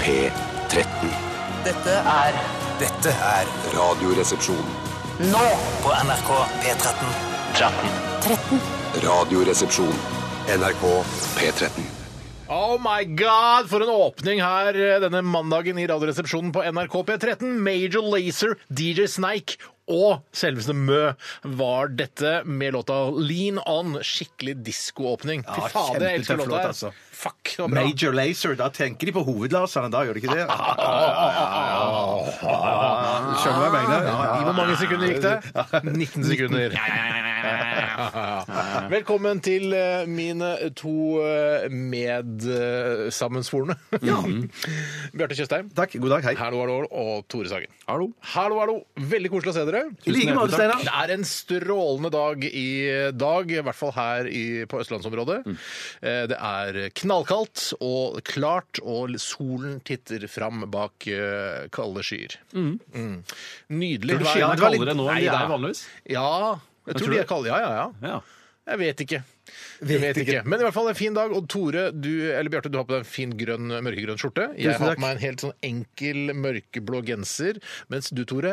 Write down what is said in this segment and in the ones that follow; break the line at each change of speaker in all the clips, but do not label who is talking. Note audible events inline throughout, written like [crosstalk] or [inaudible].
P13.
Dette er
Dette er
Radioresepsjon.
nå
på NRK P13.
13.
Radioresepsjon. NRK P13.
Oh my god, for en åpning her eh, denne mandagen i Radioresepsjonen på NRK P13. Major Lazer, DJ Snake og selveste Mø var dette med låta Lean On. Skikkelig diskoåpning. Fy
Ja,
fader, jeg elsker låta.
kjempetøff låt,
her.
altså.
Fuck, det var bra. Ah,
Major Lazer, da tenker de på hovedlaserne da, gjør de ikke [laughs] det? Skjønner du hva jeg mener?
I hvor mange sekunder gikk det? 19 sekunder. Velkommen til eh, mine to eh, medsammensvorne. [laughs] Bjarte Tjøstheim.
Takk, god dag, hei.
Hallo, hallo, og Tore Sagen.
Hallo.
Hallo, hallo. Veldig koselig å se dere.
I like måte, Steinar.
Det er en strålende dag i dag, i hvert fall her i, på østlandsområdet.
Mm.
Eh, Det er knallkaldt og klart, og solen titter fram bak eh, kalde skyer. Mm. Nydelig
Burde
vær.
det
skyene er
var litt-
kaldere nå enn
Nei
de
da.
er vanligvis?
Ja, jeg tror
tror
de
det.
er kalde. Ja, ja, ja.
Ja.
Jeg vet ikke. Jeg vet ikke. Men i hvert fall en fin dag. Og Tore, du, eller Bjarte, du har på deg en fin grønn, mørkegrønn skjorte. Jeg
Tusen
har
takk.
på meg en helt sånn enkel mørkeblå genser. Mens du, Tore,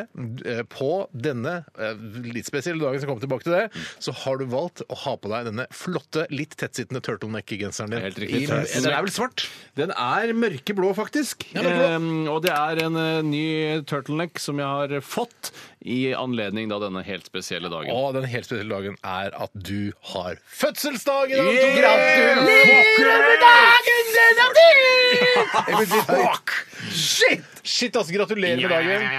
eh, på denne eh, litt spesielle dagen, som kommer tilbake til det, så har du valgt å ha på deg denne flotte, litt tettsittende turtleneck-genseren din.
Helt riktig.
I, den er vel svart?
Den er mørkeblå, faktisk. Eh, og det er en eh, ny turtleneck som jeg har fått i anledning da denne helt spesielle dagen.
Og den helt spesielle dagen er at du har fødselsdag i dag!
Yeah!
Tore! Gratulerer! [laughs] Fuck! Shit! Shit, altså. Gratulerer med dagen.
[laughs]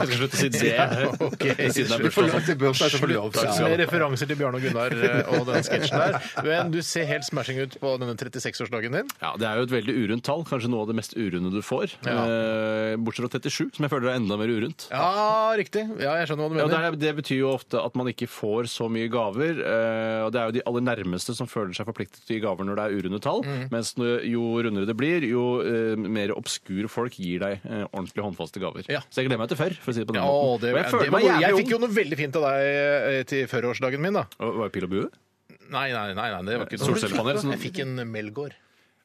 Jeg skal slutte å si det.
Ok.
[laughs] Siden det er
Du får
bursdag.
lov til bursdag, så får du lov til
Med referanser til Bjarne og Gunnar eh, og den sketsjen der. Men du ser helt smashing ut på denne 36-årsdagen din.
Ja, det er jo et veldig urundt tall. Kanskje noe av det mest urunde du får.
Ja.
Eh, Bortsett fra 37, som jeg føler er enda mer urundt.
Ja, riktig. Ja, jeg skjønner hva du
Ja,
mener.
det, er, det betyr jo ofte at man ikke får så mye gaver. eh, og Det er jo de aller nærmeste som føler seg forpliktet til å gi gaver når det er urunde tall.
Mm.
Mens nå- jo rundere det blir, jo eh, mer obskure folk gir deg eh, ordentlig håndfaste gaver.
Ja.
Så jeg gleder meg til før, for å si det på
Ja,
den måten.
det,
Og jeg føler
det var,
meg
jeg
jævlig
fikk jo noe veldig fint av deg eh, til førårsdagen min, da.
Å, Var det pil og bue?
Nei, nei, nei, nei det var ikke
Solcellepanel, sånn-
Jeg fikk en Melgaard.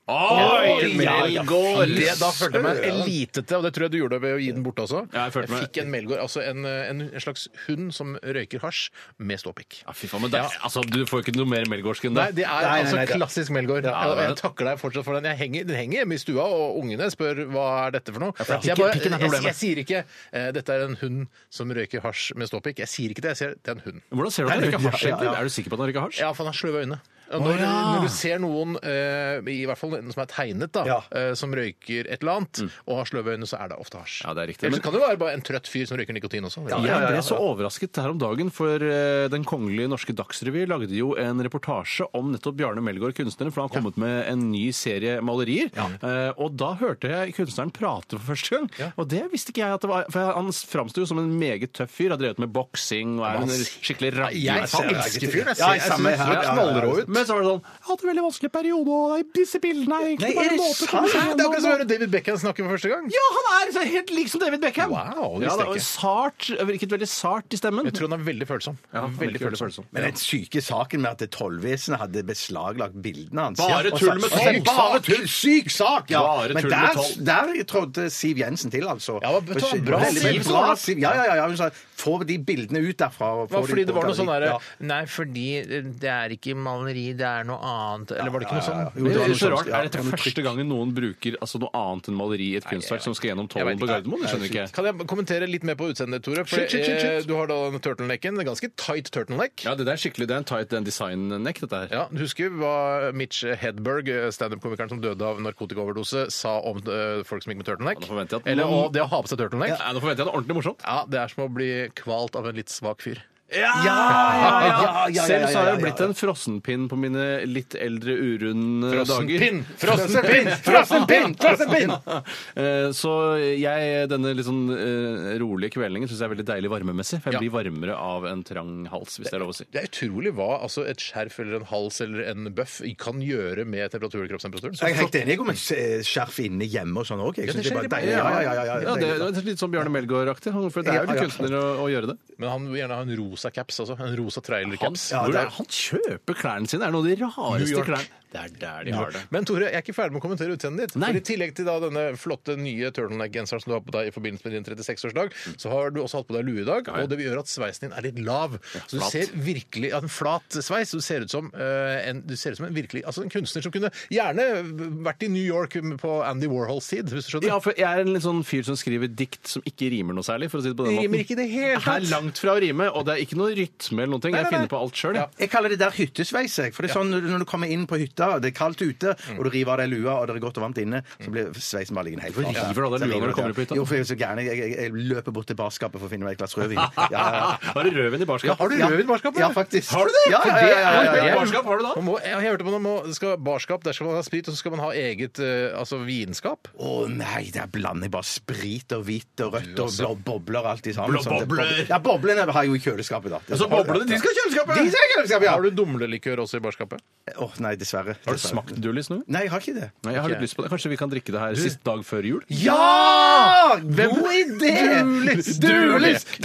Oi!
Melgaard! Det, da følte jeg meg elitete, og det tror jeg du gjorde ved å gi den bort også.
Ja, jeg følte meg-
fikk en Melgaard, altså en, en, en slags hund som røyker hasj med ståpikk.
Ja, fy faen, men det, altså, Du får jo ikke noe mer melgårdsk enn det.
Nei, det er
nei,
altså
nei, det-
klassisk Melgaard.
Ja,
og
det er
jeg
det.
takker deg fortsatt for den. Jeg henger, den henger hjemme i stua, og ungene spør hva er dette for noe.
for det
Så jeg,
er pikken-
bare,
pikken
jeg,
er problemet.
jeg sier ikke eh, dette er en hund som røyker hasj med ståpikk. Jeg sier ikke det, jeg sier det er en hund.
Hvordan ser du at han
Nei,
røyker hasj?
ja, ja.
egentlig? Er du sikker på at han røyker hasj?
Ja, for han har sløve øyne. Og Når,
ja.
når du ser noen, eh, i hvert fall en som er tegnet, da,
Ja.
eh, som røyker et eller annet, og har sløve øyne, så er Mm. det ofte hasj.
Ja, det er riktig,
Ellers
men-
kan det være bare en trøtt fyr som røyker nikotin også.
Ja,
Jeg ble så overrasket her om dagen, for eh, Den kongelige norske Dagsrevy lagde jo en reportasje om nettopp Bjarne Melgaard, kunstneren, for han har kommet med en ny serie malerier. Eh, og da hørte jeg kunstneren prate for første gang, og det visste ikke jeg at det var. For han framsto jo som en meget tøff fyr, har drevet med boksing og er en skikkelig
Jeg
ragger.
elsker fyren. Jeg ser-
Ja,
jeg
samme
synes
her.
han ser knallrå ut.
Men så var det sånn Jeg har hatt en veldig vanskelig periode, og disse bildene er egentlig
Nei, er det
bare en måte å
sant?
komme seg
Det er akkurat som å
gjennom
høre David Beckham snakke for første gang.
ja, han er så helt lik som David Beckham!
Wow, det
ja,
visste
det
jeg
var
ikke.
sart, virket veldig sart i stemmen.
Jeg tror han er veldig følsom.
Ja,
Mm,
veldig følsom.
Men den syke saken med at det tollvesenet hadde beslaglagt bildene hans
Bare
Ja, og
tull med
satt-
toll.
Syk Bare tull! Syk sak! Ja.
Bare
Men
tull med
der,
toll.
der trådte Siv Jensen til, altså.
Ja, men vet du hva, bra,
Veldig, veldig
Siv,
bra,
så-
Siv. Ja, ja, ja. Hun sa få de bildene ut derfra. og
Det
få
var
de
fordi det var noe
på
sånn derre
galleri.
Nei, fordi det er ikke maleri, det er noe annet. Eller var det ikke noe
Ja, ja, ja.
sånn?
Jo,
Det
det var
er
noe
så
sånt,
rart.
ja.
Er dette
Ja, men
første gangen noen bruker altså, noe annet enn maleri i et kunstverk som skal gjennom
Jeg vet
tollen på
ikke.
Gardermoen? Det skjønner ikke jeg.
Kan jeg kommentere litt mer på utseendet, Tore? For
Shoot, shoot, shoot,
eh,
shoot.
du har da den turtlenecken. Det er ganske tight turtleneck.
Ja, det der er skikkelig, det er en tight en design-neck, dette her.
Ja, du husker hva Mitch Hedberg, eh, standup-komikeren som døde av narkotikaoverdose, sa om eh, folk som gikk med turtleneck?
Ja, da forventer jeg at
Eller
noen-
å- det å ha på seg turtleneck? Ja.
Nei, nå forventer jeg noe ordentlig morsomt.
det er som å bli kvalt av en litt svak fyr.
ja, ja, ja, ja,
Selv så har
ja,
jeg
ja,
blitt en frossenpinn på mine litt eldre urunde dager.
Frossenpinn! [laughs] Frossenpinn! Frossenpinn! Frossenpinn!
[laughs] Eh, Så jeg, denne litt sånn eh, rolige kvelningen syns jeg er veldig deilig varmemessig. For jeg
Ja.
blir varmere av en trang hals, hvis det er lov å si.
Det er utrolig hva altså, et skjerf eller en hals eller en bøff kan gjøre med temperatur og kroppstemperaturen.
Jeg er helt enig om et skjerf inne hjemme og sånn òg.
Ja, det skjer i
Ja, ja, ja, ja, ja,
Ja, det er litt sånn Bjørne Melgaard-aktig. For det er jo litt
Ja, ja.
kunstner å, å gjøre det.
Men han vil gjerne ha en rosa caps, altså. En rosa trailercaps.
Ja,
Hvor
det
er, han kjøper klærne sine! Det er noe av de
New
rareste
York.
klærne. Det er der de har det.
Men Tore, jeg er ikke ferdig med å kommentere utseendet ditt.
Nei.
For I tillegg til da denne flotte nye turtleneck-genseren som du har på deg i forbindelse med din 36-årsdag, så har du også hatt på deg lue i dag, og det gjør at sveisen din er litt lav. så du
flat.
ser virkelig ja, en flat sveis. Du ser ut som, eh, en, du ser ut som en virkelig altså en kunstner som kunne gjerne vært i New York på Andy Warhols tid, hvis du skjønner.
Ja, for jeg er en litt sånn fyr som skriver dikt som ikke rimer noe særlig, for å si det på den
Det
måten.
rimer ikke i det hele
Det er
tatt.
langt fra å rime, og det er ikke noe rytme eller noen ting. Jeg
nei, nei.
finner på alt sjøl, jeg.
Jeg kaller det der hyttesveis. jeg. For det er sånn når du kommer inn på hytta, det er kaldt ute,
Mm.
og du river av deg lua, og det er godt og varmt inne, så blir sveisen bare liggende helt
Hvorfor
flat.
river du av deg
Så
lua når du
river
kommer
jeg-
på hytta?
Jo, for jeg er så gæren. Jeg, jeg, jeg løper bort til barskapet for å finne meg et glass
[laughs]
rødvin. Ja, ja, [laughs] ja.
Bare rødvin i barskap.
Har du
Ja.
rødvin i barskapet? Ja, faktisk.
Har du det?
Ja, ja, ja, ja, ja, ja,
For det er
ja.
Barskap har du da?
Man må, jeg har hørt om at man må, det skal barskap, der skal man ha sprit, og så skal man ha eget eh, altså vinskap.
Å nei, der blander jeg bare sprit og hvitt og rødt og blå bobler alt i sammen.
Blå
Sånn at det-
bobler.
Ja, boblene har jeg jo i kjøleskapet, da.
Så boblene, de skal i kjøleskapet!
De skal i kjøleskapet, ja!
Har du dumlelikør også i barskapet?
Åh, nei, dessverre.
Har du smakt Dulis nå?
Nei, jeg har ikke det.
Nei, jeg har litt lyst på det. Kanskje vi kan drikke det her sist dag før jul?
Ja! God idé!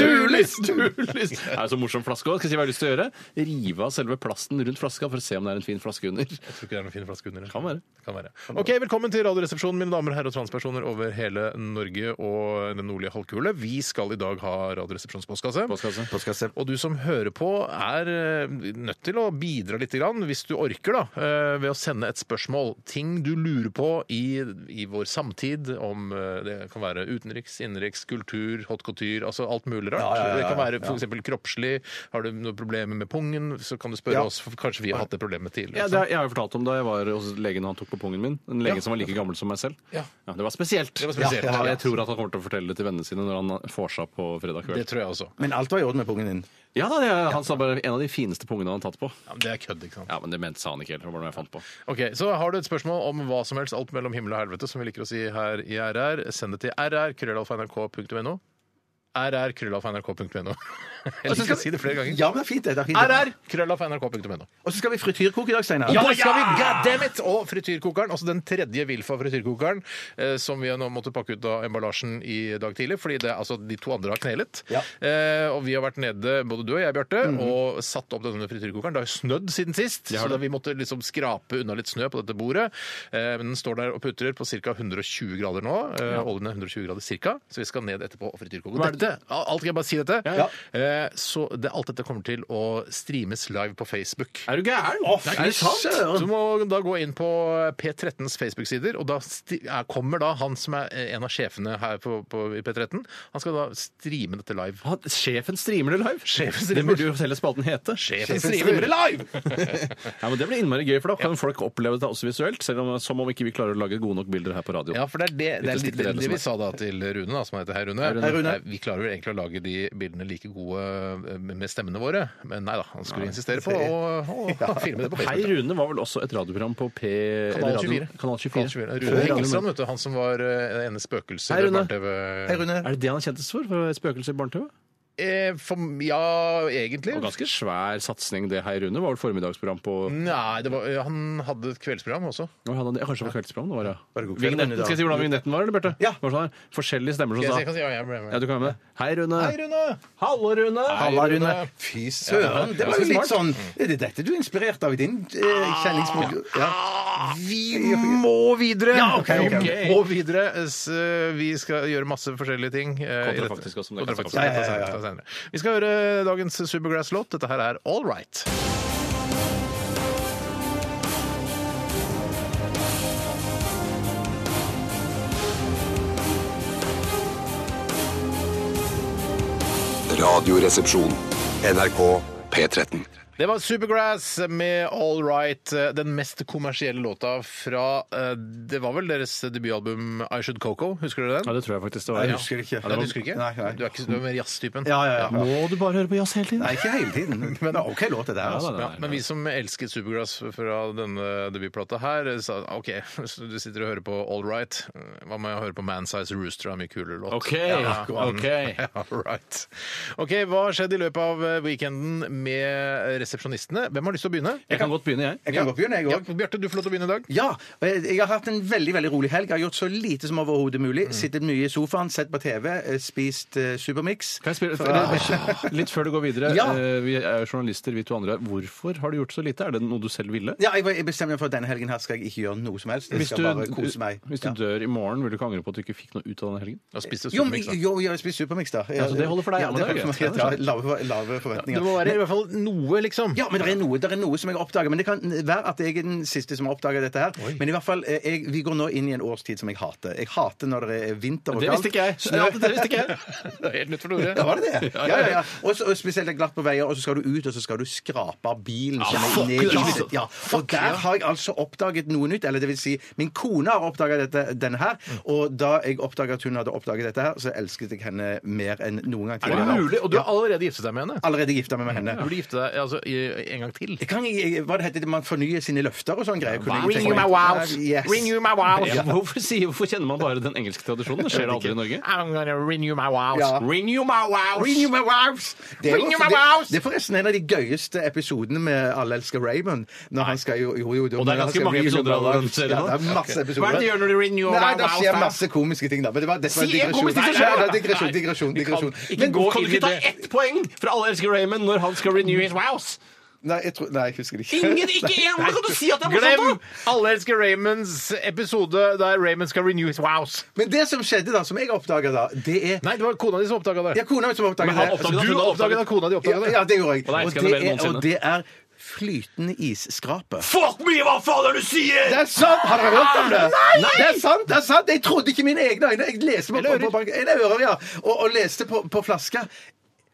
Dulis! Det er så morsom flaske òg. Skal jeg si hva jeg har lyst til å gjøre? Rive av selve plasten rundt flaska for å se om det er en fin flaske under.
Jeg tror ikke det er noen fin flaske under det.
Kan være.
Det kan være. Ok, Velkommen til Radioresepsjonen, mine damer og herrer og transpersoner over hele Norge og den nordlige halvkule. Vi skal i dag ha Radioresepsjonens postkasse.
Postkasse.
Postkasse.
Og du som hører på, er eh, nødt til å bidra litt, grann, hvis du orker, da, eh, ved å sende et spørsmål. Ting du lurer på i, i vår samtid, om eh, det kan være utenriks, innenriks, kultur, haute couture, altså alt mulig rart.
ja, ja,
Det kan
ja.
være f.eks. kroppslig. Har du noen problemer med pungen, så kan du spørre
Ja.
oss, for kanskje vi har hatt det problemet tidligere.
Ja, det, jeg har jo fortalt om da jeg var hos legen han tok på pungen min. En lege som var like gammel som meg selv.
Ja.
det var spesielt.
var spesielt.
Og jeg tror at han kommer til å fortelle det til vennene sine når han får seg på fredag
Det
kveld.
tror jeg også.
Men alt var i orden med pungen din.
Ja da, det, er- Han sa bare en av de fineste pungene han har tatt på.
Ja, men det er kødd, ikke sant.
Ja, men det mente sa han ikke heller. Det var noe jeg fant på.
Ok, Så har du et spørsmål om hva som helst, alt mellom himmel og helvete, som vi liker å si her i RR, send det til rr.krøllalfa.nrk.no. rr.krøllalfa.nrk.no. [laughs] Jeg liker å si det flere ganger.
Ja, men det er fint, det. det er fint, det.
rr.krøllalfa.nrk.no.
Og så skal vi frityrkoke i dag, Steinar.
Ja, det skal vi! Goddammit! Og frityrkokeren, altså den tredje Wilfa-frityrkokeren, eh, som vi nå måtte pakke ut av emballasjen i dag tidlig, fordi det, altså, de to andre har knelet.
Ja.
Eh, og vi har vært nede, både du og jeg, Bjarte, og satt opp denne frityrkokeren. Det har jo snødd siden sist, så da vi måtte liksom skrape unna litt snø på dette bordet. Eh, men den står der og putrer på ca. 120 grader nå. Eh, Oljen er 120 grader ca., så vi skal ned etterpå og frityrkoke. Dette, alt kan jeg bare si dette.
Ja,
Eh, så det, alt dette kommer til å streames live på Facebook.
Er du gæren?
fy søren!
Du må da gå inn på P13s Facebook-sider, og da sti- er- kommer da han som er eh, en av sjefene her på, på, i P13. Han skal da streame dette live.
Han, sjefen streamer det live?
Sjefen
Det
streamer.
burde jo fortelle spalten hete.
Sjefen streamer det live!
Ja, men Det blir innmari gøy, for da kan folk oppleve det også visuelt. Selv om, som om ikke vi klarer å lage gode nok bilder her på radio.
Ja, for det er det, det, er litt,
Litt å stikke det
det vi sa
som
da til Rune, da, som heter Hei Rune.
Hei,
Rune.
Nei, Vi klarer vel egentlig å lage de bildene like gode eh, med stemmene våre, men nei da, han skulle insistere på å, å, filme det på
Hei
Facebook.
Rune var vel også et radioprogram på P...
Kanal
eller radio-
24.
Kanal 24.
Rune Hengelstrand, vet du, han som var eh, det ene spøkelset
Hei,
ved
Rune.
barne-TV.
Hei, Rune.
Er det det han kjentes for? for å være Spøkelse i barne-TV?
Eh, for, ja, egentlig.
Og ganske svær satsing, det Hei Rune. Var vel formiddagsprogram på
Mm.
Nei, det var, han hadde et kveldsprogram også.
Nå hadde han det- ja, Kanskje det var kveldsprogram? Det var,
Var
ja.
det god kveld,
vignetten,
Rune, da?
skal jeg si hvordan vignetten var, eller, Bjarte?
Ja.
Det var sånn her, forskjellige stemmer
Jeg,
som
jeg kan
sa
si, ja, jeg ble med.
ja, du kan være med. Hei, Rune.
Hei, Rune!
Hallo, Rune.
Halla, Rune. Fy søren. Det var jo litt sånn Er det dette du er inspirert av i din eh, kjenningsbok? Ja.
Ah,
[laughs]
Vi må videre!
Ja, ok, ok.
Vi må videre. S- Vi skal gjøre masse forskjellige ting. eh, i dette.
Kontrafaktisk også, men det kan
Kontrafaktisk.
jeg ta senere.
Ja, ja, ja, ja. Senere. Vi skal høre dagens Supergrass-låt. Dette her er All Right.
Radioresepsjon. NRK P13.
Det var Supergrass med All Right, eh, den mest kommersielle låta fra eh, Det var vel deres debutalbum I Should Coco, husker du den?
Ja, det tror jeg faktisk det var.
Jeg husker det ikke.
Ja, den husker du ikke?
Nei, nei.
Du er ikke du er mer jazz-typen?
Ja, ja, ja.
Må du bare høre på jazz hele tiden?
Nei, ikke hele tiden. Men det er OK låt, dette her.
Ja,
Altså.
da, da,
Ja,
da.
men vi som elsket Supergrass fra denne debutplata her, eh, sa OK, [laughs] så du sitter og hører på All Right. Eh, Hva med å høre på Man Size Rooster? Det er en mye kulere låt. [laughs]
OK.
Ja,
ok.
Ja, right. OK, hva har skjedd i løpet av eh, weekenden med resepsjonistene. Hvem har lyst til å begynne?
Jeg kan godt begynne, jeg.
Jeg kan godt begynne, jeg
Ja,
òg.
Bjarte, du får lov til å begynne i dag.
Ja, og jeg, jeg har hatt en veldig veldig rolig helg. Jeg har gjort så lite som overhodet mulig. Sittet mye i sofaen, sett på TV, eh, spist eh, Supermix.
Kan jeg
Fra-
spørre, litt før du går videre,
Ja.
eh, vi er jo journalister, vi to andre. Hvorfor har du gjort så lite? Er det noe du selv ville?
Ja, jeg, jeg bestemmer meg for at denne helgen her skal jeg ikke gjøre noe som helst. Jeg
Hvis
skal
du,
bare kose meg.
hvis du
Ja.
dør i morgen, vil du ikke angre på at du ikke fikk noe ut av den helgen?
Da spiste
Jo, men,
Supermix, da.
jo, jeg har spist Supermix, da.
Ja, så det holder for deg,
Ja,
ja,
det
men det er
holder for
greit.
meg. Jeg har lave, lave forventninger.
Det må være i hvert fall noe, liksom.
Ja, men det er noe, det er noe som jeg har oppdaget. Men det kan være at jeg er den siste som har oppdaget dette her. Men i hvert fall, eh, jeg, vi går nå inn i en årstid som jeg hater. Jeg hater når det er vinter og
Det
kaldt.
visste ikke jeg.
Snø.
Ja, det visste ikke jeg. Det er Helt nytt for Tore.
Ja, var
[laughs]
det det? Ja, ja, ja. Og så- og spesielt det er glatt på veier, og så skal du ut, og så skal du skrape av bilen. som er
fuck,
ned i
det er
huset.
altså.
sånn.
ja. Og der har jeg altså oppdaget noe nytt, eller det vil si, min kone har oppdaget dette, denne her,
Mm.
og da jeg oppdaget at hun hadde oppdaget dette her, så elsket jeg henne mer enn noen gang
Er det
tidligere.
mulig? Og du har allerede giftet deg med henne?
Allerede gifta meg med henne.
Du burde gifte deg altså, i, en gang til.
Kan jeg, hva det heter det, man fornyer sine løfter og sånn greier? kunne jeg
Ring
tenke
you my
meg.
wows!
Yes.
Ring you my wows!
Ja. Hvorfor, sier- hvorfor kjenner man bare den engelske tradisjonen? Det skjer aldri i Norge.
I'm gonna ring you my wows.
Ja.
Ring you my wows!
Ring you my wows! Det er,
Ring you my
det,
wows!
det er forresten en av de gøyeste episodene med Alle elsker Raymond. Når han skal jo, jo, jo,
Og det er ganske mange episoder av den serien
Ja, det
nå.
er masse episoder.
Hva er det du gjør når du ring you
Nei,
my
det
wows?
skjer
da?
masse komiske ting, da. Men det var, dette var en
Si en komisk ting som
Nei,
skjer!
nei, nei, digresjon, digresjon,
Vi kan
digresjon.
Ikke
Men
gå
kan
Kan du
inn i
ikke ta
det.
ett poeng fra Alle elsker Raymond når han skal renew his wows?
Nei, jeg, tror, nei, jeg husker det ikke.
Ingen, ikke én! Hvordan kan du si at det er
Glem
morsomt? da?
Alle elsker Raymonds episode der Raymond skal renew his wows.
Men det som skjedde, da, som jeg oppdaga da, det er
Nei, det var kona di som oppdaga det.
Ja, kona mi som oppdaga
Men han
det.
oppdaget at
Du
hun hadde
oppdaget at kona di
Ja,
oppdaga det.
ja, det gjorde jeg.
Og da elsker jeg
det
henne mer enn
er, og
noensinne.
det er flytende isskrape.
Fuck me, hva faen er det du sier?!
Det er sant! Har dere hørt om det?
Ah,
Det er sant! det er sant Jeg trodde ikke mine egne øyne. Jeg leste på, på, på, bank- eller ører, ja. og, og leste på, på flaska.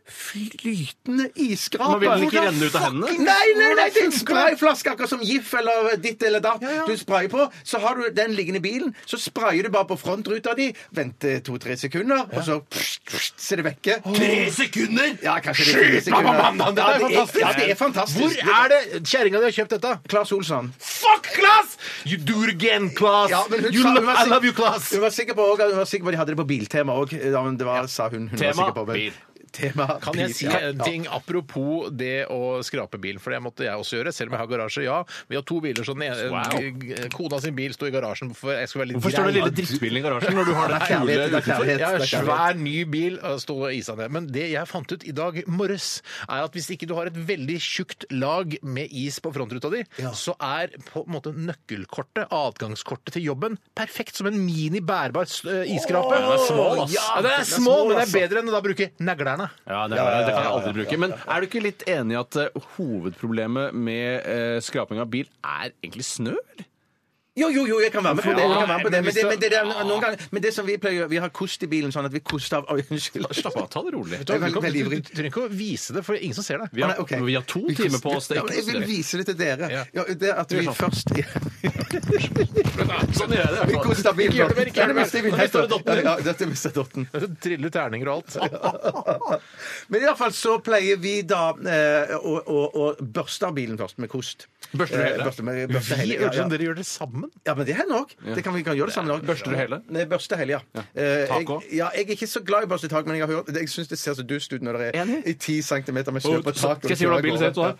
Flytende isskrape.
Man vil den ikke renne ut av hendene?
Nei, nei, nei, det er en sprayflaske, akkurat som GIF eller ditt eller datt. Du sprayer på, så har du den liggende i bilen, så sprayer du bare på frontruta di, venter to-tre sekunder, og så pst, pst, så er det vekke.
Tre sekunder!
Ja, kanskje det er tre
Mamma,
sekunder.
mamma, det er fantastisk.
Ja, det er fantastisk.
Hvor er det kjerringa di har kjøpt dette?
Claes Olsson.
Fuck, Class! You do it again, Class!
Ja, men hun
you
sa-
lo-
hun var
I
sik-
love you, Class!
Hun var sikker på, også- hun var sikker på at de hadde det på Biltema òg. Ja, men det var, sa hun. hun
Tema,
var sikker på, men-
bil.
Tema,
Kan jeg
bil,
si
ja.
en ting apropos det å skrape bil? For det måtte jeg også gjøre, selv om jeg har garasje. Ja, vi har to biler, så den ene
Wow.
g- kona sin bil sto i garasjen. For jeg skulle være litt
Hvorfor står den
grei.
lille drittbilen i garasjen når du har den
Det er kjærlighet,
kule
det er
utenfor?
kjærlighet.
Jeg har en
det er
svær, ny bil og sto og isa ned. Men det jeg fant ut i dag morges, er at hvis ikke du har et veldig tjukt lag med is på frontruta di, så er på en måte nøkkelkortet, adgangskortet til jobben, perfekt som en mini bærbar s- eh, isskrape.
Åh, den er smal, ass.
Ja, den er små, men det er bedre enn å da bruke neglerne.
Ja, det, er, det kan jeg aldri bruke. Men er du ikke litt enig i at eh, hovedproblemet med eh, skraping av bil er egentlig snø? eller?
Jo, jo, jo, jeg kan være med på det. Jeg kan være med på det.
men
Men,
hvis
det,
du-
men, det, der- noen ganger, men det som vi pleier å gjøre, vi har kost i bilen sånn at vi koster av Oi, Unnskyld.
Slapp av, ta det rolig.
Du
Jeg er veldig- veldig
trenger
ivrig.
ikke å vise det, for det er ingen som ser det.
Vi har,
Å, nei, ok.
vi har to timer på oss. Det
Ja,
er
men
ikke
jeg vil
noe stress.
vise det til dere.
Ja.
Ja, det at vi
Gjør sånn.
først
Sånn gjør jeg det.
Vi
i hvert fall.
koster av bilen.
Ikke gjør det mer, ikke gjør det mer.
mister vi
Nå mister du dotten.
Ja, ja, dette mister dotten.
Det triller terninger og alt.
Men i alle fall så pleier vi da eh, å, å, å børste av bilen først med kost.
Børster du hele?
Eh, Børste med, børste
Vi
hele, ja,
høres
ja.
som dere gjør sånn det sammen.
Ja, men det hender òg. Det kan vi kan gjøre det sammen òg.
Børster du hele?
Nei, børste hele, ja. Eh,
Tak
jeg,
også?
ja. Jeg er ikke så glad i børste tak, men jeg, har hørt, jeg syns det ser så dust ut når det er i 10 cm med snø på taket.
Så- Skal jeg si hvordan bilen ser ut? da?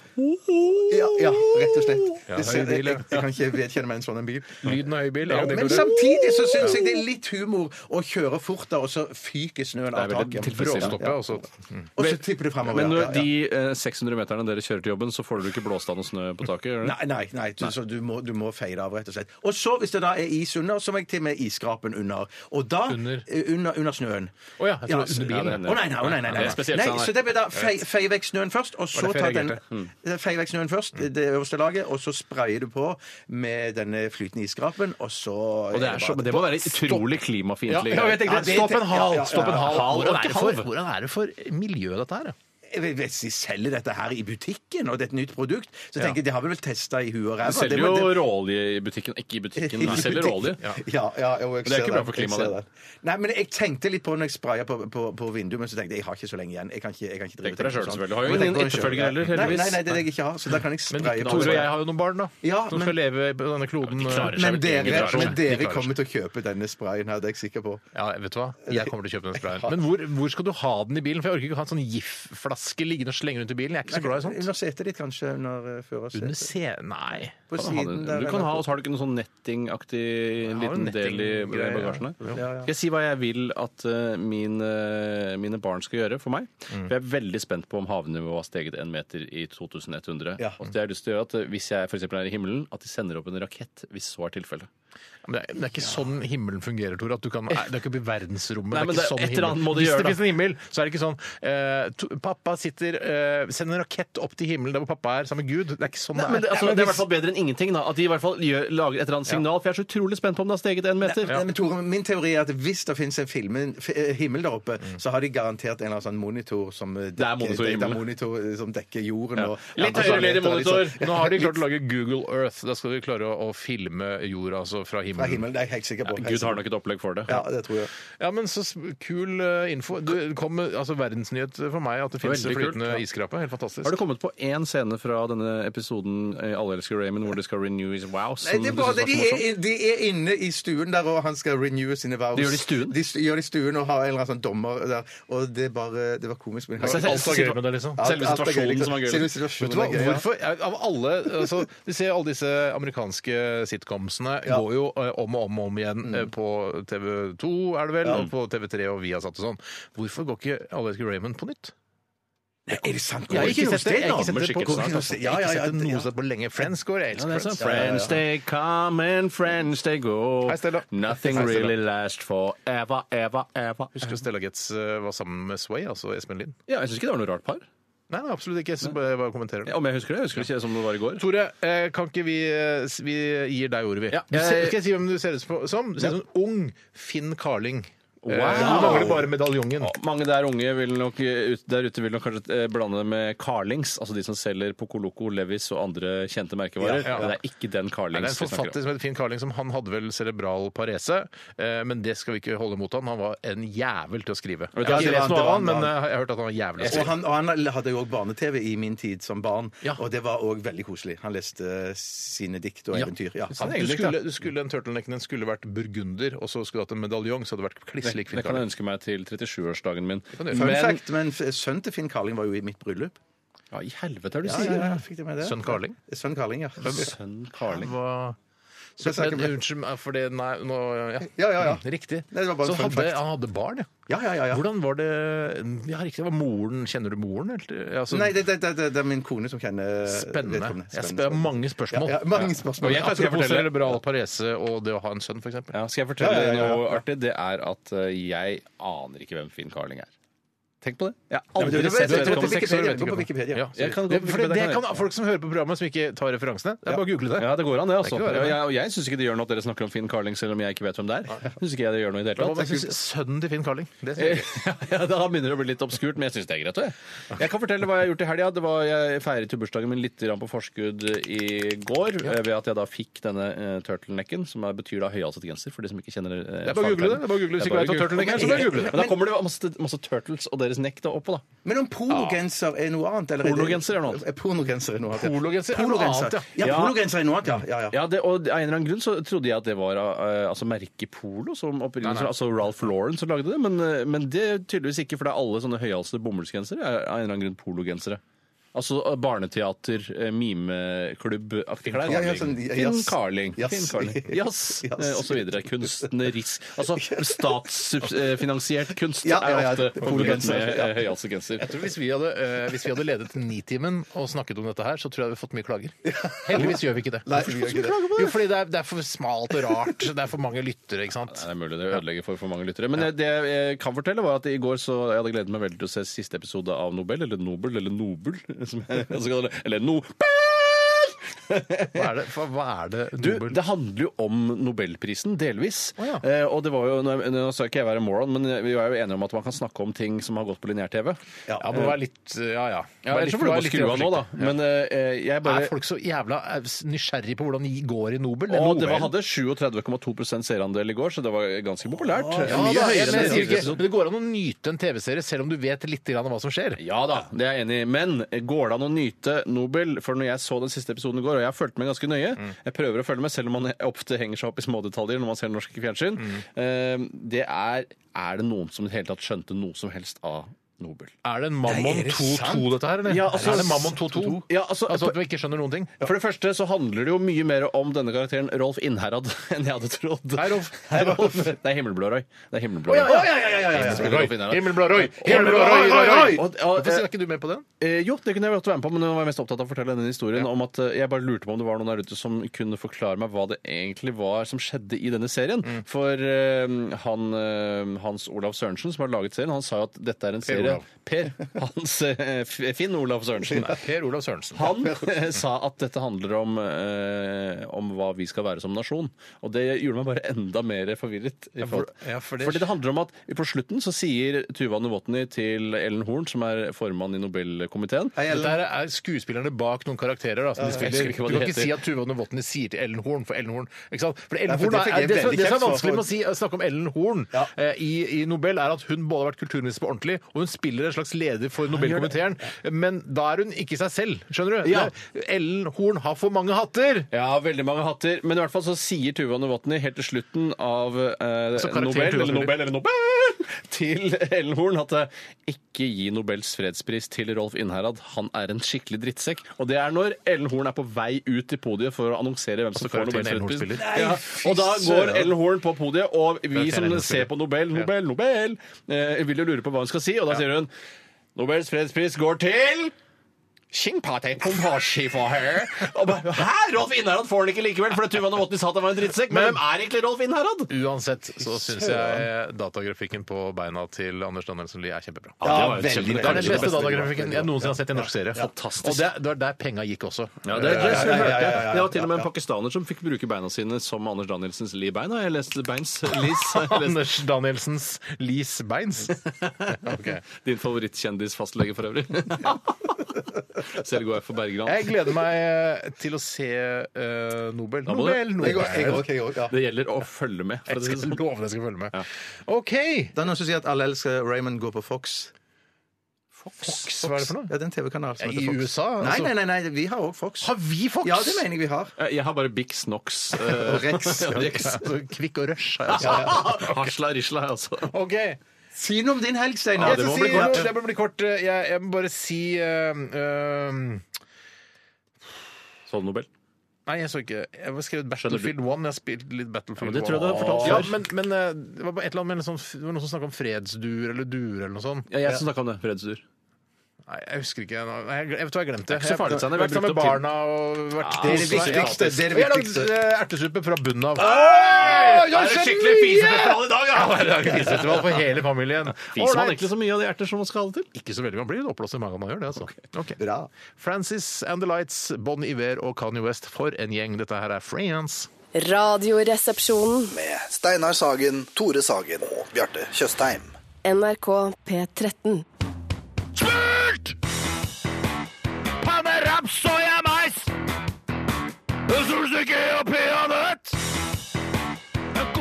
Ja, ja, rett og slett.
Ja,
Det ser,
høy
jeg,
bil, ja.
jeg, jeg kan ikke vedkjenne meg en sånn en bil.
Lyden av høybil. er det
Men
det går ut?
samtidig så syns jeg det er litt humor å kjøre fort da, og så fyker snøen
Det er
av taket.
veldig tilfredsstillende.
Bråstoppet, og så
Og så tipper det fremover.
Men
ja,
når
ja, ja.
de eh, 600 meterne dere kjører til jobben, så får du ikke blåst av noe snø på taket? gjør du
Nei,
det?
nei, nei, du, Så du, må, du må fade av, rett og slett. Og så, hvis det da er is under, så må jeg til med isskrapen under. Og da
Under?
eh, under, under snøen.
Å ja, jeg tror det er under bilen.
Å nei, nei, å nei, nei, nei,
Det er spesielt,
nei.
sånn,
Så det blir da fei- feie vekk snøen først, og så
derfor
ta
jeg
den Feie vekk snøen først, det øverste laget, og så sprayer du på med denne flytende isskrapen, og så
Og det, er så, men det må være utrolig
Ja,
klimafiendtlig.
ja, jeg tenkte,
Ja, det-
stopp en hal!
ja, ja,
Stopp en
ja.
hal.
Hal,
Hvordan
og
er det
ikke
for,
hal.
hvordan er det for miljøet, dette her? da?
Jeg vet, Hvis de selger dette her i butikken, og det er et nytt produkt, så tenker jeg de har vi vel testa i huet og ræva.
Du selger
Det må-
jo
det-
råolje i butikken. Ikke i butikken,
I
du selger
butikk.
råolje.
[laughs] Ja, ja, jo, jeg
Men det er
ser
ikke bra for
Jeg
klimaet,
ser
det.
Nei, men jeg tenkte litt på når jeg spraya på, på, på vinduet, men så tenkte jeg jeg har ikke så lenge igjen. Jeg kan ikke, jeg kan ikke drive og
Tenk på deg
tenke
selv,
sånn.
selvfølgelig. Du har jo
Jeg må
ingen
tenke på meg selv,
etterfølger
ja.
heller, heldigvis.
Nei, nei, nei, det er det jeg ikke har, så da kan jeg
Men
spraye
Tore og jeg har jo noen barn, da.
Ja,
som
men-
skal leve på denne kloden. eh,
de klarer seg.
Men dere,
Ingen
men
klarer
seg.
dere kommer til å kjøpe denne sprayen her, det er jeg sikker på.
Ja, vet du hva? Jeg kommer til å kjøpe den sprayen. Men hvor, hvor skal du ha den i bilen? For jeg orker ikke ha en sånn flaske liggende og slenge rundt i bilen. Jeg er ikke så glad i sånt.
Under setet ditt, kanskje?
Under
Under eh, førersetet?
se... Nei.
På
Kan ha det.
der,
Du kan
eller
ha,
på-
og så har du ikke noen sånn nettingaktig liten del i i
nettinggreier,
bagasjen der.
ja. Ja, ja.
Skal jeg si hva jeg vil at eh, min, eh, mine barn skal gjøre for meg?
Mm.
For jeg er veldig spent på om havnivået har steget en meter i 2100.
Ja.
Og så det jeg har lyst til å gjøre at eh, hvis jeg for eksempel er i himmelen, at de sender opp en rakett, hvis så er tilfellet.
Men det er, men det er ikke sånn himmelen fungerer, Tore. At du kan, nei, det er ikke oppe i verdensrommet.
Nei, men
det er ikke
det-
sånn
et eller annet
himmel.
må de
Hvis
gjøre,
det
da.
finnes en himmel, så er det ikke sånn eh, to, Pappa sitter eh, Send en rakett opp til himmelen der hvor pappa er sammen med Gud. Det er ikke sånn
Nei, men det,
det er.
altså, det er i hvert fall bedre enn ingenting. da At de i hvert fall gjør, lager et eller annet signal. For jeg er så utrolig spent på om det har steget en meter.
Nei, men Tore, min teori er at hvis det finnes en film, en f- eh, himmel der oppe, så har de garantert en eller annen sånn monitor som eh, dekker, det- det
monitor i
er
himmelen.
monitor, eh, som dekker jorden. Og,
Litt
andre
høyere lyd i
planeter og litt
monitor.
sånn.
Nå har de klart å lage Google Earth. Da skal de klare å, å filme jorda altså fra
Fra
himmelen.
himmelen, det er jeg helt sikker på.
Gud har nok et opplegg for det.
Ja, det tror jeg.
Ja, men så s- kul eh, info. Du, det kom med altså, verdensnyhet for meg at det finnes
Veldig kult,
flytende
ja.
iskrape. Helt fantastisk.
Har du kommet på én scene fra denne episoden eh, Alle elsker Raymond hvor de skal renew his wow?
Nei,
som
det er
du
bare det.
synes var så
De
morsomt?
er, de er inne i stuen der, og han skal renew sine vows.
Det gjør de i stuen?
De st- gjør det i stuen og har en eller annen sånn dommer der. Og det, er bare, det var komisk. Men
Altså,
Alt var gøy med det, liksom.
Alt-
Selve
alt er gøy,
situasjonen
liksom.
som var gøy.
Selve
Vet
situasjonen
du hva,
er gøy, ja.
hvorfor, av alle, altså, Du ser alle disse amerikanske sitcomsene
Ja.
går jo eh, om og om og om igjen eh, på TV2, er det vel, og på TV3 og Viasat og sånn. Hvorfor går ikke Alle elsker Raymond på nytt?
Nei, er det sant?
Jeg har ikke sett det, jeg har ikke sett
damer
det på,
skikkelig snart, altså.
jeg har ikke sett det
Ja, ja,
noe
ja.
sted på lenge. Friends går, jeg
Ja, det
elsker
er sånn.
Friends.
Friends they come and friends they go.
Hei, Stella.
Nothing
Hei, Stella.
really lasts forever, ever, ever.
Husker du Stella Getz eh, var sammen med Sway, altså Espen Lind?
Ja, jeg syns ikke det var noe rart par.
Nei, nei absolutt ikke. Jeg bare, bare kommenterer det.
Om jeg husker det. Jeg husker det ikke som det var i går.
Tore, eh, kan ikke vi, eh, s- vi gir deg ordet, vi.
Ja.
Du ser,
Jeg-
skal jeg si hvem du ser ut på- som? Du ser ut som en ung Finn Carling. Wow.
Wow.
Du mangler bare medaljongen.
Mange der unge vil nok, eh, ut- der ute vil nok kanskje eh, blande med Carlings, altså de som selger Poco Loco, Levis og andre kjente merkevarer.
Ja, ja.
Men Det er ikke den
Nei, Det
Carlings
er en forfatter som heter Finn Carling, som han hadde vel cerebral parese, eh, men det skal vi ikke holde mot han. Han var en jævel til å skrive. Jeg har
det
ikke lest
var
noe
han, det var
av han,
han,
men
det var
eh, jeg har hørt at han var jævlig å
Og
skrive.
han, og han hadde jo òg barne-TV i min tid som barn,
Ja.
og det var òg veldig koselig. Han leste eh, sine dikt og eventyr. Ja.
Sant, Du skulle, du skulle, den turtlenecken din skulle vært burgunder, og så skulle du hatt en medaljong, så hadde det vært kliss lik Finn
Det kan jeg
Carling.
ønske meg til 37-årsdagen min.
kan du gjøre.
Fun
Men-
fact, men f- sønnen til Finn Carling var jo i mitt bryllup.
Ja, i helvete er du
Ja,
sier.
ja, ja, fikk det med det.
Sønn Carling?
Sønn Carling, ja.
Sønn Carling.
Hva-
Jeg snakker
Men,
med-
Unnskyld meg for det Nei, nå ja. Mm,
Ja, ja, ja.
Riktig.
Nei, det var bare
så
en fun
hadde,
fact.
han hadde barn, ja.
Ja, ja, ja, ja.
Hvordan var det Ja, riktig. Det var moren Kjenner du moren? Eller? Altså,
Nei, det, det, det, det, det er min kone som kjenner
spennende.
vedkommende.
Jeg spør mange spørsmål.
Ja, ja, mange spørsmål.
Og jeg kan
Apropos
fortelle cerebral parese og det å ha en sønn, f.eks.
Ja, skal jeg fortelle
Ja, ja, ja, ja.
noe artig? Det er at eh, jeg aner ikke hvem Finn Carling er. Tenk på det. Jeg har
men du-
aldri
du-
sett
du- du-
vedkommende.
Seks
du-
år
Wikipedia,
vet ikke
gå på
hvem.
Wikipedia.
Ja,
Jeg kan gå på
det, for det,
Wikipedia,
det
kan jeg.
kan folk som hører på programmet, som ikke tar referansene. Det er bare å google det.
Ja, det går an, det. altså.
Det er ikke noe verre.
jeg, og jeg syns ikke det gjør noe at dere snakker om Finn Carling, selv om jeg ikke vet hvem det er. Synes ikke jeg det gjør noe i det
Hva
hele
man
tatt.
synes, sønnen til Finn Carling. Det synes jeg.
[laughs] ja, da begynner det å bli litt obskurt, men jeg syns det er greit. Jeg. jeg kan fortelle hva jeg har gjort i helga. Det var- Jeg feiret jo bursdagen min litt grann på forskudd i går eh, ved at jeg da fikk denne eh, turtlenecken, som er, betyr da høyhalset genser, for de som ikke kjenner eh,
Det er bare å google det. det er bare å google. Hvis
Det
ikke
er
vet hva
bare å google.
turtleneck er, så bare google det.
Men da kommer det masse, masse turtles og deres nekk da oppå, da.
Men om pologenser er noe annet? eller det-
Pornogenser er noe annet.
Eh, Pornogenser er noe annet. ja.
Pologenser er noe
Pologenser.
annet,
ja.
Ja.
pologenser er noe annet, ja. ja, ja.
Ja, det, og Av en eller annen grunn så trodde jeg at det var eh, altså merket Polo, som opprinnelig, altså Ralph Lauren som lagde det, men, eh, men det tydeligvis ikke, for det er alle sånne høyhalsede bomullsgensere er av en eller annen grunn pologensere. Altså eh, barneteater, eh, mimeklubb-aktig klær.
Ja, ja, sånn, ja,
Finn
jazz.
Carling.
Jazz.
Finn Carling. Jazz,
[laughs] Jazz.
eh, og så videre. Kunstnerisk
[laughs]
Altså statsfinansiert kunst
Ja, ja, ja,
er ofte forbundet
pologenser,
med
ja.
eh, høyhalset genser.
Jeg tror hvis vi hadde, eh, hvis vi hadde ledet Nitimen og snakket om dette her, så tror jeg vi hadde fått mye klager. Heldigvis gjør vi ikke det.
Nei, vi gjør ikke det.
Jo, fordi det er, det er for smalt og rart. Det er for mange lyttere, ikke sant.
Det er mulig det ødelegger for for mange lyttere. Men eh, det jeg kan fortelle, var at i går så jeg hadde gledet meg veldig til å se siste episode av Nobel, eller Nobel, eller Nobel, [laughs] som jeg også kaller det. Eller Nobel!
Hva er det? Hva, hva er det?
Du,
Nobel?
det handler jo om Nobelprisen, delvis.
Å, ja.
eh, og det var jo, nå, nå skal ikke jeg være moron, men eh, vi er jo enige om at man kan snakke om ting som har gått på linjær-TV.
ja, må være litt Ja, ja.
Ja,
Vær
ellers
litt-
så får du
vær
bare
litt
skru av nå, da.
forsiktig.
Men eh, jeg
Er
bare
folk så jævla eh, nysgjerrig på hvordan de går i Nobel? Det er
og det var,
Nobel.
hadde 37,2 seerandel i går, så det var ganske populært.
ja, da,
Mye
jeg,
høyere
men, jeg
enn siste
sier ikke,
episode.
men det går an å nyte en TV-serie selv om du vet litt grann om hva som skjer.
Ja da, det er jeg enig i. Men går det an å nyte Nobel? For når jeg så den siste episoden i går, og jeg har fulgt med ganske nøye Jeg prøver å følge med, selv om man ofte henger seg opp i smådetaljer når man ser ehm, norsk fjernsyn. Eh, Det er Er det noen som i det hele tatt skjønte noe som helst av Nobel.
Er det en Mammon
Nei, er det
2-2,
sant?
dette her? eller?
Ja, altså-
er det Mammon 2-2?
Ja, altså-
altså at vi ikke skjønner noen ting?
For det første så handler det jo mye mer om denne karakteren Rolf Innherad [laughs] enn jeg hadde trodd. Hei, Rolf. Det er Himmelblå Roy. Det er Himmelblå Roy.
Å, ja, ja, ja, ja, ja, ja.
Himmelblå Roy. Himmelblå-
Himmelblå Roy!
Himmelblå Roy, Roy, Roy!
Og- og-
Hvorfor sier ikke du med på den?
Eh, jo, det kunne jeg godt være med på, men nå var jeg mest opptatt av å fortelle denne historien om at eh, jeg bare lurte på om det var noen der ute som kunne forklare meg hva det egentlig var som skjedde i denne serien.
Mm.
For eh, han, eh, Hans Olav Sørensen, som har laget serien, han sa jo at dette er en serie
Olav.
Per. Hans eh, F- Finn Olav Sørensen.
Per Olav Sørensen. [laughs]
Han sa at dette handler om, eh, om hva vi skal være som nasjon. Og det gjorde meg bare enda mer forvirret. i
for-
forhold-
ja, for det-
Fordi det handler om at på slutten så sier Tuva Novotny til Ellen Horn, som er formann i Nobelkomiteen
Dette her er skuespillerne bak noen karakterer. Da, som de spiller.
jeg husker ikke hva
Du kan
de
ikke
heter.
si at Tuva Novotny sier til Ellen Horn for Ellen Horn. Ikke sant? For Ellen
Nei, for
Horn
det
er,
fikk jeg
det, som,
veldig
det som er
kjeft
vanskelig
for.
med å, si, å snakke om Ellen Horn eh, i, i Nobel, er at hun både har vært kulturminister på ordentlig, og hun spiller en slags leder for Nobelkomiteen. Men da er hun ikke seg selv, skjønner du?
Ja.
Det er- Ellen Horn har for mange hatter!
Ja, veldig mange hatter. Men i hvert fall så sier Tuva Novotny helt til slutten av eh,
Så karakteren
Nobel,
Tuva
eller
spiller.
Nobel, eller Nobel, [laughs] til Ellen Horn at eh, ikke gi Nobels fredspris til Rolf Innherad. Han er en skikkelig drittsekk. Og det er når Ellen Horn er på vei ut til podiet for å annonsere hvem som får
karakteren
Nobels
Ellen Horn
fredspris.
spiller.
Ja. Og da går Ellen Horn på podiet, og vi
Karakteren
som
Ellen Horn
ser
spiller.
på Nobel, Nobel, Nobel, eh, vil jo lure på hva hun skal si, og da sier hun Nobels fredspris går til Skingpatei-pomposji for her. Og bare, Hæ? Rolf Innherad får den ikke likevel, fordi Tuva Novotny sa at han var en drittsekk. Men hvem er egentlig Rolf Innherad?
Uansett så syns jeg datagrafikken på beina til Anders Danielsen Lie er kjempebra.
Ja,
var jo
veldig,
kjempe-
Det er den
veldig
beste
bra.
datagrafikken jeg noensinne har sett i en norsk serie.
Fantastisk.
Og det, det var der penga gikk også.
Ja, det, det, det,
ja, ja, ja, ja.
det var til og med en pakistaner som fikk bruke beina sine som Anders Danielsens Lie-bein. har Jeg leste Beins [laughs] Lis. har jeg lest.
Eh, Anders Danielsens Lis Beins. Ok.
Din favorittkjendisfastlege for [laughs] øvrig. Selv går jeg for Bergran.
Jeg gleder meg til å se eh, Nobel.
må du-
Nobel,
Jeg òg, jeg
Nobel.
òg, jeg òg, ja.
Det gjelder å følge med. For
Jeg
å si det
skal
sånn.
love deg jeg skal følge med. OK!
Det er noen som sier at alle elsker Raymond går på Fox.
Fox, hva er det for noe?
Ja, det er en TV-kanal som
Ja,
heter
i
Fox.
USA,
Nei,
altså.
nei, nei, nei, vi har òg Fox.
Har vi Fox?
Ja, det mener jeg vi [laughs] har.
Eh, Jeg har bare eh, Bix Knox.
[laughs] Og Rex.
Rex.
Altså, [laughs] kvikk og rush. har jeg også.
Hasla risla, altså.
OK.
Si noe om din helg, Steinar.
Jeg
det
skal
må
si-
bli kort.
det må bli kort. Jeg, jeg må bare si eh, eh,
Så du Nobel?
Nei, jeg så ikke. Jeg har skrevet Battlefield 1. Jeg har spilt litt Battlefield 1.
det tror jeg du har fortalt
ja,
før.
men, men eh, det var bare et eller annet med en sånn, det var noen som snakka om fredsduer eller duer eller noe sånt.
Ja, jeg som snakka om det. Fredsdur.
Nei, jeg husker ikke. Nei, jeg, jeg vet hva jeg glemte.
er ikke så farlig,
jeg har
Steinar.
vært
Vi har
sammen med
brukt opp
barna og vært
Det er det viktigste. Det er
Vi
det
har lagd
viktigste.
eh, ertesuppe fra bunnen av.
Er
det er skikkelig
fisefestival i dag, ja!
Festival for hele familien.
Fiser man
Ålreit.
egentlig så mye av de erter som man skal ha det til?
Ikke så veldig. Man blir oppblåst i magen av man gjør det, altså. Ok.
Bra.
Francis and the Lights, Bon Iver og Kanye West. For en gjeng. Dette her er France.
Radioresepsjonen.
med Steinar Sagen, Tore Sagen og Bjarte Tjøstheim.
NRK P13.
Smurt! Panne, raps, soya, mais! Solstykke og peanøtt!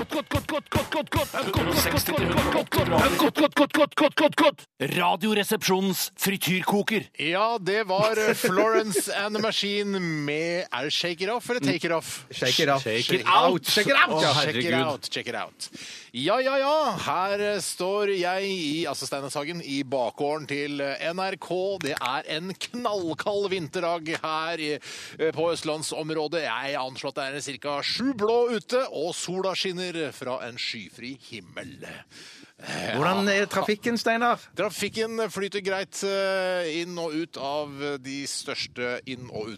Godt, godt, godt, godt, godt, godt, godt. Godt, godt, godt, godt, godt, godt, godt, godt, godt, godt, godt, godt.
Radioresepsjonens frityrkoker.
Ja, det var eh, Florence and the Machine med Er det Shake It Off eller Take It Off?
Shake it up.
Check it out!
Shake it out.
Å,
Ja,
check it
herregud.
out, check it out. Ja, ja, ja. Her eh, står jeg i altså Steinershagen, i bakgården til eh, NRK. Det er en knallkald vinterdag her i, eh, på østlandsområdet. Jeg anslår at det er ca. sju blå ute, og sola skinner fra en skyfri himmel. Eh,
Hvordan er trafikken, Steinar?
Trafikken flyter greit eh, inn og ut av eh, de største inn- og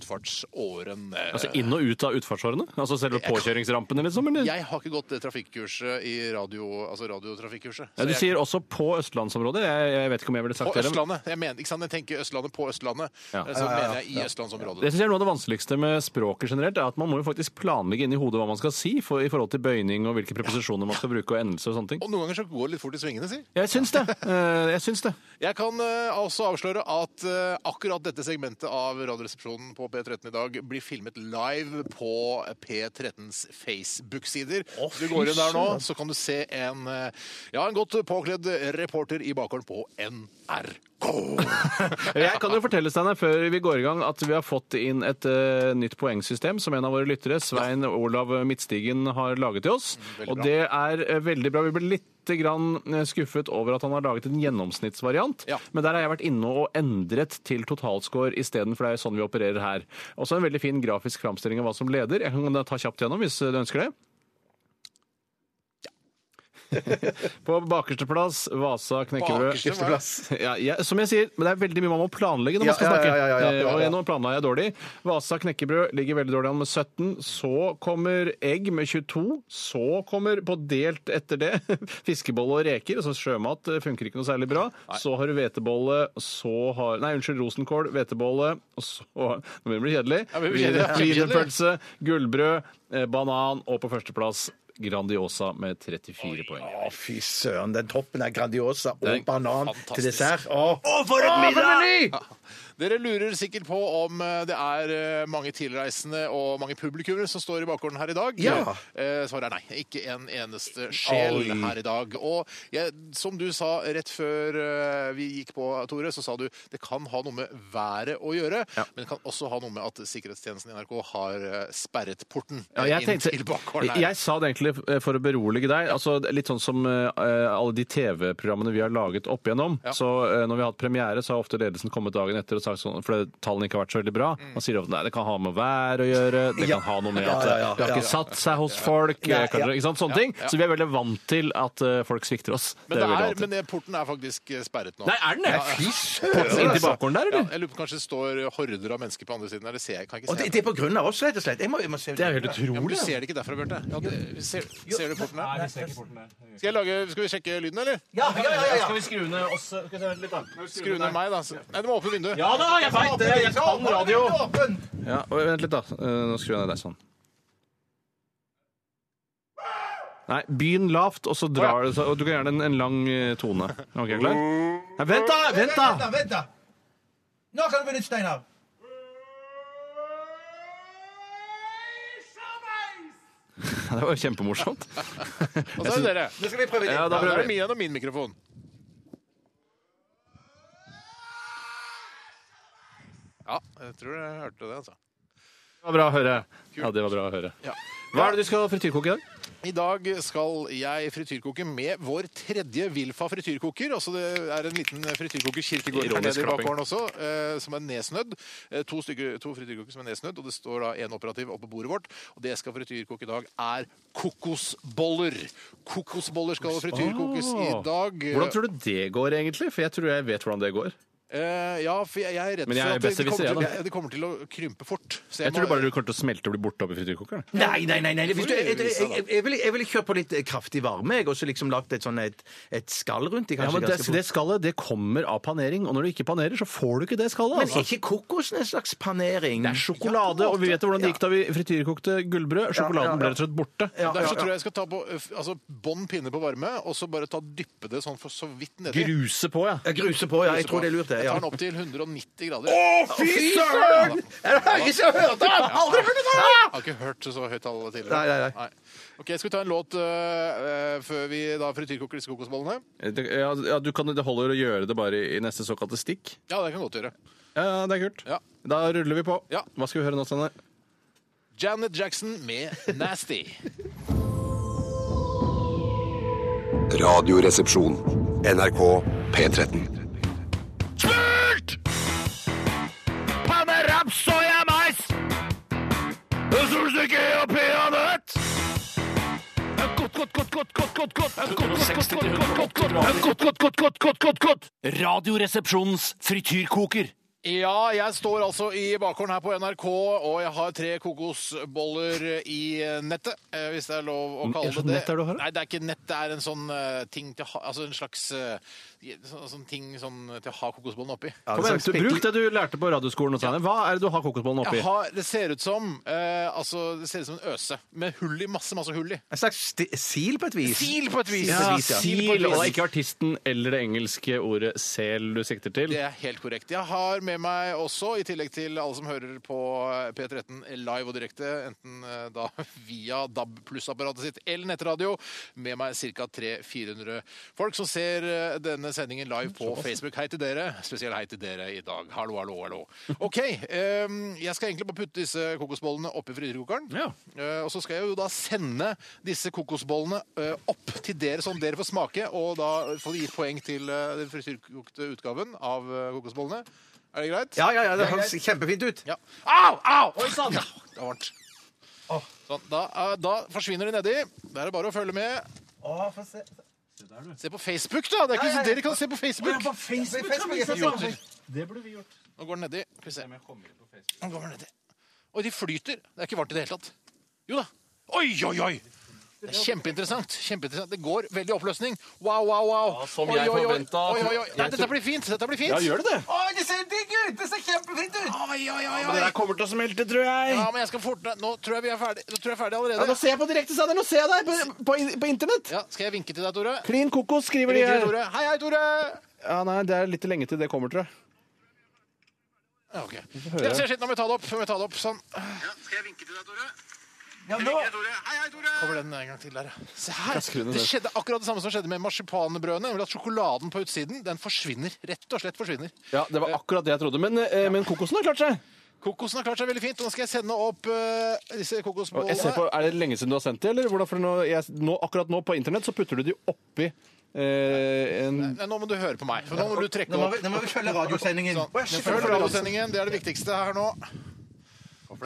utfartsårene.
Altså inn og ut av utfartsårene? Altså selve påkjøringsrampene, liksom? Eller?
Jeg har ikke gått det trafikkurset i radio, altså radiotrafikkurset.
Ja,
Så
du
jeg-
sier også på østlandsområdet. Jeg, jeg vet ikke om jeg ville
På
sagt det. men-
Østlandet. Jeg mener, ikke sant? Jeg tenker Østlandet på Østlandet.
Ja.
Så mener jeg i østlandsområdet.
Det synes jeg er noe av det vanskeligste med språket generelt, er at man må jo faktisk planlegge inn i hodet hva man skal si for, i forhold til bøyning og hvilke preposisjoner man skal bruke og endelser og sånne ting.
Og noen ganger så går det litt fort i svingene, si.
Jeg syns det. Eh, Jeg syns det.
Jeg kan eh, også avsløre at eh, akkurat dette segmentet av Radioresepsjonen på P13 i dag blir filmet live på P13s Facebook-sider. Hvis du går inn der nå, så kan du se en, eh, ja, en godt påkledd reporter i bakgården på NRK.
Jeg kan jo fortelle Steiner, før vi går i gang, at vi har fått inn et eh, nytt poengsystem som en av våre lyttere, Svein Olav Midtstigen, har laget til oss. Og det er eh, veldig bra. Vi ble litt grann eh, skuffet over at han har laget en gjennomsnittsvariant,
Ja.
men der har jeg vært inne og endret til totalscore isteden, for det er jo sånn vi opererer her. Også en veldig fin grafisk framstilling av hva som leder. Jeg kan ta kjapt gjennom hvis du ønsker det. På bakerste plass Vasa knekkebrød.
Bakerste plass.
Ja, jeg- som jeg sier, men det er veldig mye man må planlegge når man
Ja,
skal
ja,
snakke.
ja, ja, ja, ja, ja.
Eh, Og jeg- nå planla jeg dårlig. Vasa knekkebrød ligger veldig dårlig an med 17. Så kommer egg med 22. Så kommer, på delt etter det, [laughs] fiskebolle og reker. Altså sjømat eh, funker ikke noe særlig bra. Så har du hvetebolle, så har Nei, unnskyld, rosenkål, hvetebolle, og så [laughs] Nå blir det kjedelig.
Ja, det blir kjedelig.
Wienerpølse, gullbrød, eh, banan, og på førsteplass Grandiosa med 34 poeng.
Å, fy søren. Den toppen er Grandiosa
Det er
og banan
fantastisk.
til dessert. Å,
for et
meny!
Dere lurer sikkert på om eh, det er eh, mange tilreisende og mange publikummere som står i bakgården her i dag.
Ja.
Eh, Svaret er nei. Ikke en eneste sjel
Oi.
her i dag. Og jeg, som du sa rett før eh, vi gikk på, Tore, så sa du det kan ha noe med været å gjøre, men det kan også ha noe med at sikkerhetstjenesten i NRK har eh, sperret porten
Ja,
eh,
jeg,
inn
tenkte,
til bakgården
jeg,
her.
jeg sa det egentlig eh, for å berolige deg. Altså, det er litt sånn som eh, alle de TV-programmene vi har laget opp igjennom. Så eh, når vi har hatt premiere, så har ofte ledelsen kommet dagen etter og sagt sånn, for det- tallene ikke har vært så veldig bra.
Mm.
Man sier ofte nei, det kan ha med vær å gjøre, det kan ha noe med at eh,
ja, ja,
det har ikke satt seg hos folk, eh, kanskje, ikke sant? Sånne ting. Så vi er veldig vant til at eh, folk svikter oss.
men, det
vi veldig
er,
vant til.
men eh, porten er faktisk eh, sperret nå.
Nei, er den det?
Ja.
Porten inn til bakgården
Ja,
der, eller?
jeg lurer på kanskje det står horder av mennesker på andre siden. Eller ser jeg, kan jeg ikke
Og
se
det, det er på grunn av oss, rett og slett. Jeg må, jeg må se.
Det er jo helt
Ja, men du
utrolig.
ser det ikke derfra, Bjarte. Ja, det- ser, ser du porten her? Skal, jeg lage, skal vi sjekke lyden, eller?
Ja, ja, ja, ja. Skal vi skru ned oss? Skal vi se litt da?
Skru ned meg, da. Nei, du må åpne vinduet.
Ja da, jeg veit det! Jeg kan radio! Ja, og Vent litt, da. Eh, Nå skrur jeg ned deg sånn. Nei, begynn lavt, og så drar det seg. Og du kan gjerne en, en lang eh, tone. Ok, er du klar? Nei, vent, da! Vent, da! [laughs]
vent, da! Nå kan du begynne, Steinar.
Det var jo kjempemorsomt.
Og så er det dere.
Nå skal vi prøve det.
Ja, da
Ja, der
prøver
er
vi.
min og min mikrofon. Ja, jeg tror jeg hørte det, altså.
Det var bra å høre. Ja, det var bra å høre.
Ja.
Hva er det du skal frityrkoke i dag?
I dag skal jeg frityrkoke med vår tredje Wilfa frityrkoker. Altså det er en liten frityrkoker kirkegård her
Ironisk
nede i
klapping.
bakgården også, eh, som er nedsnødd. Eh, to, stykker, to frityrkoker som er nedsnødd, og det står da en operativ oppe på bordet vårt. Og det jeg skal frityrkoke i dag, er kokosboller. Kokosboller skal frityrkokes i dag.
Hvordan tror du det går, egentlig? For jeg tror jeg vet hvordan det går.
Eh, ja, for jeg, jeg er redd
Men jeg er
for at
best
det, det,
til å
kommer
vise
til,
det, da.
ja, det kommer til å krympe fort. Så
Jeg
må-
tror bare du kommer til å smelte og bli borte oppi frityrkokeren.
Nei, nei, nei. nei. Hvis du,
Hvorfor gjør
jeg,
vi
jeg,
det, da?
jeg, jeg, ville, jeg ville kjørt på litt eh, kraftig varme, jeg, og så liksom lagt et sånn et, et skall rundt. i,
Ja,
kanskje
men det,
ganske fort.
det skallet det kommer av panering, og når du ikke panerer, så får du ikke det skallet.
Men
altså.
er ikke kokosen en slags panering?
Det er sjokolade, og vi vet jo hvordan det gikk da vi frityrkokte gullbrød.
Ja, ja, ja.
Sjokoladen ble rett og slett borte.
Ja, ja,
Derfor så
ja.
tror jeg jeg skal ta på eh, f- altså, bånd pinne på varme, og så bare ta dyppe det sånn for så vidt nedi.
Gruse på, ja.
Jeg gruser på, ja. Jeg tror det er lurt, det.
Jeg
Ja.
tar den opp til 190 grader. Å,
Fy søren! Er det høye som har hørt det? Jeg har Aldri hørt det før!
Jeg har ikke hørt så høyt tall tidligere.
Nei, nei, nei.
Ok, Skal vi ta en låt øh, øh, før vi da frityrkoker disse kokosbollene?
Det- ja, ja du kan, det holder å gjøre det bare i neste såkalte stikk.
Ja, det kan vi godt gjøre.
Ja, det er kult.
Ja.
Da ruller vi på.
Ja.
Hva skal vi høre nå, Steinar?
Janet Jackson med 'Nasty'.
Radioresepsjon. NRK P13.
Panne, raps, soya, mais! Solstykke og peanøtt! Godt, godt, godt, godt, godt, godt, godt. Godt, godt, godt, godt, godt, godt, godt, godt, godt, godt, godt, godt. Radioresepsjonens frityrkoker.
[laughs] Ja, jeg står altså i bakgården her på NRK, og jeg har tre kokosboller i nettet. eh, Hvis det er lov å
Mm,
kalle
er det
det
sånn
det.
nett er du har, da?
Nei, det er ikke nett. Det er en sånn eh, ting til ha, Altså en slags eh, sånn, sånn ting sånn, til å ha kokosbollene oppi.
Kom igjen, du- Bruk det du lærte på radioskolen. og Steinar. Hva er det du har kokosbollen oppi?
Jeg har, det ser ut som eh, altså, Det ser ut som en øse med hull i. Masse, masse hull i.
En slags sti- sil på et vis.
Sil på et vis!
Ja,
Sil
Sil,
på
og
et
det er
vis.
ikke artisten eller det engelske ordet sel du sikter til.
Det er helt korrekt. Jeg har med meg også, i tillegg til alle som hører på P13 live og direkte, enten eh, da via DAB pluss-apparatet sitt eller nettradio, med meg ca. 300-400 folk som ser eh, denne sendingen live på Facebook. Hei til dere. Spesiell hei til dere i dag. Hallo, hallo, hallo. OK. eh, Jeg skal egentlig bare putte disse kokosbollene oppi frysekokeren.
Ja.
Eh, Og så skal jeg jo da sende disse kokosbollene eh, opp til dere, sånn dere får smake. Og da får vi gitt poeng til eh, den frityrkokte utgaven av eh, kokosbollene. Er det greit?
Ja, ja, ja, det høres kjempefint ut.
Ja. Au! Au! [laughs] Oi sann! Ja, det var varmt. Sånn, da, eh, da forsvinner de nedi. Da er det bare å følge med. Se på Facebook, da! Det er ikke, så dere kan se på Facebook. Nå går den nedi. Skal vi se. Nå går den nedi. Oi, de flyter. Det er ikke varmt i det hele tatt. Jo da. Oi, oi, oi! Det er kjempeinteressant. kjempeinteressant. Det går veldig i oppløsning. Wow, wow, wow.
Ja, som
Oi,
jeg
oi, oi.
forventet.
Oi, oi, oi. Nei, dette blir fint. Dette blir fint.
Ja, gjør det det?
Oi, det ser digg ut! Det ser kjempefint ut!
Oi, oi, oi,
Det
oi.
der kommer til å smelte, tror jeg.
Ja, men jeg skal forte Nå tror jeg vi er ferdig. Nå tror jeg jeg er ferdig
Ja, nå
allerede.
ser jeg på direktesenderen! Nå ser jeg deg på, på, på internett!
Ja, skal jeg vinke til deg, Tore?
Klin kokos, skriver de
Vinke til
her.
Tore. Hei, hei, Tore!
Ja, nei, det er litt lenge til det kommer, tror jeg.
Ja, ok. Ja, se, shit, nå må vi ta det opp. Nå må vi ta det opp. Sånn. Kommer den en gang til der, ja. Se her.
Kasker den
Det
ned.
skjedde akkurat det samme som skjedde med marsipanbrødene. nemlig At sjokoladen på utsiden den forsvinner. Rett og slett forsvinner.
Ja, Det var akkurat det jeg trodde. Men, eh, men kokosen har klart seg.
Kokosen har klart seg veldig fint. og Nå skal jeg sende opp eh, disse
Og jeg ser
kokosbollene.
på, Er det lenge siden du har sendt det? eller? Hvordan, for nå, jeg, nå, akkurat nå på internett så putter du de oppi eh, en
Nei, Nå må du høre på meg. For nå må du trekke
Nå må
opp.
vi, nå må vi følge radiosendingen. Å, jeg
Men
skjønner.
Følg radiosendingen. Det er det viktigste her nå.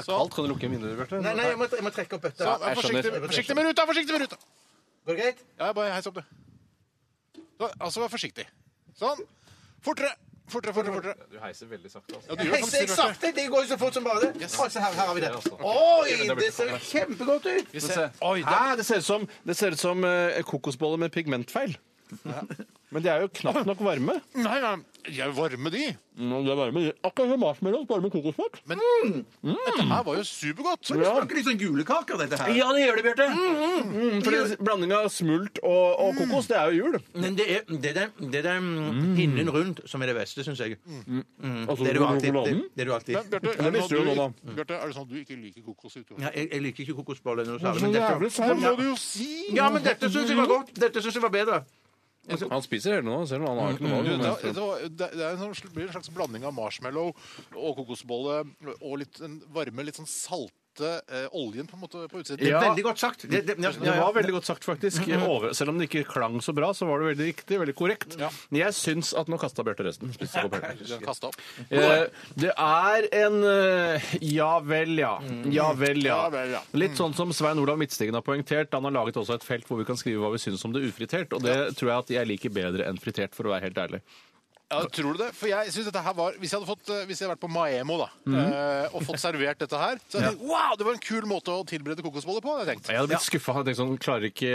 Alt kan du lukke vinduet, Bjarte.
altså- Nei, nei, jeg må, jeg må trekke opp bøtta.
Ja, vær forsiktig,
skjønner.
forsiktig med ruta! Forsiktig med ruta!
Går det greit?
Ja, bare heis opp, du. Så, altså, vær forsiktig. Sånn. Fortere! Fortere, fortere, fortere.
Du heiser veldig sakte. altså.
Ja, du gjør
Jeg ser
faktisk det.
sakte! De går jo så fort som bare det. Å, se her, her har vi det. Oi, det ser kjempegodt ut!
Vi ser.
Oi, det, Hæ, det ser ut som, det ser ut som eh, kokosboller med pigmentfeil. Men de er jo knapt nok varme.
Nei, nei, de er jo varme, de.
De er varme akkurat som marshmallows, bare med kokosfart.
Dette her var jo supergodt.
Ja.
Smaker litt sånn julekaker, dette her. Mm.
det gjør det, Bjarte. for Blanding av smult og, og kokos, det er jo jul.
Men det er, det er, den- det er den pinnen rundt som er det beste, syns jeg.
Altså,
Det er du alltid. Det,
sjokoladen.
det er du alltid.
Men Bjarte,
Det
er det
visste
sånn
du
at
nå,
du- Bjarte, er det sånn at du ikke liker kokos i utgangspunktet?
Ja, jeg, jeg liker ikke kokosboller noe
Så
særlig. Men dette,
jævlig
Det
seig.
må du jo si!
ja, men dette syns jeg var godt. Dette syns jeg var bedre.
Han spiser hele nå, ser du. Han har ikke
Du,
noe
det,
valg.
det, var- det det er en sånn, sl- blir en slags blanding av marshmallow og kokosbolle og litt den varme, litt sånn salte eh, oljen på en måte på utsiden.
Det er
Ja.
veldig godt sagt. Det, det, ja,
Det
ja,
var veldig godt sagt, faktisk. [clears throat] Over, selv om det ikke klang så bra, så var det veldig riktig. veldig korrekt. Men jeg syns at nå kasta Bjarte resten. Spiste ikke opp hele.
Den kastet opp.
Eh, det er en eh, ja vel, ja. Ja vel, Mm. ja.
Ja vel, ja.
Litt sånn som Svein Olav Midtstigen har poengtert. Han har laget også et felt hvor vi kan skrive hva vi syns om det ufritert, og det tror jeg at jeg liker bedre enn fritert, for å være helt ærlig.
Ja, tror du det? For jeg synes dette her var Hvis jeg hadde fått, eh, hvis jeg hadde vært på Maemo da,
Mhm.
eh, og fått servert dette her, så hadde jeg tenkt wow, det var en kul måte å tilberede kokosboller på. hadde Jeg tenkt.
Jeg hadde blitt skuffa. Jeg tenkte sånn, klarer ikke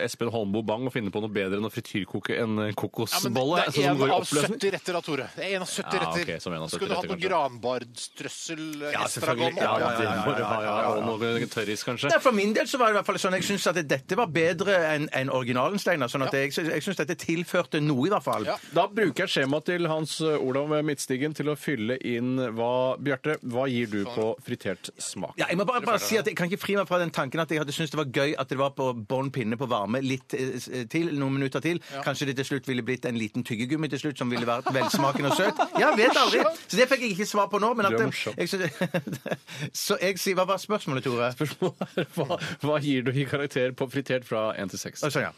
eh, Espen Holmboe Bang å finne på noe bedre enn å frityrkoke en
Ja, men
eh,
det
kokosbolle?
det er
sånn som
en
går i
av
oppløsning?
70 retter da, Tore. Det er en av 70
Ja,
retter.
ok, som en av 70
Skulle du hatt noe
retter, kanskje.
granbarstrøssel,
Ja, selvfølgelig.
estragon
Ja,
oppå
ja,
her?
det må det være. Ja, Og noe tørris, kanskje.
Nei, For min del så var det i hvert fall sånn jeg syns at dette var bedre enn enn originalen, Steinar. Sånn at jeg, jeg syns dette tilførte noe, i hvert fall.
Ja.
Da bruker jeg skjemaet til Hans Olav Midtstigen til å fylle inn hva Bjarte, hva gir du på fritert smak?
Ja, jeg må bare, bare si at jeg kan ikke fri meg fra den tanken at jeg hadde syntes det var gøy at det var på bånn pinne på varme litt eh, til, noen minutter til. Kanskje det til slutt ville blitt en liten tyggegummi til slutt som ville vært velsmakende og søt. Ja, vet aldri. Så det fikk jeg ikke svar på nå. Men
Du
at
er
eh,
morsom.
jeg, syns- [laughs] så jeg sier Hva var spørsmålet, Tore?
Spørsmålet er hva, hva gir du i karakter på fritert fra 1 til 6?
Å, sånn, ja.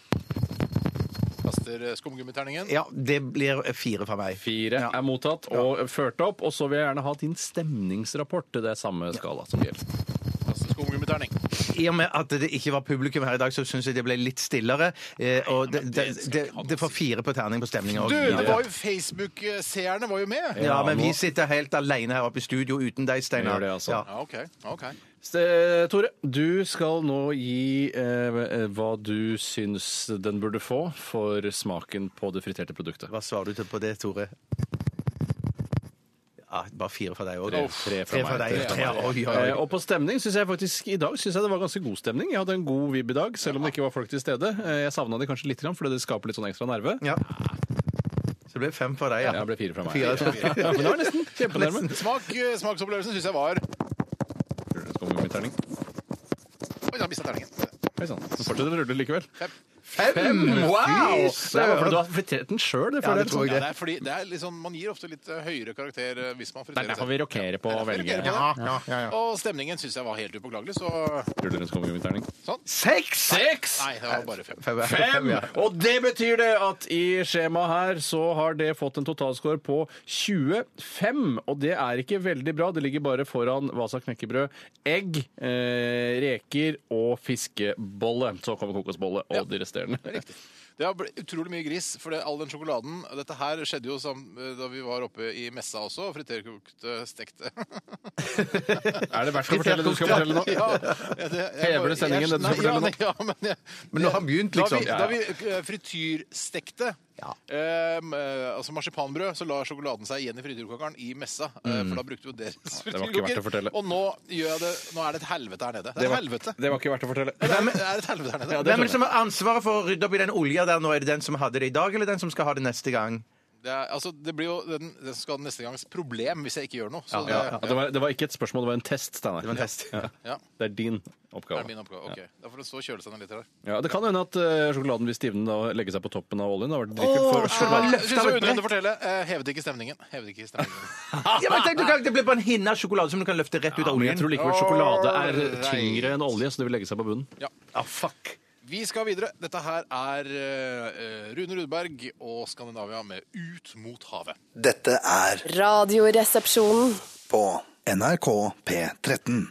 Kaster eh, skumgummiterningen.
ja. Det blir fire fra meg.
Fire er mottatt og ført opp. Og så vil jeg gjerne ha din stemningsrapport til det samme skala som gjelder.
Kaster skumgummiterning.
I og med at det ikke var publikum her i dag, så syns jeg det ble litt stillere. eh, Og det, det, det, det får fire på terning på stemninga
Du, det
òg.
var jo Facebook-seerne var jo med.
Ja, men vi sitter helt alene her oppe i studio uten deg, Steinar.
Vi gjør det, altså.
Ja.
Ja, ok. ok.
Ste- eh, Tore, du skal nå gi eh, hva du syns den burde få for smaken på det friterte produktet.
Hva svarer du til på det, Tore? Ja, bare fire fra deg òg.
Tre, tre fra
Tre fra
meg.
deg. Tre, oi, oi, oi.
Eh, og på stemning synes jeg faktisk i dag synes jeg det var ganske god stemning. Jeg hadde en god vib i dag, selv om det ikke var folk til stede. Eh, Jeg savna de kanskje litt, grann, fordi det skaper litt sånn ekstra nerve.
Ja. Så det ble fem for deg, ja.
Ja, det ble fire fra meg.
Fire,
Ja, men det var nesten kjempenærme.
Smak, eh, smaksopplevelsen syns jeg var Oi,
Så kommer min terning.
da mistet jeg terningen.
Oi, sann. Så fortsetter det å rulle likevel.
Fem! Wow!
Det er bare fordi du har fritert den sjøl. Det,
Ja,
føler
det tror
jeg, liksom.
jeg
Ja,
det.
det er fordi det er litt sånn, Man gir ofte litt eh, høyere karakter eh, hvis man
det er
friterer
derfor vi rokerer på å velge.
ja,
Ja,
ja, ja.
Og stemningen syns jeg var helt upåklagelig, så
Ruller rundt, så kommer min terning.
Seks!
Seks!
Nei, det var bare fem.
Fem!
Fem!
ja.
Og det betyr det at i skjemaet her så har det fått en totalscore på 25. Og det er ikke veldig bra. Det ligger bare foran Vasa knekkebrød, egg, eh, reker og fiskebolle. Så kommer kokosbolle og de resterende.
Det har blitt utrolig mye gris, for det, all den sjokoladen Dette her skjedde jo sam, da vi var oppe i messa også, og friterkokte, stekte [laughs]
Er det verdt å fortelle det du skal fortelle nå?
Ja, det- jeg
Hever
bare-
du sendingen,
jeg-
det du skal
nei,
fortelle nå?
[laughs] ja, nei, Ja, men jeg,
Men nå har han begynt,
Da vi,
liksom.
da vi eh, frityrstekte em, eh, altså marsipanbrød, så la sjokoladen seg igjen i frityrkokeren i messa. eh, For da brukte jo deres
Mm. det var ikke verdt å
frityrkoker.
fortelle.
Og nå, gjør jeg det, nå er det et helvete her nede. Det er et helvete.
Det var ikke verdt å fortelle.
Det er, det er et helvete her nede.
Ja,
det,
Hvem er det som har ansvaret for å rydde opp i den olja der nå? Er det den som hadde det i dag, eller den som skal ha det neste gang?
er, altså, det blir jo den, den som skal ha neste gangs problem hvis jeg ikke gjør noe. Så
Ja,
det,
det, var, det var ikke et spørsmål, det var en test, Steinar.
Det var en test.
Ja.
Det er din
Er
oppgave.
det min oppgave? Ok, Da får det stå og kjøle seg ned litt her.
Ja, det kan hende at eh, sjokoladen vil stivne da og legge seg på toppen av oljen. Det har vært dritkult for oss.
Ah, jeg
løftet av
synes det var
et
unødvendig å fortelle. Eh, hevet ikke stemningen. Hevet ikke stemningen.
Ja, men tenk, du kan- det blir bare en hinne av sjokolade som du kan løfte rett ut av
Men jeg
oljen.
tror likevel sjokolade er tyngre enn olje, så det vil legge seg på bunnen.
Ah, fuck.
Vi skal videre. Dette her er eh, Rune Rudberg og Skandinavia med Ut mot havet.
Dette er
Radioresepsjonen.
på NRK P13.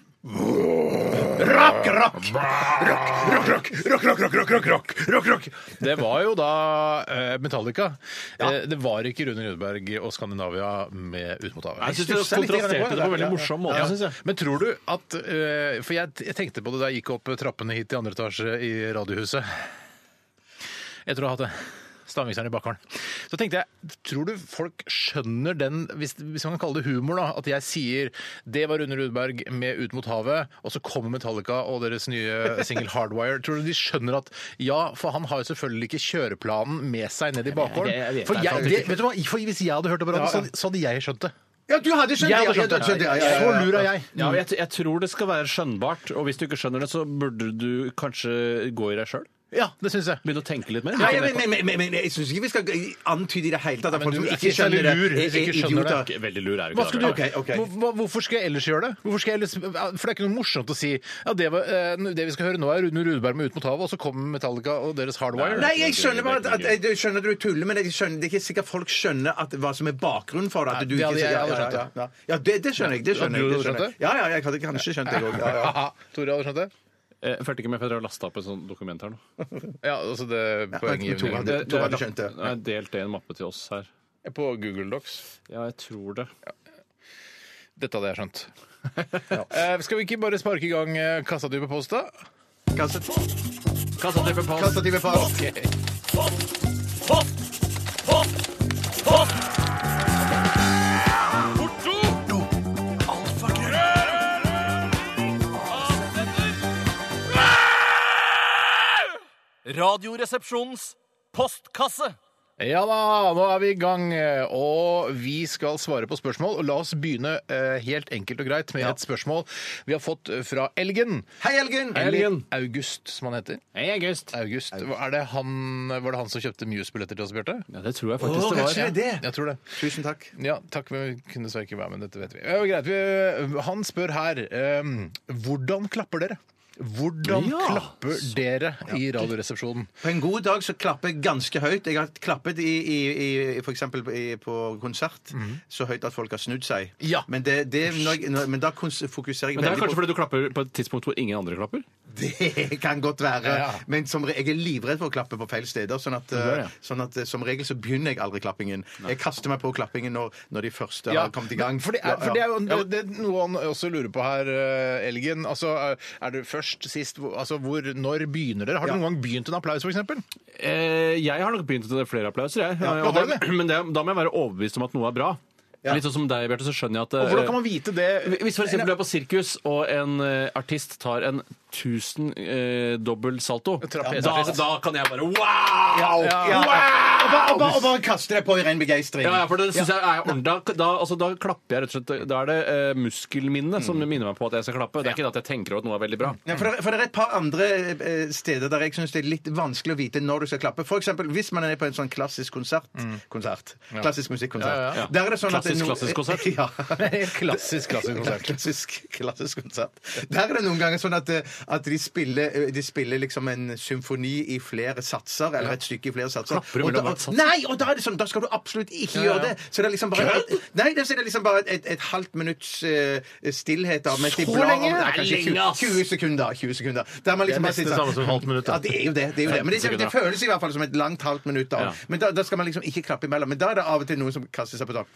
Rock, rock, rock, rock, rock, rock, rock, rock. Det var jo da eh, Metallica. Eh, Det var ikke Rune Rødberg og Skandinavia med Ut mot havet.
Jeg syns det kontrasterte det på en veldig morsom måte.
Ja.
synes jeg.
Men tror du at eh, For jeg, jeg tenkte på det da jeg gikk opp trappene hit i andre etasje i Radiohuset. Jeg tror jeg har hatt det. Stavmikseren i bakgården. Så tenkte jeg, tror du folk skjønner den, hvis, hvis man kan kalle det humor, da, at jeg sier 'Det var Rune Rudberg med Ut mot havet', og så kommer Metallica og deres nye singel 'Hardwire'. Tror du de skjønner at Ja, for han har jo selvfølgelig ikke kjøreplanen med seg ned i
Jeg- jeg
bakgården.
vet
For,
det,
jeg,
faktisk
det, vet du hva? for hvis jeg hadde hørt det på radio, så, hadde- så hadde jeg skjønt det.
Ja, du hadde skjønt
Jeg hadde skjønt
det, ja,
det.
du hadde ja, ja, ja,
Så
ja.
lur er jeg.
Ja, og jeg, t- jeg tror det skal være skjønnbart, og hvis du ikke skjønner det, så burde du kanskje gå i deg sjøl.
Ja, det syns jeg.
Begynne å tenke litt mer.
Nei, men, men, men, men, men jeg syns ikke vi skal antyde i det hele tatt at folk
du
som
er
ikke
ikke
skjønner det,
lur hvis du
er,
ikke
er
skjønner det.
idioter.
Veldig lur er du
Hva skal du,
ikke. da, vet
Ok, ok.
Hvor- hva- hvorfor skal jeg ellers gjøre det? Hvorfor skal jeg ellers, for det er ikke noe morsomt å si ja, det, var, eh, det vi skal høre nå er Rune Rudberg med Ut mot havet, og så kommer Metallica og deres Hardwire.
Nei, jeg skjønner bare at, at jeg, jeg skjønner at du tuller, men jeg skjønner, det er ikke sikkert folk skjønner at, hva som er bakgrunnen for det. At du
det
ikke,
hadde jeg- jeg hadde skjønt
ja, ja, ja. ja det, det skjønner jeg. det skjønner
Hadde
jeg,
du
det skjønner
skjønt
jeg. Ja, ja, jeg hadde kanskje skjønt det òg. Ja, ja.
Haha, Tore, hadde du skjønt det?
du. Jeg fulgte ikke med, for jeg har lasta opp et sånt dokument her nå.
Ja, altså det
men Tore
poenggivende.
hadde- Tore hadde skjønt det.
Jeg har delt det i en mappe til oss her.
På Google Docs.
Ja, jeg tror det.
Dette hadde jeg skjønt.
[laughs]
Eh, skal vi ikke bare sparke i gang eh, kassatype post, [laughs] da?
Kastativet fast.
Radioresepsjonens postkasse.
Ja da, nå er vi i gang, eh, og vi skal svare på spørsmål. Og la oss begynne eh, helt enkelt og greit med et spørsmål vi har fått eh, fra Elgen.
Hei, Elgen!
Eller August, som han heter.
Hei, August.
August. Er det han, var det han som kjøpte Muse-billetter til oss, Bjarte?
Ja, det tror jeg faktisk
Å,
det var.
kanskje det er det.
Jeg tror det.
Tusen takk.
Ja, takk, men vi kunne dessverre ikke være med, dette vet vi. Ja, greit, vi. Han spør her ehm, Hvordan klapper dere? Hvordan
Ja.
klapper dere i Radioresepsjonen?
På en god dag så klapper jeg ganske høyt. Jeg har klappet i, i, i i- for eksempel i, på konsert så høyt at folk har snudd seg.
Ja.
Men, det, det, når jeg, når, men da kons- fokuserer jeg
Men det er
veldig
kanskje fordi du klapper på et tidspunkt hvor ingen andre klapper?
Det [laughs] kan godt være.
Ja.
Men som, re- jeg er livredd for å klappe på feil steder. Sånn at,
gjør det.
eh, sånn at eh, som regel så begynner jeg aldri klappingen. Jeg kaster meg på klappingen når, når de første
Ja,
har kommet i gang.
For det
Ja,
er, for det er jo
ja.
det, det er noe han også lurer på her, eh, Elgen. Altså, eh, er det først, sist, hvor- altså hvor, når begynner dere? Har dere
Ja.
noen gang begynt en applaus, for eksempel?
Eh, jeg har nok begynt å ta flere applauser, jeg. Eh,
Ja,
Og
har
det,
du det?
[clears throat] men det, da må jeg være overbevist om at noe er bra.
Ja.
Litt sånn som deg, Bjarte, så skjønner jeg at eh,
Og hvordan kan man vite det?
Hvis for eksempel du er på sirkus, og en eh, artist tar en 1000 eh, dobbel salto,
trapesartist.
da, da kan jeg bare wow!
Ja, ja.
wow!
og, bare, og bare kaster deg på i ren begeistring.
Ja, ja, for det synes jeg er ordentlig. Da, da, altså, da klapper jeg rett og slett Da er det eh, muskelminnet
Mm.
som minner meg på at jeg skal klappe. Det er ikke det at jeg tenker over at noe er veldig bra.
Ja, for, det, for det er et par andre eh, steder der jeg syns det er litt vanskelig å vite når du skal klappe. For eksempel hvis man er på en sånn klassisk konsert. konsert klassisk musikkonsert. Der er det sånn
Klassisk,
at
klassisk konsert?
ja.
Klassisk, klassisk konsert.
Klassisk, klassisk konsert. Der er det noen ganger sånn at, eh, at de, spiller, eh, de spiller liksom en symfoni i flere satser, eller et stykke i flere satser.
Klapper du
Og da-
mellom et sats?
Nei, og da er det sånn, da skal du absolutt ikke gjøre det. Så det er liksom bare et, Nei, det så er det liksom bare et, et halvt minutts eh, stillhet av mens de
Så
blar om-
lenge?
Nei, kanskje
Det er lenge,
20,
ass.
20 sekunder. 20 sekunder. Der man liksom
Det er
bare
nesten
sitter
det samme som et halvt minutt, da.
Ja, det er jo det. det, er jo det. Men det, det føles i hvert fall som et langt halvt minutt. Da.
Ja.
Men da, da skal man liksom ikke klappe imellom. Men da er det av og til noen som kaster seg på topp.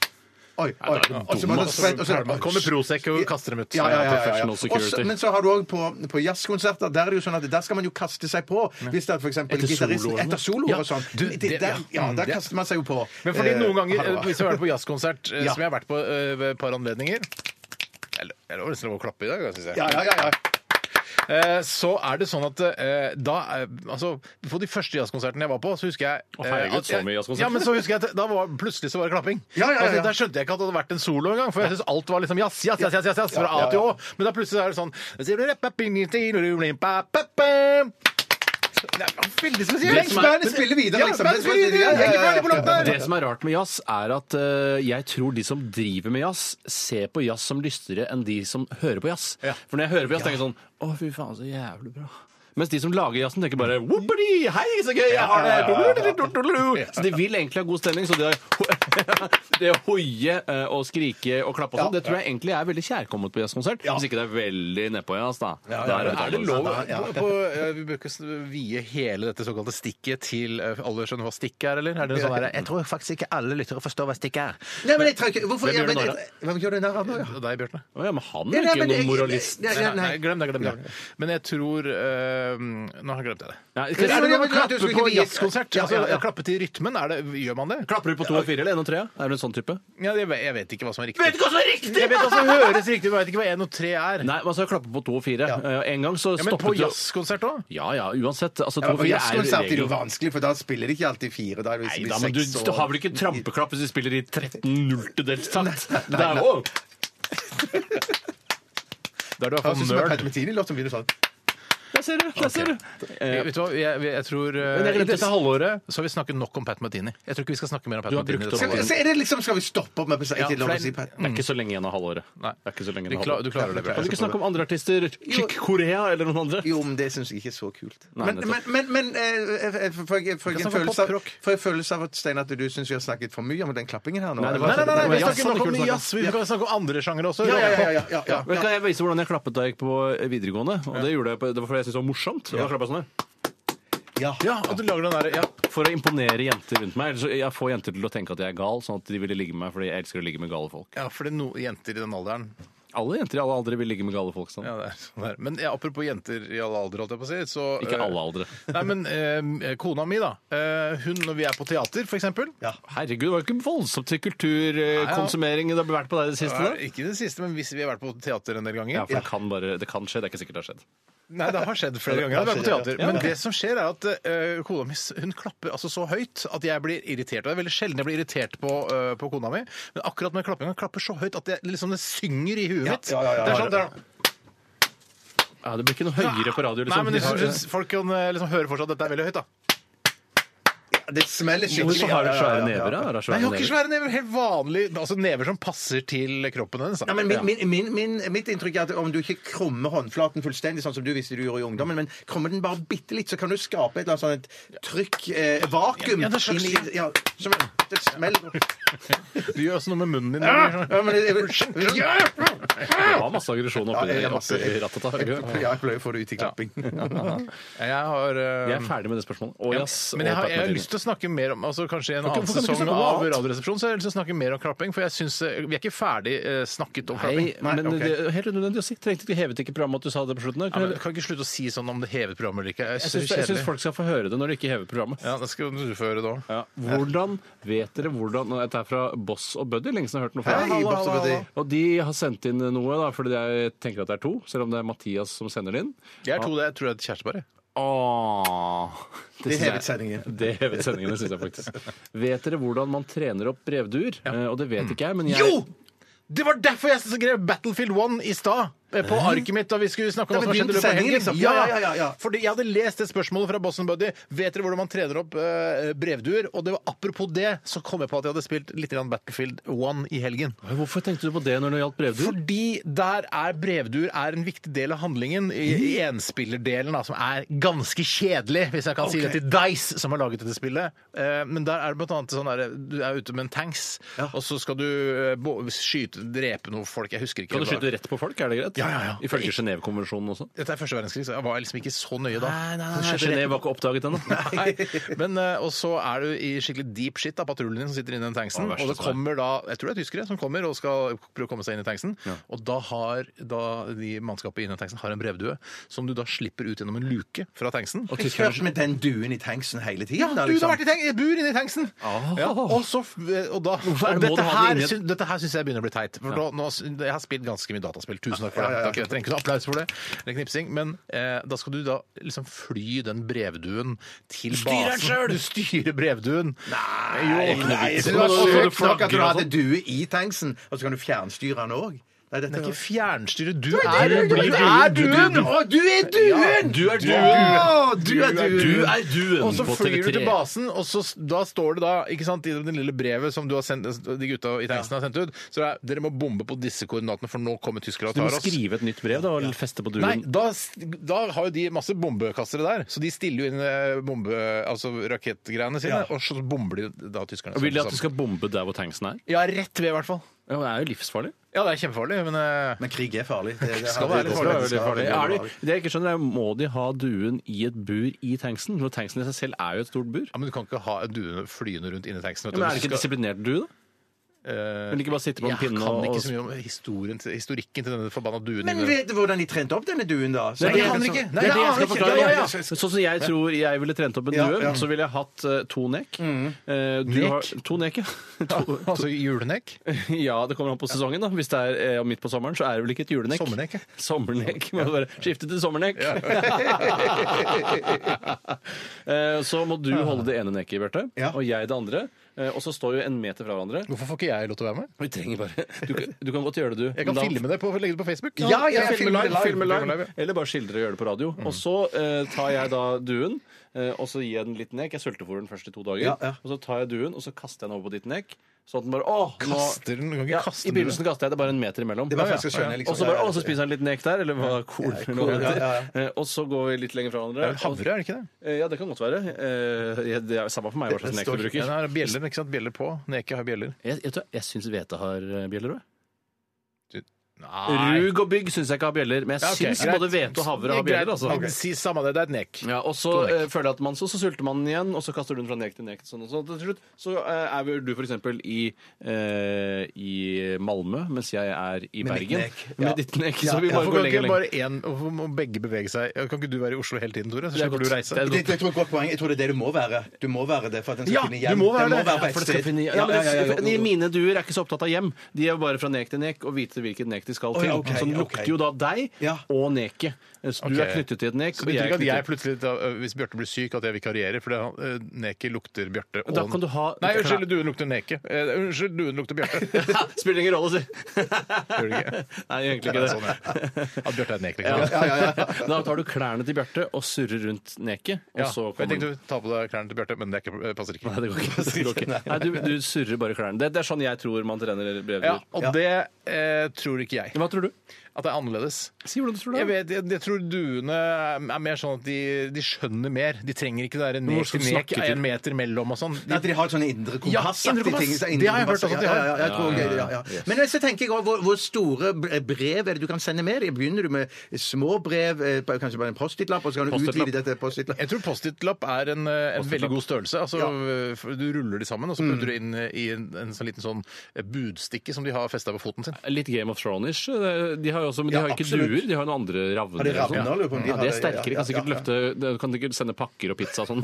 Oi, oi.
da er du
Og så må
dum,
man
ass.
sprette- og så-
Man kommer Prosec og kaster dem ut.
ja, ja, ja, ja, ja.
Professional security.
Også, men så har du òg på, på jazzkonserter Der er det jo sånn at der skal man jo kaste seg på. Hvis det er for eksempel
Etter
gitaristen
soloene.
etter solo
Ja,
og sånn.
du,
Det-
det-
der,
ja.
ja,
Mm,
der
det-
kaster man seg jo på.
Men fordi
Eh,
noen ganger,
hallo.
hvis vi har vært på jazzkonsert, eh,
Ja.
som jeg har vært på eh, ved et par anledninger Jeg lo- jeg lover nesten lov å klappe i dag, syns jeg.
Ja, ja, ja, ja.
Eh, Så er det sånn at eh, da eh, Altså, på de første jazzkonsertene jeg var på, så husker jeg
Å, herregud,
eh, at
så
jeg-
mye jazzkonserter.
Ja, men så husker jeg at da var plutselig så var det klapping.
Ja, ja, ja, ja.
Altså, der skjønte jeg ikke at det hadde vært en solo engang, for jeg syns alt var liksom jazz, jazz, jazz, jazz, jazz, jazz fra A til Å. Men da plutselig er det sånn Det er veldig
Det
spesielt.
som er-
Bandet spiller videre,
Ja,
liksom.
bandet spiller videre, jeg er ikke ferdig på låten her.
Det som er rart med jazz, er at eh, jeg tror de som driver med jazz, ser på jazz som lystigere enn de som hører på jazz. For når jeg hører på jazz, tenker jeg sånn Å, fy faen, så jævlig bra. Mens de som lager jazzen, tenker bare Whoopity, Hei, så gøy jeg har det! Så de vil egentlig ha god stemning, så det, [laughs] det å hoie eh, og skrike og klappe og sånn, det tror jeg egentlig er veldig kjærkomment på jazzkonsert. Hvis ikke det er veldig nedpå jazz, da. Da
Men Er det
annerledes.
lov på, på, eh, Vi bør ikke s- vie hele dette såkalte stikket til eh, alle skjønner hva stikket er, eller? Er det en sånn der, jeg tror faktisk ikke alle lyttere forstår hva stikket er.
Nei, men jeg tror ikke Hvorfor
Hvem
ja,
gjør
men
det
jeg- Hvem gjør det narr av nå, ja?
Det er deg, Bjørte.
Å, ja, men han
Ja, nei,
er ikke
men jeg-
noen moralist.
Nei, nei, nei.
Nei, glem det, glem det. Men jeg tror eh, Nå har jeg glemt det.
Nei,
Men er
Ja,
det
ja,
noe å
men klart du
klappe
skulle
på
ikke vie-
jazzkonsert?
Ja, ja,
Altså,
ja.
klappe til rytmen? Er det, gjør man det?
Klapper du på to og fire eller én og tre? Er du en sånn type?
Ja, jeg, vet, jeg vet ikke hva som er riktig. Vet ikke hva som er riktig! Jeg vet hva som høres riktig ut, men jeg vet ikke hva én og tre er.
Nei, man skal klappe på to og fire. Eh, En gang så
Ja, men på
stoppet jo
jazzkonsert òg?
Ja ja, uansett. Altså, to
Ja,
og
på
fire er jo
jazzkonsert er det jo
regelen.
vanskelig, for da spiller de ikke alltid fire. Da er det
Nei
liksom
da, men du,
seks
du
og-
har vel ikke trampeklapp hvis du spiller i 13 nulltedels takt? Det er jo
Da er du i hvert
Høres ut
fall
som en
nerd.
Palmetini-låt som begynner sånn.
Der ser du! Der ser du.
Jeg- Vet du hva, jeg, jeg tror eh,
Men jeg
I
glemte-
dette halvåret så har vi snakket nok om Pat Martini. Jeg tror ikke vi skal snakke mer om Pat
Du har
Martini.
brukt
dette
opp-
Skal,
halvåret.
så er det liksom, skal vi stoppe opp med
Ja,
ikke lov
for
å si
det-
Pat?
Det er ikke så lenge igjen av halvåret. Det er ikke så lenge
Du,
igjen av
klar, du
halvåret.
klarer det bra.
Kan vi ikke snakke om andre artister? Korea eller noen andre?
Jo, men det syns jeg ikke er så kult. men,
Nei,
men,
nettopp.
men, men eh, eh, for, for, for,
Vi
for,
kan snakke
en
om
følelse av,
poprock.
for en følelse av at Stein, at du syns vi har snakket for mye om den klappingen her nå.
Nei, det
Nei,
var-
nei, nei, nei, vi
Det var jazz
snakker nok om
han ikke ville
ny jazz. Vi kan snakke om andre sjangere også.
Ja, ja, ja, ja, ja, ja,
Men
ja.
kan jeg vise hvordan jeg klappet da jeg gikk på videregående? Og det gjorde jeg på, det var fordi jeg syntes det var morsomt. Og da klappet jeg sånn her.
Ja, og du lager den der, ja.
For å imponere jenter rundt meg. Ellers så- Jeg får jenter til å tenke at jeg er gal, sånn at de ville ligge med meg fordi jeg elsker å ligge med gale folk.
ja, for det er no, jenter i den alderen
Alle jenter i alle aldre vil ligge med gale folk. Sånn.
Ja, det er sånn der. Men ja, apropos jenter i alle aldre, holdt jeg på å si. Så,
Ikke
eh,
alle aldre.
Nei, men eh, kona mi, da. eh, hun, når vi er på teater, for eksempel
Herregud, det var jo ikke voldsomt til kulturkonsumering det har vært på deg i det siste?
Eh,
da?
Ikke det siste, men hvis vi har vært på teater en del ganger.
Ja, for det kan, bare, det kan skje. Det er ikke sikkert det har skjedd.
Nei, det har skjedd flere ganger. Jeg har vært på teater. Men det som skjer, er at eh, kona mi hun klapper altså så høyt at jeg blir irritert. Og det er veldig sjelden jeg blir irritert på, eh, på kona mi, men akkurat med klappinga klapper så høyt at det, liksom, det synger i huet mitt.
ja, ja, ja.
Det er sånn, det er,
Ja, det blir ikke noe høyere på radio.
Nei, men jeg
liksom.
synes folk kan eh, liksom høre for seg at dette er veldig høyt, da.
Det smeller skikkelig.
Hvorfor har du
Ja, ja, ja,
svære
ja, ja.
never? da? Har du
Nei,
svære
jeg har ikke
never?
svære never. Helt vanlig, altså never som passer til kroppen hennes. da.
Ja, men min, min, min, min, mitt inntrykk er at om du ikke krummer håndflaten fullstendig, sånn som du visste du gjorde i ungdommen, men krummer den bare bitte litt, så kan du skape et eller annet sånt et trykk, eh, vakuum
Ja, det er slags-
inn i- ja, som, Det smeller.
Du gjør også noe med munnen din.
Ja, men jeg, jeg, ja,
Det var masse aggresjon oppi
jeg,
det.
er masse-
oppi rattet, da.
jeg,
Herregud.
jeg pleier å få det ut i klapping.
Jeg har eh,
Jeg er ferdig med det spørsmålet. Og jazz.
men jeg har, jeg har lyst til å snakke mer om altså Kanskje i en
Ok,
annen
hvorfor kan vi ikke
sesong
snakke om noe
av
annet?
Radioresepsjonen så har jeg lyst til å snakke mer om klapping. For jeg synes, eh, vi er ikke ferdig eh, snakket om klapping.
Nei, men
ok.
det er helt unødvendig å si. Trengte ikke hevet ikke programmet at du sa det på slutten.
Ja,
der.
men, kan ikke slutte å si sånn om det hevet programmet eller ikke. Jeg
Jeg
synes
syns,
det
jeg
er
syns
kjedelig.
folk skal få høre det når de ikke hever programmet.
Ja, det skal du få høre da.
Ja. Hvordan vet dere hvordan og Dette er fra Boss og Buddy, lenge siden jeg har hørt noe fra
Hei,
dem.
Boss og Buddy.
Og de har sendt inn noe, da, fordi jeg tenker at det er to, selv om det er Mathias som sender det inn.
Jeg er to, det tror jeg er et kjærestepar. jeg.
Åh,
Det
synes jeg-
hevet sendingen.
Det hevet sendingen, det syns jeg faktisk. Vet dere hvordan man trener opp brevduer? Eh, Og det vet ikke jeg, men jeg
Jo! Det var derfor jeg skrev Battlefield 1 i stad. eh, På arket mitt da vi skulle snakke om hva som har
Det var
skjedd i
din
løpet av
sending,
helgen.
liksom.
Ja,
Ja, ja, ja, ja.
Fordi jeg hadde lest det spørsmålet fra Boston Buddy. Vet dere hvordan man trener opp eh, brevduer? Og det var apropos det, så kom jeg på at jeg hadde spilt litt grann Battlefield 1 i helgen.
Hvorfor tenkte du på det når det gjaldt brevduer?
Fordi der er brevduer er en viktig del av handlingen. I, i
Mm.
enspillerdelen, da, som er ganske kjedelig, hvis jeg kan si det til Dice, som har laget dette spillet. Eh, men der er det blant annet sånn derre Du er ute med en tanks, og så skal du eh, bo- skyte, drepe noen folk. Jeg husker ikke.
Kan du
det var-
skyte rett på folk, er det greit?
Ja, ja, ja.
Ifølge Genévekonvensjonen også?
Dette er første verdenskrig, så jeg var liksom ikke så nøye da.
Genéve var ikke oppdaget ennå.
Nei. Men, eh, og så er du i skikkelig deep shit av patruljen din som sitter inne i den tanksen.
Å, verste
og det
svar.
kommer da, jeg tror det er tyskere som kommer og skal prøve å komme seg inn i tanksen. Og da har da de mannskapet inne i tanksen har en brevdue som du da slipper ut gjennom en luke fra tanksen.
Jeg kjørte med den duen i tanksen hele tiden.
Ja, du
da,
du
liksom.
har vært i tank, et bur inne i tanksen! Ja, og så, f- og da,
er
og
det må du
dette,
ha
her,
den inni et-
syn- dette her syns jeg begynner å bli teit. For nå, nå, jeg har spilt ganske mye dataspill. Tusen takk for det. Takk, jeg trenger ikke noe applaus for det. Eller knipsing. Men eh, da skal du da liksom fly den brevduen til
styrer den selv!
basen. [laughs] Du styrer brevduen! Nei, jo,
Nei,
nei,
jeg
det
synes det var
var
søkt
søkt nok at du
flagger og
hadde due i tanksen, og så kan du fjernstyre den òg. Nei, dette
det er
er
ikke fjernstyre. Du er, du er
duen!
duen!
Å, du er duen!
Du er
Å, du er
Du
duen!
er duen
Og så
på
flyr du til
TV3.
basen, og så, da står det da ikke sant, i det lille brevet som du har sendt, de gutta i tanksen har sendt ut, så det er, dere må bombe på disse koordinatene, for nå kommer tyskere og
Du må
tar oss.
skrive et nytt brev da, og feste på
Nei,
duen.
da, da har jo de masse bombekastere der, så de stiller jo inn eh, bombe, altså rakettgreiene sine, og så bomber de da tyskerne.
Og Vil de at du skal bombe der hvor tanksen er?
Ja, rett ved i hvert fall.
Ja, men Det er jo livsfarlig.
Ja, det er kjempefarlig, men eh,
Men krig er farlig. Det, det,
Skal være
det-
farlig,
det-
det
skal være
Er det,
farlig.
det jeg ikke skjønner, er må de ha duen i et bur i tanksen? For tanksen i seg selv er jo et stort bur.
ja, men du kan ikke ha en due flyende rundt inni tanksen. vet du.
Ja, men er
Du
det ikke
skal-
disiplinert due, da?
eh,
Vil de ikke bare sitte på en
jeg
pinne
kan
og
ikke så mye om historien, til- historikken til denne forbanna duen.
Men
inne.
vet du hvordan de trente opp denne duen, da? Så
Nei, jeg
kan-
aner
ikke. Nei,
Det er
jeg
det jeg
aner
skal
ikke.
forklare.
Ja, ja, ja.
Sånn som jeg tror jeg ville trent opp en
Ja,
due,
ja.
så ville jeg hatt eh, to nek. Eh,
Mm.
du
Nek?
har to nek, ja. To,
[laughs] Altså julenekk?
[laughs] ja, det kommer an på sesongen, da. Hvis det er eh, midt på sommeren, så er det vel ikke et julenek.
Sommernek, ja.
Sommernek. Må du bare skifte til sommernek. [laughs] Eh, så må du holde det ene neket, Bjarte,
Ja.
og jeg det andre. Eh, Og så står vi en meter fra hverandre.
Hvorfor får ikke jeg lov til å være med?
Vi trenger bare Du kan, du kan godt gjøre det, du.
Jeg kan
Men da-
filme det på, legge det på Facebook.
Ja, jeg, filmer live.
Filmer live, ja.
Eller bare skildre og gjøre det på radio.
Mm.
Og så eh, tar jeg da duen, eh, og så gir jeg den litt nek. Jeg sultefôrer den først i to dager.
Ja, ja.
Og så tar jeg duen, og så kaster jeg den over på ditt nek. Sånn at den bare åh, nå...
Kaster den, du kan ikke
ja,
kaste
I
den.
begynnelsen kaster jeg det bare en meter imellom.
Det er bare for jeg skal skjønne, liksom.
Og så bare, å, så spiser han litt nek der, eller hva korn eller hva
korn,
det heter.
ja,
Eh, Og så går vi litt lenger fra
Det
hverandre.
er vel havre, er det ikke det?
Og- eh, Ja, det kan godt være. Eh, jeg- Det er samme for meg hva slags nek du
Ja,
bruker.
det er bjeller, ikke sant? Bjeller på. Neke har bjeller.
Jeg, jeg, tror- jeg syns hvete har eh, bjeller òg.
Nei.
Rug og bygg syns jeg ikke har bjeller, men jeg
Ja, ok,
syns
greit.
både hvete og havre
Det
har
er greit.
bjeller. altså.
Men Si samme det, det er et nek.
Ja, og så
To nek.
eh, føler jeg at man så, så sulter man igjen, og så kaster du den fra nek til nek. Sånn og sånn. Til slutt så eh, er vel du f.eks. I, eh, i Malmø, mens jeg er i
Med mitt
Bergen.
nek, ja.
Med ditt nek. Så vi bare
Hvorfor
går
kan
lenger
ikke
og lenger.
bare en, hvorfor må begge bevege seg? Ja, Kan ikke du være i Oslo hele tiden, Tore? Så
Det er
slipper du
godt.
å reise.
Det er
Det, det tror jeg er et godt poeng. Jeg tror det er det du må være. Du må være det for at den
Ja,
skal finne
du
hjem.
må være
Den
det.
på et
For det skal
sted.
finne, ja,
Ja,
men
ja, ja, ja,
de-
ja.
Mine duer er ikke så opptatt av hjem. De er bare fra nek til nek og vite hvilket nek de
Å,
skal til.
ja, ok,
så den
ok.
lukter jo da deg
Ja.
og neket. Så du
Ok.
er knyttet til et nek.
Så
og
det
jeg
betyr ikke
er
at
knyttet-
jeg plutselig, da, øh, hvis Bjarte blir syk, at jeg vikarierer? For det er han, øh, neket lukter Bjarte. og-
Da kan du ha-
Nei, unnskyld, duen lukter neket. Eh, Unnskyld, duen lukter Bjarte.
[laughs] Spiller ingen rolle, si.
Gjør det ikke?
[laughs] Nei,
Det
egentlig ikke
er
det.
sånn, ja. At Bjarte er et nek, liksom.
Ja. [laughs] Da tar du klærne til Bjarte og surrer rundt neket, og
Ja,
så
jeg
kommer [laughs]
tenkte du ta på deg klærne til Bjarte, men det er ikke, øh, passer ikke.
Nei, det går
[laughs]
ikke. Det går ikke. Nei, du, du surrer bare klærne. Det, det er sånn jeg tror man trener
Ja,
brevduer.
og det eh, tror ikke jeg.
Hva tror du?
At det er annerledes.
Si hvordan du tror det
Jeg,
er.
vet, jeg, jeg tror duene er mer sånn at de, de skjønner mer. De trenger ikke det derre
Men hvor
nek
skal
til
du
nek,
snakke til?
en meter mellom og sånn. De-
At de har et sånne indre kompass.
Ja, indre kompass. Det har jeg hørt også at de har.
Ja, ja, ja, jeg tror også det, ja, ja. Men så tenker jeg også, hvor, hvor store bre- brev er det du kan sende med? dem? Begynner du med små brev, eh, på- kanskje bare en Post-It-lapp, og så kan du
Post-it-lapp.
utvide det til Post-It-lapp?
Jeg tror Post-It-lapp er en, eh, en veldig
Post-it-lapp. Mm.
god størrelse. Altså, f- Du ruller de sammen, og så putter du inn eh, i en, en sånn liten sånn eh, budstikke som de har festa på foten sin.
[laughs] Litt Game of Thrones Danish eh, de har jo også, men de
Ja,
har jo ikke
absolutt.
druer, de har noen andre ravner.
Har
sånn.
de
eller noe sånt.
ravner, lurer på om de
ja,
har
det er
det, ja,
sterkere,
ja,
kan sikkert
ja, ja.
løfte de Kan sikkert sende pakker og pizza og sånn.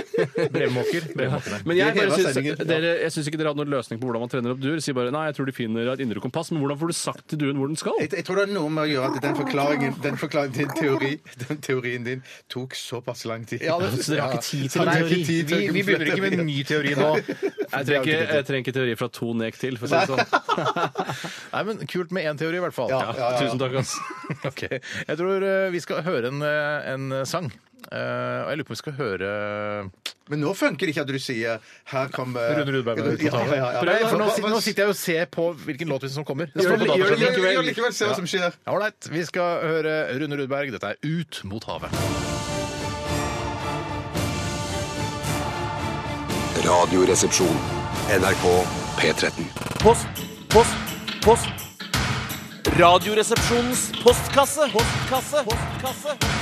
[laughs] Brevmåker. Men jeg,
De hever
bare syns-
sendingen, ja.
dere, jeg syns ikke dere hadde noen løsning på hvordan man trener opp duer. Sier bare nei, jeg tror de finner et indre kompass, men hvordan får du sagt til duen hvor den skal?
Jeg, jeg tror det er noe med å gjøre at den forklaringen, den forklaringen din, teori,
[laughs]
den teorien din tok såpass lang tid.
Ja, det-
[laughs] Så dere har ikke tid til
Nei,
teori?
ikke tid til
Vi, vi begynner ikke med en ny
[laughs]
teori nå.
Jeg trenger, ikke, jeg trenger ikke teori fra to nek til, for å si det sånn.
[laughs] Nei, men kult med én teori, i hvert fall.
Ja, ja, ja.
Tusen takk, ass.
[laughs] Ok, Jeg tror eh, vi skal høre en, eh, en sang. Eh, Og jeg lurer på om vi skal høre eh,
Men nå funker det ikke at du sier her kommer
Rune Rudberg med
Ja, Eh, ja, ja, ja.
Prøv, for nå, sit- nå sitter jeg og ser på hvilken låt som kommer. Det står
Gjør
på
det- gjør det
dataskjermen.
likevel. Gjør det likevel, se hva som skjer.
Ja, Ålreit. Vi skal høre Rune Rudberg. Dette er Ut mot havet.
Radioresepsjon. NRK P13.
Post, post, post. Radioresepsjonens postkasse. Postkasse. Postkasse.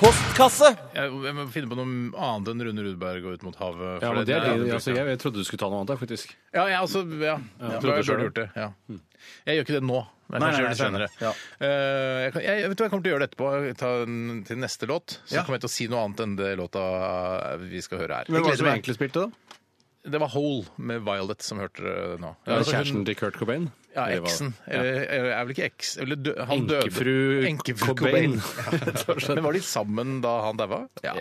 Postkasse.
Jeg, jeg må finne på noe annet enn Rune Rudberg og Ut mot havet.
Ja,
for
men det er,
det-
det- altså, jeg, jeg trodde du skulle ta noe annet, jeg, faktisk.
Ja, jeg også, ja. ja,
trodde
jeg
selv Hmm.
burde gjort det. Ja. Jeg gjør ikke det nå. Men jeg
Nei,
kanskje
nei,
gjør det senere.
nei,
Eh, jeg, kan, jeg, vet du hva, jeg kommer til å gjøre det etterpå. Jeg tar den til neste låt. Så
Ja.
kommer jeg til å si noe annet enn det låta eh, vi skal høre her.
Hvem
Jeg
var det
gleder
som
meg.
egentlig spilte, da?
Det var Hole med Violet som hørte det nå.
Ja,
Altså, hun-
kjæresten til Kurt Cobain?
Ja,
Eller hva?
eksen. Eller, eller er vel ikke eks... Eller dø, han døde.
Enkefru
Enkefru Ja.
Cobain. [laughs]
Men var de sammen da han daua?
Ja,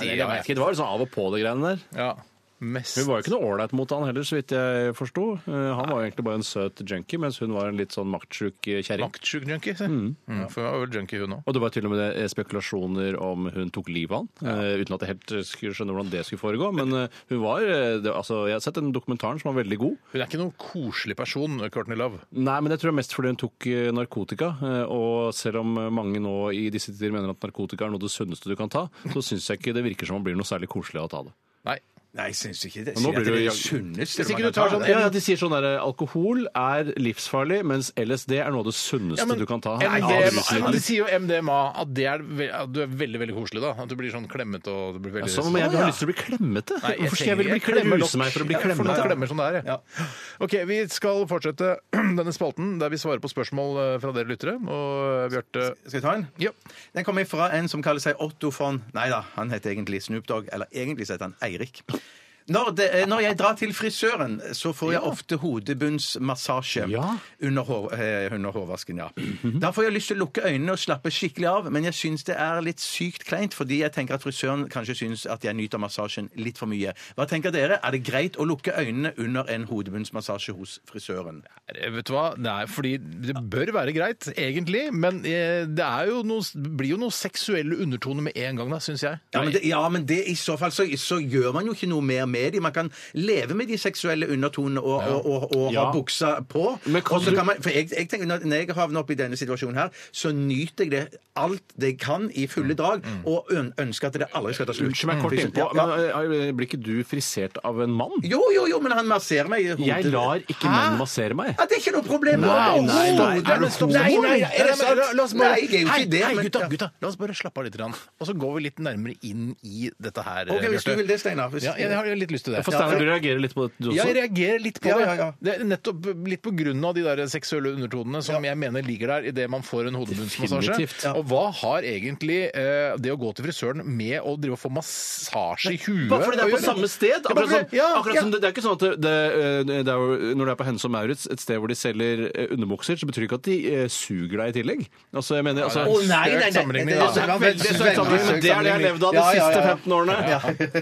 sier
jeg
jeg.
vet ikke. Det var liksom av og på det greiene der.
ja. Mest.
Hun var jo ikke noe ålreit mot han heller, så vidt jeg forsto. Eh, Han var jo egentlig bare en søt junkie, mens hun var en litt sånn maktsjuk eh, kjerring.
Maktsjuk junkie, se. Mm, for hun var vel junkie, hun òg.
Og det var til og med eh, spekulasjoner om hun tok livet av han, eh, uten at jeg helt eh, skulle skjønne hvordan det skulle foregå. Men eh, hun var eh, det, Altså, jeg har sett den dokumentaren som var veldig god.
Hun er ikke noen koselig person, Courtney Love.
Nei, men jeg tror det er mest fordi hun tok eh, narkotika. eh, Og selv om eh, mange nå i disse tider mener at narkotika er noe av det sunneste du kan ta, så syns jeg ikke det virker som man blir noe særlig koselig av å ta det.
Nei.
Nei, jeg syns ikke det.
Nå
Sier at
blir du
det er
jag-
det sunneste
Hvis ikke
man
du tar
kan ta,
sånn
det.
Ja, ja, De sier sånn der alkohol er livsfarlig, mens LSD er noe av det sunneste
Ja, men
du kan ta.
MDMA,
Ja,
ja,
det synes jeg.
men de sier jo MDMA at, det er, ve- at du er veldig veldig koselig. da At du blir sånn klemmete og du blir
Ja,
veldig
Som om jeg har lyst til å bli klemmete.
Nei,
Hvorfor skal jeg
trenger-
ville bli
klemmer nok.
klemmete? meg for å bli
Ja, for
klemmete?
noen klemmer som det er, ja. OK, vi skal fortsette [clears throat] denne spalten der vi svarer på spørsmål eh, fra dere lyttere. Og eh, Bjarte
Skal jeg ta en?
Ja.
Den kommer fra en som kaller seg Otto von Nei da, han heter egentlig Snoop Dogg. Eller egentlig så heter han Eirik. Når, det, eh, når jeg drar til frisøren, så får jeg ofte hodebunnsmassasje
Ja.
under, hår, eh, under hårvasken. ja. Da får jeg lyst til å lukke øynene og slappe skikkelig av, men jeg syns det er litt sykt kleint, fordi jeg tenker at frisøren kanskje syns at jeg nyter massasjen litt for mye. Hva tenker dere? Er det greit å lukke øynene under en hodebunnsmassasje hos frisøren?
Eh, Vet du hva? Det er fordi det bør være greit, egentlig, men eh, det er jo noe, det blir jo noe seksuelle undertoner med en gang, da, syns jeg.
Ja, men, det, ja, men det, i så fall så, så gjør man jo ikke noe mer med de. Man kan leve med de seksuelle undertonene og, og, og, og
Ja.
ha buksa på.
Men kan
Og så
du-
kan man, for jeg, jeg tenker, når- Når jeg havner opp i denne situasjonen her, så nyter jeg det alt det jeg kan i fulle drag, og øn, ønsker at det aldri skal ta slutt.
Mm. Unnskyld meg kort innpå,
Mm, Ja,
men
ja.
eh, blir ikke du frisert av en mann?
Jo, jo, jo, men han masserer meg i hodet.
Jeg lar ikke menn massere meg.
ja, Det er ikke noe problem.
Nei,
nei, nei.
Overhodet.
Er du
Stopp.
homo?
Nei, nei,
Nei,
er det
nei, men
sant?
la- la oss bare-
Nei, jeg er jo
Hei,
ikke det.
Hei,
men-
gutta,
Ja.
gutta, la oss bare slappe av litt. grann. Og så går vi litt nærmere inn i dette her.
Ok, Hvis du
Bjarte.
vil det, Steinar. hvis-
Ja, jeg har litt lyst til det.
For Steinar, du reagerer litt på det du
Ja, jeg
også?
reagerer litt på
Ja,
det.
ja, ja.
Det er nettopp litt på grunn av de der seksuelle undertonene som jeg mener ligger der idet man får en hodebunnsmassasje.
Definitivt.
Og hva har egentlig eh, det å gå til frisøren med å drive og få massasje i huet
Bare fordi det
å
er på
gjøre?
samme sted.
Ja, bare
Akkurat,
fordi-
som,
ja,
akkurat
ja.
som det, det er ikke sånn at det, det, eh, det er jo, Når du er på Hennes og Maurits, et sted hvor de selger eh, underbukser, så betyr det ikke at de eh, suger deg i tillegg. Altså, jeg mener, altså,
Å, nei, nei, nei.
Det
sammenligning,
er
da.
en veldig søt sammenligning, men det er det jeg har levd av de
Ja, ja, ja.
siste 15 årene.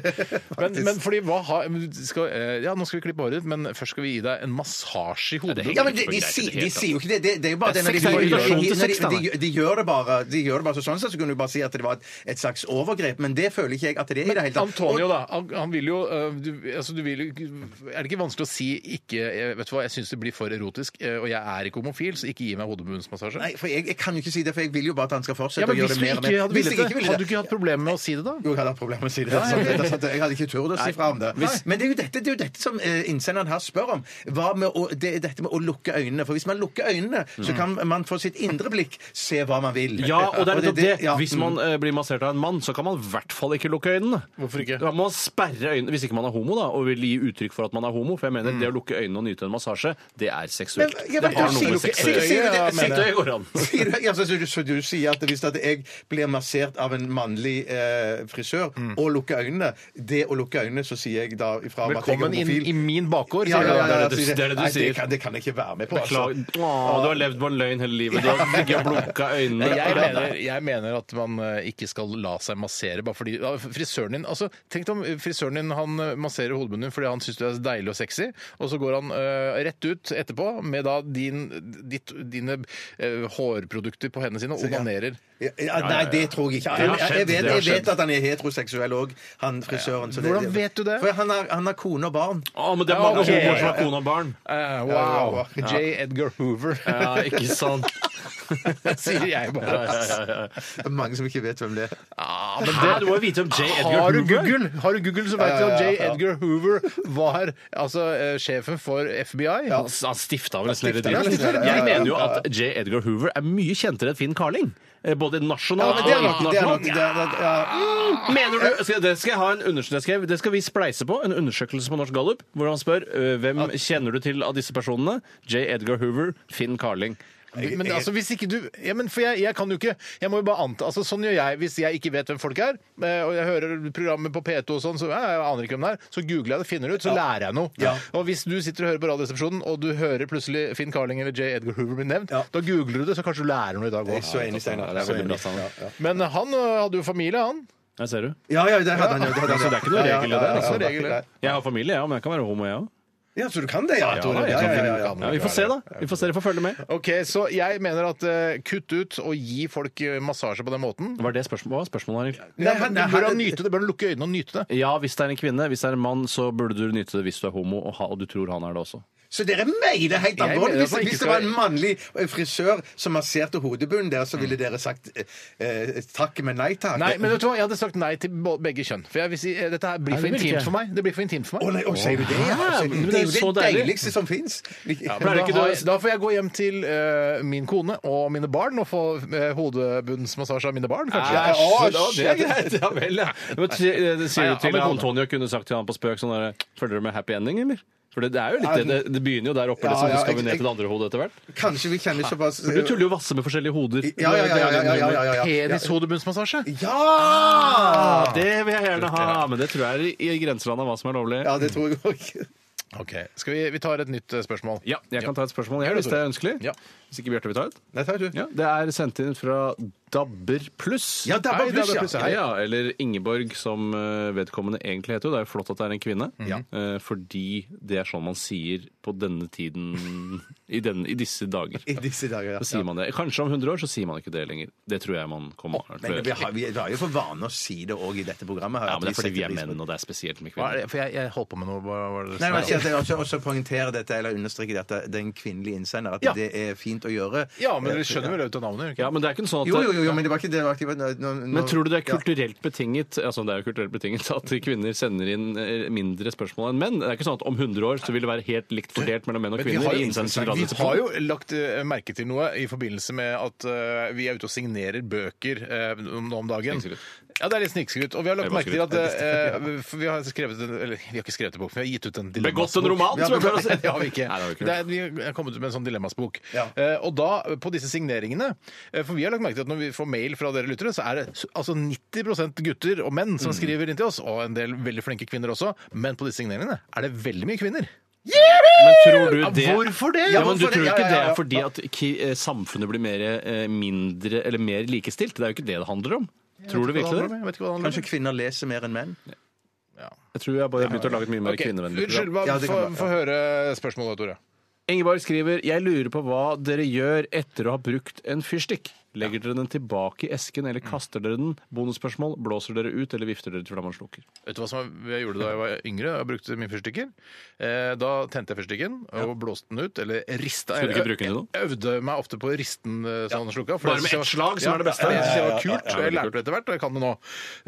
Men, men fordi hva har skal, eh, Ja, nå skal vi klippe håret ditt, men først skal vi gi deg en massasje i hodet.
Ja, men de, de, sier- de sier jo ikke det. Det, det er jo bare
Det
det når de,
er sex, det er
de,
invitasjon til
de,
sex, da,
de, de, de gjør det bare. De gjør det bare så sånn sett så kunne du bare si at det var et, et slags overgrep, men det føler ikke jeg at det er i det hele tatt.
Antonio, da. Han, han vil jo eh, du, altså, du vil, jo ikke- Er det ikke vanskelig å si ikke eh, Vet du hva, jeg syns det blir for erotisk, eh, og jeg er ikke homofil, så ikke gi meg hodebunnsmassasje?
Nei, for jeg, jeg kan jo ikke si det, for jeg vil jo bare at han skal fortsette
Ja, men
å gjøre
hvis
det
du
mer og
ikke
mer.
hadde villet det,
ville
hadde du ikke hatt problemer med å si det da?
Sånn, Jo, jeg hadde hatt problemer med å si det. det er sant, det er sant. Jeg hadde ikke turt å si fra om
det.
Hvis, men det er, jo dette, det er jo dette som eh, innsenderen her spør om. Hva med å, det er dette med å lukke øynene. For hvis man lukker øynene, så kan man for sitt indre blikk se hva man vil.
Ja, og det er nettopp det.
ja.
Hvis man eh, blir massert av en mann, så kan man i hvert fall ikke lukke øynene.
Hvorfor ikke?
Da må man sperre øynene, hvis ikke man er homo, da, og vil gi uttrykk for at man er homo. For jeg mener, det å lukke øynene og nyte en massasje, det er seksuelt.
Men jeg
det
vet
har
ikke,
noe med
lukke-
sex å
sier- sier-
gjøre.
sier-
Sett øyet går an.
Sier du- Ja, så, så, du, så du sier at hvis at jeg blir massert av en mannlig eh, frisør
Mm.
og lukker øynene Det å lukke øynene, så sier jeg da ifra om at jeg er
Velkommen inn
homofil.
i min bakgård.
Ja, ja, ja, ja,
det er det du-
sier jeg.
det er det du
Nei,
sier.
kan, det kan jeg ikke være med på. altså.
Beklager. Åh, du har levd på en løgn hele livet. Du har ikke blunka øynene.
Jeg mener, jeg mener at man eh, ikke skal la seg massere bare fordi ja, frisøren din altså, Tenk deg om frisøren din han eh, masserer hodebunnen din fordi han syns du er deilig og sexy, og så går han eh, rett ut etterpå med da din, ditt, dine eh, hårprodukter på hendene sine og onanerer.
Ja, ja, nei, det tror jeg ikke. Jeg,
har
jeg,
skjedd,
jeg, vet,
det har
jeg vet at han er heteroseksuell òg, han frisøren. så det-
Hvordan vet du det?
For han har, han har kone og barn.
Å, men det er
Ja,
mange
ok.
homoer som har kone og barn.
Eh,
Ja,
wow!
wow.
J. Edgar Hoover,
Ja, ikke sant.
[laughs] sier jeg bare.
Det er mange som ikke vet hvem det er.
Ja, men
Hæ, du må jo vite om J. Edgar
har du
Hoover.
Google, har du Google så vet du
Ja, ja,
at
ja,
J.
ja.
Edgar Hoover var altså, eh, sjefen for FBI.
Han, han stifta vel nesten hele
stifta,
driten.
ja, stifta, ja, ja,
Jeg
ja, ja.
mener jo at J. Edgar Hoover er mye kjentere enn Finn Carling. Eh, Både
Ja,
nasjonalt
men det er
og
nok, det er nok,
internasjonalt.
det er nok ja.
Mener du, skal, det, skal jeg ha en undersø- det, skal jeg, det skal vi spleise på. En undersøkelse på Norsk Gallup hvor han spør eh, hvem kjenner du til av disse personene. J. Edgar Hoover, Finn Carling.
Men altså, hvis ikke du ja, men For jeg, jeg kan jo ikke Jeg må jo bare anta altså, Sånn gjør jeg hvis jeg ikke vet hvem folk er, eh, og jeg hører programmet på P2 og sånn, så ja, jeg aner ikke hvem det er, så googler jeg det, finner det ut, så lærer jeg noe.
Ja.
Og hvis du sitter og hører på Radioresepsjonen, og du hører plutselig Finn Carling eller J. Edgar Hoover bli nevnt,
Ja.
da googler du det, så kanskje du lærer noe i dag
Jeg er
òg.
så enig, Steinar.
det er
Så
veldig bra,
enig.
Steinar.
Ja, ja.
Men eh, han ø, hadde jo familie, han.
Der ser du.
Ja, ja, det hadde han jo. det hadde han jo.
Så det er ikke
Ja,
noe
ja,
regel i
ja,
det,
ja,
altså.
ja,
Regel i det.
Jeg har familie, ja, men jeg kan være homo, jeg òg.
Ja, så du kan det, ja.
Tore,
ja, ja, ja, ja.
Ja, vi får se, da. Vi får se, Dere får følge med.
Ok, Så jeg mener at eh, kutt ut og gi folk eh, massasje på den måten.
Var det spørsmål, hva var spørsmålet, Arild?
Nei,
Nei,
men
nei,
du bør
her-
han nyte det, bør han lukke øynene og nyte det.
Ja, hvis det er en kvinne. Hvis det er en mann, så burde du nyte det hvis du er homo, og, ha, og du tror han er det også.
Så dere mener helt
Jeg
alvorlig?
mener at
Hvis,
man ikke
hvis det var
skal-
en mannlig eh, frisør som masserte hodebunnen der, så
Mm.
ville dere sagt eh, eh, takk, men nei takk?
Nei, men vet du hva, Jeg hadde sagt nei til bo- begge kjønn. For jeg vil si, eh, Dette her blir
Nei,
for
det vil
intimt
ikke.
for meg. Det blir for intimt for
Å
meg.
nei, å, sier du det? Ja,
Ja,
altså,
men
det er
det er
jo
så
det
deilig.
deiligste som fins.
pleier
Da,
ikke du-
har, da får jeg gå hjem til eh, min kone og mine barn og få eh, hodebunnsmassasje av mine barn, kanskje.
Æsj,
å,
men da- det er greit. Ja vel, ja. Men t- eh,
Nei,
Sier
ja,
du til
men-
Antonio kunne sagt til han på spøk sånn der Følger du med happy ending, eller? For det, det er jo litt det. Det, det begynner jo der oppe,
Ja,
liksom,
ja,
så skal vi
jeg-
ned til det andre hodet etter hvert.
Kanskje vi kjenner såpass
Du tuller jo masse med forskjellige hoder.
Ja, ja, ja. ja, ja, ja, ja, ja, ja.
Penishodebunnsmassasje.
Ja!
Ah, Det vil jeg gjerne ha, men det tror jeg er i grenselandet av hva som er lovlig.
Ja, det tror jeg òg.
Ok, skal vi, vi tar et nytt eh, spørsmål.
Ja, jeg kan ta et spørsmål jeg, hvis det er ønskelig.
Ja.
Hvis ikke Bjarte vil ta et.
Nei, takk, du.
Ja, det er sendt inn fra Dabber Pluss.
Ja, Dabber
Hei,
Pluss, ja.
Hei, ja. Eller Ingeborg, som eh, vedkommende egentlig heter. Det er jo flott at det er en kvinne.
Mhm.
Eh, Fordi det er sånn man sier på denne tiden i, den, i disse dager.
I disse dager,
Så sier man det. Kanskje om 100 år så sier man ikke det lenger. Det tror jeg man kommer til
Men
å
vi
gjøre.
har, vi har jo for vane å si det òg i dette programmet. her.
Ja,
at
men det er fordi
setter
vi er
pris på-
menn, og det er spesielt med
Hva er
kvinner.
det? For jeg, jeg holdt på med noe. Hva var det
Nei, men
snakket om?
jeg vil også, også poengtere dette, eller understreke dette, den kvinnelige innsender, at
Ja.
det er fint å gjøre.
ja, men dere skjønner vel ut av navnet? gjør dere
Ja,
ikke?
men det er ikke sånn at
Jo, jo, jo, men det var ikke det. det Var ikke, nå, nå,
Men tror du det er
Ja.
kulturelt betinget altså det er jo kulturelt betinget at kvinner sender inn eh, mindre spørsmål enn menn? Det er ikke sånn at om 100 år så vil det være helt likt fordelt mellom menn og
Men vi,
kvinner?
har
i
jo,
innsendelsen til
vi
Radioresepsjonen?
har jo lagt eh, merke til noe i forbindelse med at eh, vi er ute og signerer bøker eh, om, nå om dagen.
Snikskryt.
Ja, det er litt snikskryt. Og vi har lagt
Det er
merke til at
bare
eh, for [laughs] vi har skrevet en, eller vi har ikke skrevet en bok, men vi har gitt ut en
Begått
dilemmasbok.
en roman, som jeg pleier å si!
Nei, [laughs] det har vi ikke.
Nei, det har vi ikke.
Det er, vi har kommet ut med en sånn dilemmasbok.
Ja.
Eh, og da, på disse signeringene eh, For vi har lagt merke til at når vi får mail fra dere lyttere, så er det s- altså 90 gutter og menn
Mm.
som skriver inn til oss, og en del veldig flinke kvinner også, men på disse signeringene er det veldig mye kvinner.
Men tror du
Ja,
det
hvorfor det?
Ja, men du
Hvorfor
tror
det?
ikke
Ja,
det
ja, ja,
er fordi at ki- eh, samfunnet blir mer, eh, mindre, eller mer likestilt? Det er jo ikke det det handler om. Tror du virkelig det?
Jeg vet ikke hva det handler om.
Kanskje kvinner leser mer enn menn?
Jeg tror jeg bare har begynt å lage et mye mer kvinnevennlig program.
Unnskyld, hva,
Ja, det kan
få,
være,
få høre spørsmålet, Tore.
Ingeborg skriver Jeg lurer på hva dere gjør etter å ha brukt en fyrstikk. Legger dere den tilbake i esken, eller kaster dere den? Bonusspørsmål. Blåser dere ut, eller vifter dere til flammen slukker?
Vet du hva som jeg gjorde da jeg var yngre? Jeg brukte mine fyrstikker. Eh, da tente jeg fyrstikken og blåste den ut, eller rista.
Skulle du ikke bruke den til noe?
Jeg øvde meg ofte på å riste den eh, sånn slukka. for
Bare
jeg
med
synes jeg var-
ett slag, som
ja,
er det beste.
Jeg, jeg,
Ja, ja,
jeg,
ja,
det var kult,
ja, ja,
og jeg
veldig
lærte det etter hvert, og jeg kan det nå.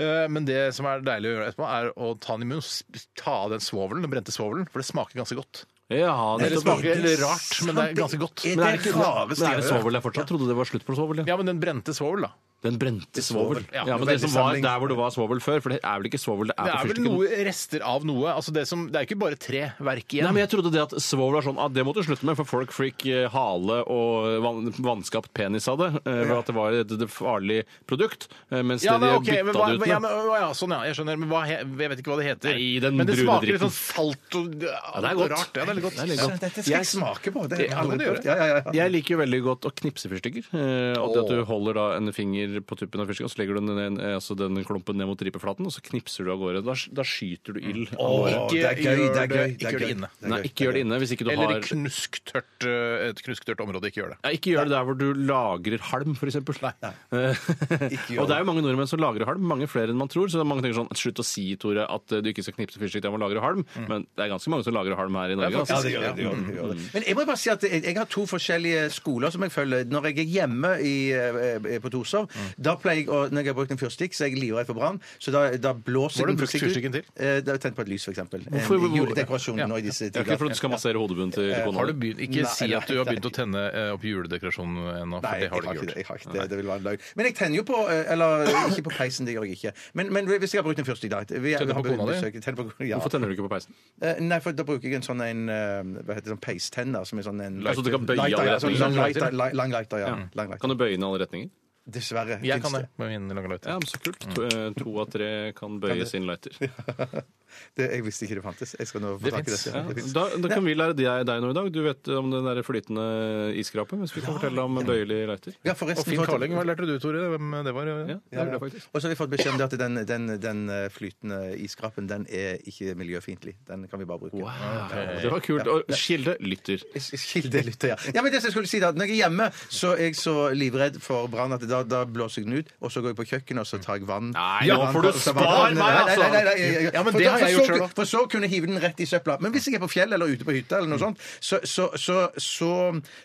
Eh, men det som er deilig å gjøre etterpå, er å ta den i munnen, s- ta av den svovelen, den brente svovelen, for det smaker ganske godt.
Ja,
Det
nettopp.
smaker litt rart, men det er ganske godt.
Men er det, men er det svovel der fortsatt? Trodde det var slutt på svovel. Ja.
Ja, men den brente svovel, da.
Den brente svovel.
Ja,
Ja, men
veldig
det som var
sammenlign-
der hvor det var svovel før, for det er vel ikke svovel, det
Det
er på
er vel
fyrstikken.
noe rester av noe. Altså det, som, det er ikke bare tre verk igjen.
Nei, men jeg trodde det at svovel var sånn at det måtte du slutte med, for folk fikk eh, hale og van, vanskapt penis av det, eh, ved at det var et et farlig produkt, eh, mens
Ja,
det
men,
de
ok, men,
bytta
hva,
det ut med.
ja, men, å, ja, sånn, ja. Jeg skjønner. Men hva, he- jeg vet ikke hva det heter.
Nei, den
men det
brune
smaker litt
dritten.
sånn salt og ja,
det er godt.
Rart, ja, det er litt godt.
Det er litt godt.
Dette skal jeg smake på. Det har jeg
det
aldri
gjør
prøvd. Ja, ja, ja.
[laughs] Jeg liker jo veldig godt å knipse fyrstikker. Eh, at, det at du holder da en finger på tuppen av fyrstikken, og så legger du den, ned- eh, altså den klumpen ned mot ripeflaten, og så knipser du av gårde. Da, da skyter du ild av gårde.
Å, det er gøy, det er gøy.
Ikke gjør det inne.
Nei, ikke gjør det inne hvis ikke du
Eller i
har
knusktørt, eh, et knusktørt område. Ikke gjør det.
ja, ikke gjør det der hvor du lagrer halm, f.eks. [laughs] og det er jo mange nordmenn som lagrer halm, mange flere enn man tror. Så mange tenker sånn Slutt å si, Tore, at eh, du ikke skal knipse fyrstikk, jeg må lagre halm. Men det er ganske mange som lagrer halm her i Norge.
Ja,
Altså.
det gjør det, det, gjør det, det gjør det. Men jeg må bare si at jeg, jeg har to forskjellige skoler som jeg følger. Når jeg er hjemme i, eh, på Torshov, da pleier jeg å Når jeg har brukt en fyrstikk, så er jeg livredd for brann, så da, da blåser
Hva har
jeg
du brukt fyrstikken til?
Eh, Da har jeg tent på et lys, f.eks.
Hvorfor- hvor-
Juledekorasjon
Ja.
nå i disse
Det er ikke fordi du skal massere hodebunnen til kona.
Har du begynt, ikke
Nei,
si at du
nei,
har begynt å tenne eh, opp juledekorasjonen ennå, for
Nei,
det
jeg
har
har
du
ikke
ikke
det.
gjort.
Jeg har ikke det. det vil være en løgn. Men jeg tenner jo på eh, Eller ikke på peisen, det gjør jeg ikke. Men, men hvis jeg har brukt en fyrstikk da vi- vi har
Tenner på kona di?
besøk- tenner på kona- ja.
Hvorfor tenner du ikke på peisen?
Eh, Nei, for da bruker jeg en sånn en eh, Hva heter det, sånn peistenner som er sånn en
Altså, du kan bøye
Lighter,
alle
ja, sånn Lang
retninger.
lighter, li- lang lighter, ja. Lang lighter.
Kan du bøye den i alle retninger?
Dessverre.
Jeg
finnes
kan det med min lange løyte.
Ja, men så kult. To, eh, to av tre kan bøye sin lighter.
det. Jeg visste ikke det fantes. Jeg skal nå få
Det
tak i
finnes,
dette.
Ja,
Det finnes.
da, da kan vi lære deg, deg noe i dag. Du vet om den der flytende isskrapet. Mens vi kan fortelle om bøyelig lighter.
Ja,
Og
forresten
Finn
for-
Karling, hva lærte du, Tore? Hvem det var?
Ja, det er det faktisk.
Og så har vi fått beskjed om det at den, den, den eh, flytende iskrappen den er ikke miljøfiendtlig. Den kan vi bare bruke.
Det var kult. Og Kilde lytter.
Kilde lytter, ja. ja. Men det som jeg skulle si da, når jeg er hjemme, så er jeg så livredd for brann at da, da blåser jeg den ut, og så går jeg på kjøkkenet og så tar jeg vann.
Nei,
Ja,
nå får du
vann- så vann-
spar meg, altså!
Nei, nei, nei, nei, nei, nei.
Ja, men
For
det
da-
har
for
jeg
så
gjort selv
ku-
også.
For så kunne jeg hive den rett i søpla. Men hvis jeg er på fjellet eller ute på hytta,
Mm.
eller noe sånt, så, så, så, så,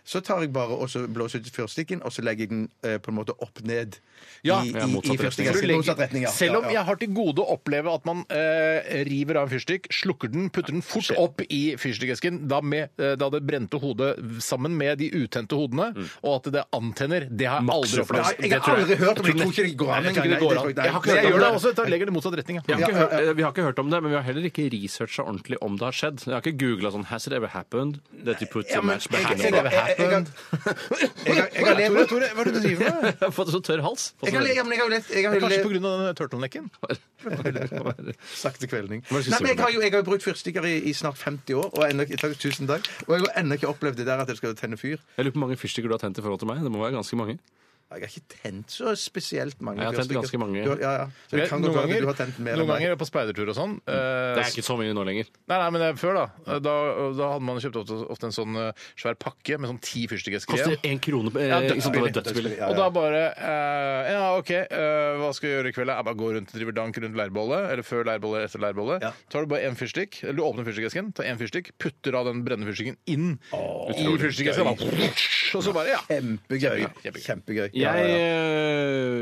så tar jeg bare og så blåser ut fyrstikken, og så legger jeg den eh, på en måte opp ned
Ja,
i,
ja,
i,
motsatt
i fyrstikken.
Du
Så
legger-
Motsatt retning, ja.
Selv om
Ja, ja.
jeg har til gode å oppleve at man eh, river av en fyrstikk, slukker den, putter den fort opp i fyrstikkesken, da, med, eh, da det brente hodet sammen med de utente hodene,
Mm.
og at det antenner, det har jeg
Maks
aldri
refleks.
opplevd.
Nei, jeg har aldri hørt om det. Jeg tror ikke det går an.
Jeg tror ikke det går an.
Nei,
Jeg har ikke
nei,
jeg
nei,
gjør det
nei.
også, da legger det motsatt retning.
Vi
Ja.
har, ikke hørt, eh, vi har ikke hørt om det, men vi har heller ikke researcha ordentlig om det har skjedd. Jeg har ikke googla sånn 'Has it ever happened?' That you put
Ja,
a
men
match
jeg-
behind
jeg-
on
jeg- jeg- jeg- Jeg har- jeg har levd-
Tore, Tore, hva er det du driver med?
Jeg har [laughs] fått sånn så tørr hals.
Jeg har le- ja, men jeg har jo lett- jeg har
Det
jo
er Kanskje
lett-
pga. den turtlenecken?
Sakte kvelning.
Hva er det du
Nei,
sier
men jeg
om
har jo jeg har jo brukt fyrstikker i, i snart 50 år, og ennå ikke- takk, tusen takk, og jeg har ennå ikke opplevd det der at jeg skal tenne fyr.
Jeg lurer på hvor mange fyrstikker du har tent i forhold til meg. Det må være ganske mange.
Jeg har ikke tent så spesielt mange
Jeg har tent ganske mange.
Du har- Ja, ja. Så det kan
Noen
godt være at
ganger,
du har tent mer enn
noen
meg. Mm.
ganger på speidertur og sånn eh,
Det er ikke så mye nå lenger.
Nei, nei, men det er før, da. Da, da hadde man kjøpt ofte, ofte en sånn eh, svær pakke med sånn ti fyrstikkesker.
Koster én krone eh,
Ja,
ikke sant, det var
dødsbillig.
dødsbillig.
Og da bare eh, Ja, OK, eh, hva skal jeg gjøre i kveld? Jeg bare går rundt og driver dank rundt leirbollet, eller før leirbollet eller etter leirbollet. Tar du bare én fyrstikk, eller du åpner fyrstikkesken, tar én fyrstikk, putter av den brennende fyrstikken inn i fyrstikkesken, da. og så bare Ja.
Kjempegøy.
Kjempegøy.
Kjempegøy. Ja,
Jeg,
ja, ja.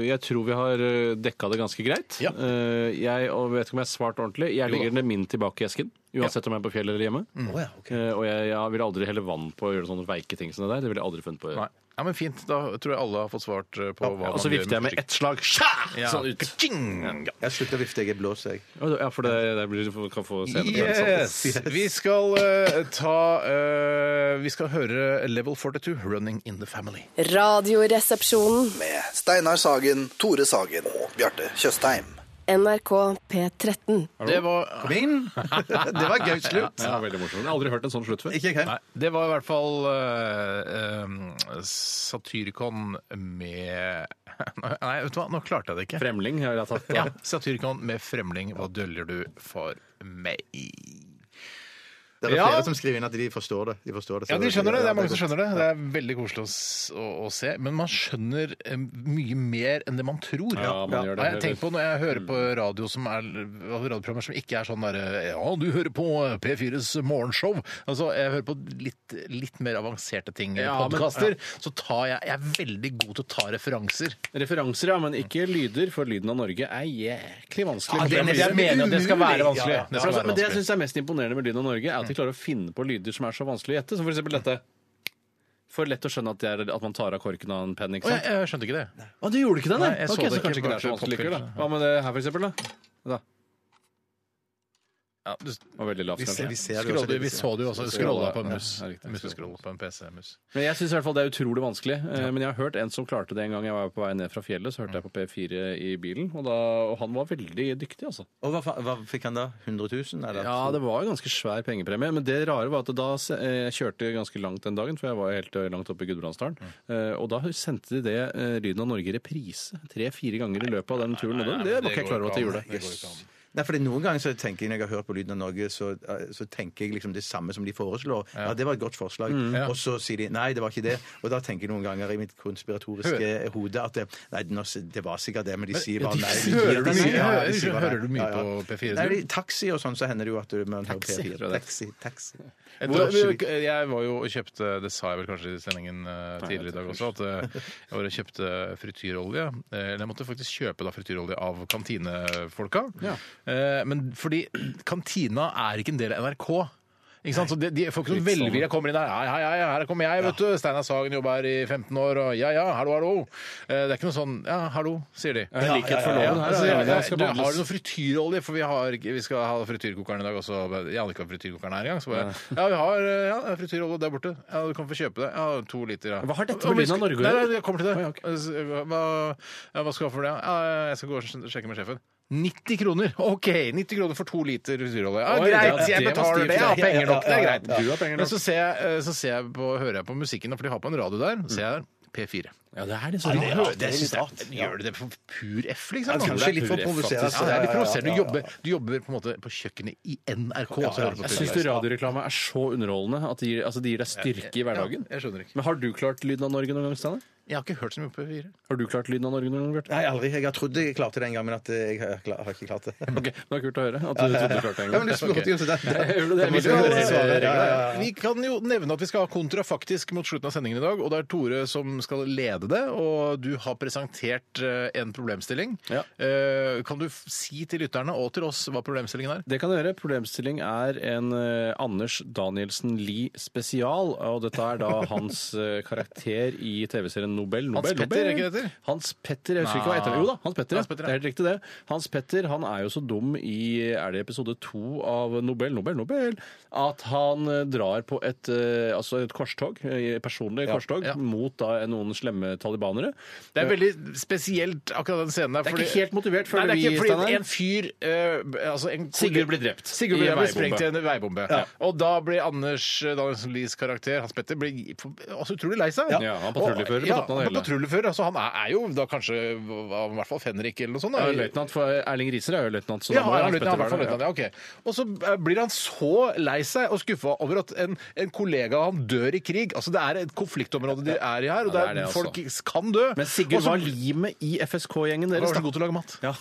eh, jeg tror vi har eh, dekka det ganske greit.
Ja.
Eh, Jeg og vet ikke om jeg har svart ordentlig. Jeg legger den min tilbake i esken, uansett om jeg er på fjellet eller hjemme.
Å, ja, ok.
Eh, Og jeg, jeg vil aldri helle vann på å gjøre sånne veike ting som det der. Det ville jeg aldri funnet på å
Nei.
gjøre.
Ja, men Fint. Da tror jeg alle har fått svart eh, på hva
Og så vifter jeg med ett slag Sja! sånn ut.
Sånn ut.
Jeg slutter å vifte, jeg er blås, jeg.
Ja, for det, det sånn. blir, kan få senere.
Yes! Vi skal eh, ta eh, Vi skal høre Level 42, 'Running in the Family'.
Radioresepsjonen.
Med Steinar Sagen, Tore Sagen og Bjarte Tjøstheim.
NRK P13.
Det var
Kom inn! Det var gøy slutt.
Ja, veldig morsomt. Jeg har aldri hørt en sånn slutt før.
Ikke jeg heller.
Nei, det var i hvert fall eh, eh, Satyricon med [laughs] Nei, vet du hva, nå klarte jeg det ikke.
Fremling har jeg tatt.
Ja, Satyricon med Fremling, hva døljer du for meg?
Det er
Ja.
flere som skriver inn at de forstår det. De forstår det
Ja, de skjønner det. Det er mange som
godt.
skjønner det. Det er veldig koselig å, s- å, å se. Men man skjønner eh, mye mer enn det man tror.
Ja, man gjør det. Mm.
Jeg tenker på Når jeg hører på radio som er, radioprogrammer som ikke er sånn der eh, Ja, du hører på P4s morgenshow. Altså, Jeg hører på litt, litt mer avanserte ting.
Ja, men-
Podkaster. Så tar jeg Jeg er veldig god til å ta referanser.
Referanser, ja, men ikke lyder, for lyden av Norge er jæklig vanskelig.
Ja, det er nesten- jeg mener at det skal være vanskelig. Det skal
altså,
være
men det jeg
vanskelig.
syns er mest imponerende med lyden av Norge, er at de klarer å finne på lyder som er så vanskelig å gjette. Som for eksempel dette. For lett å skjønne at, det er, at man tar av korken av en penn. ikke
Og
sant?
jeg, jeg skjønte ikke det.
Å, du gjorde ikke det, nei?
Nei, jeg så
Ok,
det
så
ikke,
kanskje ikke det er så
kanskje
vanskelig likevel, da.
popfilter.
Hva med det her, for eksempel? da? da.
Ja, du,
Det var veldig lavt. kanskje.
Vi ser det jo også
scroller,
litt.
vi så det jo også. Scrolla
Scrolla,
på en
ja,
mus.
ja, riktig.
Museskroll på en PC-mus.
Men jeg syns i hvert fall det er utrolig vanskelig. Eh, Men jeg har hørt en som klarte det en gang jeg var på vei ned fra fjellet. Så hørte jeg på P4 i bilen, og, da, og han var veldig dyktig, altså.
Og hva, fa- hva fikk han da? 100 000? Eller?
Ja, det var jo ganske svær pengepremie. Men det rare var at da se- eh, jeg kjørte ganske langt den dagen, for jeg var jo helt eh, langt oppe i Gudbrandsdalen. Eh, Og da sendte de det eh, Lyden av Norge i reprise tre-fire ganger i løpet av den turen. nedover. Det var ikke jeg klar over at de gjorde.
Nei, fordi Noen ganger så tenker jeg når jeg har hørt på Lyden av Norge, så, eh, så tenker jeg liksom det samme som de foreslår. Ja, det var et godt forslag. Og så sier de nei, det var ikke det. Og da tenker jeg noen ganger i mitt konspiratoriske hode at det, nei, nå s- det var sikkert det, men de sier bare nei. De sier
Hører du
at de sier-
mye,
ja, de
hører,
sier bare nei.
hører du mye
Ja, ja.
på P4?
Nei,
du?
i taxi og sånn, så hender det jo at du- man hører
Taxi,
P4.
tror jeg det er.
Taxi, taxi.
Hvor, eh,
drosjebil.
jeg var jo og kjøpte det sa jeg vel kanskje i sendingen eh, tidligere i dag også, at eh, jeg var og kjøpte frityrolje. Eh, Eller jeg måtte faktisk kjøpe da frityrolje av kantinefolka. Eh, Men fordi kantina er ikke en del av NRK. Ikke sant? Så de, de får ikke noe velvilje. Jeg kommer inn her, hei, hei, hei, her kommer jeg, vet du. Steinar Sagen jobber her i 15 år, og ja, ja, hallo, hallo. Eh, Det er ikke noe sånn ja, hallo, sier de.
Det er likhet for
Ja,
loven her.
altså,
ja,
jeg,
ja, skal
du, har du
behandles.
noe frityrolje? For vi, har, ikke- vi skal ha frityrkokeren i dag også. Jeg hadde ikke hva frityrkokeren er engang. Så bare, ja, vi har eh, ja, frityrolje der borte. Ja, Du kan få kjøpe det. Ja, to liter. Ja.
Hva har
Og
dette med
vi
Lyden av
skal-
Norge å
Nei,
gjøre?
nei, Jeg kommer til
Å, ja,
det.
ok.
Altså, Hva, ja, hva skal jeg ha for det? Ja, jeg skal gå og sj- sjekke med sjefen. 90 kroner! OK, 90 kroner for to liter frityrolje. Ja,
Oi, det er-
greit, jeg
det var
betaler det.
stivt,
Jeg har
ja.
penger nok. Det er
Ja, ja,
greit.
ja. Du har penger nok.
Men så, ser jeg, eh, så ser jeg på, hører jeg på musikken, for de har på en radio der. Så ser
Mm.
jeg P4.
Ja, det er litt sånn.
Ja,
rart.
det syns jeg. Gjør du det for pur F, liksom?
Ja, kanskje litt for
Pur F, faktisk.
provoserende.
Ja, det er litt
Ja, ja, ja,
provoserende.
ja,
Du
ja.
jobber, du jobber på en måte på kjøkkenet i NRK. og så hører du på
Jeg
P4.
syns radioreklame er så underholdende at det gir, altså, det gir deg styrke i hverdagen.
Ja, jeg skjønner ikke.
Men har du klart Lyden av Norge noen gang, Steinar?
Jeg har ikke hørt så mye på P4.
Har du klart Lyden av Norge noen gang, Bjarte?
Nei, aldri. Jeg har trodd jeg klarte det en gang, men at eh, jeg har, kla- har ikke klart det.
Ok, Det var kult å høre at du trodde du klarte det en
Ja, men
gang.
du spurte
[laughs]
jo så det.
Gjorde du det?
Vi,
Ja,
skal,
ja, ja, ja.
vi kan jo nevne at vi skal ha kontrafaktisk mot slutten av sendingen i dag. Og det er Tore som skal lede det, og du har presentert eh, en problemstilling.
Ja.
Eh, Kan du f- si til lytterne og til oss hva problemstillingen er?
Det kan jeg gjøre. Problemstilling er en eh, Anders Danielsen Lie spesial. Og dette
[laughs]
er da hans eh, karakter i TV-serien Nobel. Nobel,
Hans Petter,
Nobel.
er ikke det heter?
Hans Petter, jeg husker ikke hva heter. Jo da, Hans Petter. ja.
Hans Petter, ja.
det er helt riktig det. Hans Petter han er jo så dum i er det episode to av Nobel, Nobel, Nobel at han eh, drar på et, eh, altså et korstog, eh, personlig korstog,
ja.
mot da noen slemme talibanere.
Det er veldig spesielt akkurat den scenen der.
Det er
fordi-
ikke helt motivert,
Nei,
føler
det er
vi,
ikke fordi
Steinar.
en fyr eh, altså en
Sigurd blir drept.
Sigurd
I
blir
en
drept,
veibombe.
sprengt i en veibombe. Og da blir Anders eh, Danielsen Lies karakter, Hans Petter, blir altså, utrolig lei seg.
Ja, han er patruljefører på
Og- Ja,
toppen av
han
det
er
hele.
patruljefører. Altså, han er, er jo da kanskje hva- i hvert fall fenrik eller noe sånt. da.
Ja, løytnant, for Erling Riser er jo løytnant. så
Ja,
da må jo
han er
Hans
løytnant,
Petter
i hvert fall
være
løytnant,
det, ja.
ja, ok. Og så eh, blir han så lei seg og skuffa over at en, en kollega av han dør i krig. Altså Det er et konfliktområde de er i her, og det
Ja, det er
er
det, altså.
folk kan dø.
Men Sigurd
Og så-
var limet i FSK-gjengen
Han
deres.
var så
da.
god til å lage mat.
Ja.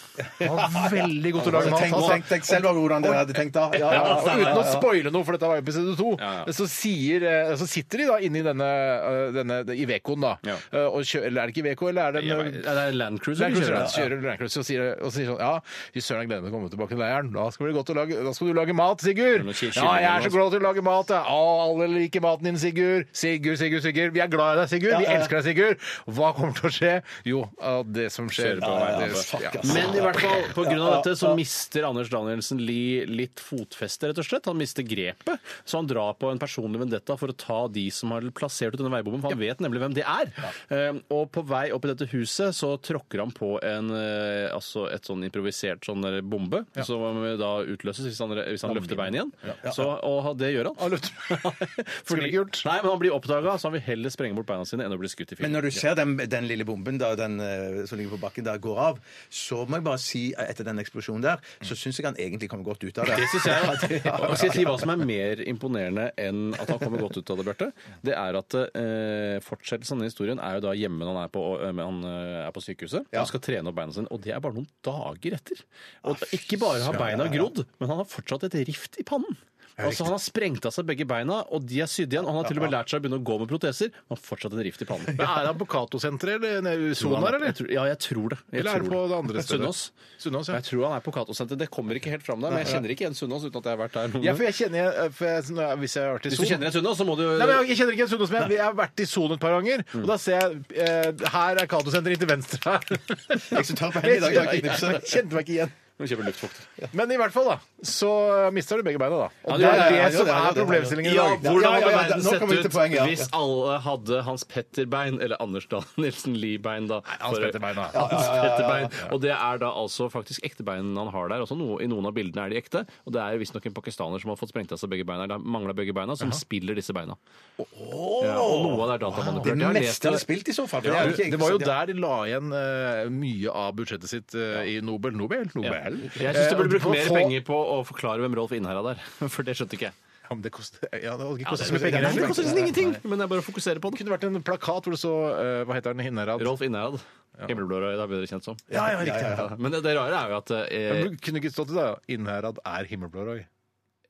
Han var veldig god til å lage mat.
Tenk,
altså.
tenk, tenk selv hvordan dere hadde tenkt da. Ja,
Ja,
ja, ja.
og Altså, uten å spoile noe, for dette var episode to,
Ja, ja.
så, sier, eh, så sitter de da inne i denne, eh, denne Ivecoen, da.
Ja.
Eh, Og kjø, eller er det ikke Iveco, eller er det
Ja,
en
det er Land Cruiser.
Land Cruiser,
vi
ja.
kjører, ja.
kjører Land Cruiser og sier, og sier sånn Ja, fy søren, jeg gleder meg til å komme tilbake til leiren. Da skal, det bli godt å lage, da skal du lage mat, Sigurd!
noen kyllinger
Ja, jeg er
eller
så glad til å lage mat, jeg. Å, alle liker maten din, Sigurd. Sigurd, Sigurd, Sigurd. Vi er glad i deg, Sigurd. Vi elsker deg, Sigurd. Hva kommer til å skje? Jo, at det som skjer
Skjer på vei
det- ja.
Men i hvert fall, på grunn av dette så mister Anders Danielsen Lie litt fotfeste, rett og slett. Han mister grepet. Så han drar på en personlig vendetta for å ta de som har plassert ut denne veibommen, for han vet nemlig hvem det er. Eh, Og på vei opp i dette huset så tråkker han på en, eh, altså et sånn improvisert sånn der bombe, som eh, da utløses hvis han, hvis han løfter bein igjen. Så, og det gjør han.
Han løfter-
Fordi-
Skulle ikke gjort.
Nei, men han blir oppdaga, så han vil heller sprenge bort beina sine enn å bli skutt i
Men
filmen.
når du ser den, den lille bomben da, den, eh, som ligger på bakken der, går av, så må jeg bare si eh, etter den eksplosjonen der, så syns jeg han egentlig kom godt ut av det.
Det
[laughs]
synes jeg. Og skal jeg si hva som er mer imponerende enn at han kommer godt ut av det, Bjarte? Det er at eh, fortsettelsen av den historien er jo da hjemme når han er på, eh, han eh, er på sykehuset. Han skal trene opp beina sine, og det er bare noen dager etter.
Ah,
Og ikke bare har beina grodd, men han har fortsatt et rift i pannen. Altså Han har sprengt av seg begge beina, og de er sydd igjen. Og han har til og med lært seg å begynne å gå med proteser, men har fortsatt et rift i pannen.
[laughs] Men er han på Cato-senteret eller nede i sonen her,
Jeg
eller?
tror- Ja, jeg tror det. Jeg
Eller er det
tror
på det andre stedet?
Sunnaas.
Sunnaas, ja.
Jeg tror han er på Cato-senteret. Det kommer ikke helt fram der, men jeg kjenner ikke igjen Sunnaas uten at jeg har vært der. noen
Ja,
gang.
for jeg kjenner jeg- eh, for jeg, når jeg- Hvis jeg har vært i
Hvis du
sonen
kjenner en sunne, så må du
Nei, men jeg, jeg kjenner ikke en sonen som jeg, jeg har vært i sonen et par ganger. Og da ser jeg eh, Her er Cato-senteret til venstre [laughs] her.
Jeg som tar på hendene i dag, jeg har ikke knipset.
Jeg kjente meg ikke igjen.
kjøpe luftfukter.
Men i hvert fall, da. Så mister du begge beina, da. Og det
Ja, ja,
er
ja, ja,
det
ja,
som
ja, ja,
er
ja.
problemstillingen i
Ja,
dag.
hvordan hadde
ja, ja,
verden
nå
sett
kommer vi til
ut
poenget, ja.
hvis alle hadde Hans Petter-bein, eller Anders Dahl Nilsen Lie-bein, da?
Hans
For-
Petter-bein, da.
Hans Petter-bein. Og det er da altså faktisk ekte bein han har der. Også no, I noen av bildene er de ekte, og det er visstnok en pakistaner som har fått sprengt av seg begge beina, eller mangla begge beina, som spiller disse beina. Ja, og noe av det er
Det
datamanipulert. Jeg har lest
meste han
det.
har spilt i så fall. for
Ja,
det er ikke-
det var jo der de la igjen eh, mye av budsjettet sitt eh, i Nobel. Nobel? Nobel?
Ja. Jeg syns du burde
Eh,
brukt
og
mer
få-
penger på å forklare hvem Rolf Innherad er, [laughs] for det skjønte ikke jeg.
Ja, men det koster ja, det hadde ikke
Ja,
kostet
det,
så mye penger. heller.
koster nesten ingenting, men jeg bare fokuserer på
Det
det.
kunne vært en plakat hvor det så eh, Hva heter den? Hinnerad?
Rolf Innherad. Himmelblårøyd er bedre kjent som.
Ja, ja, riktig. Ja,
Ja, Men det, det rare er jo at eh,
Men Kunne ikke stått det, da? Innherad er himmelblå, Roy.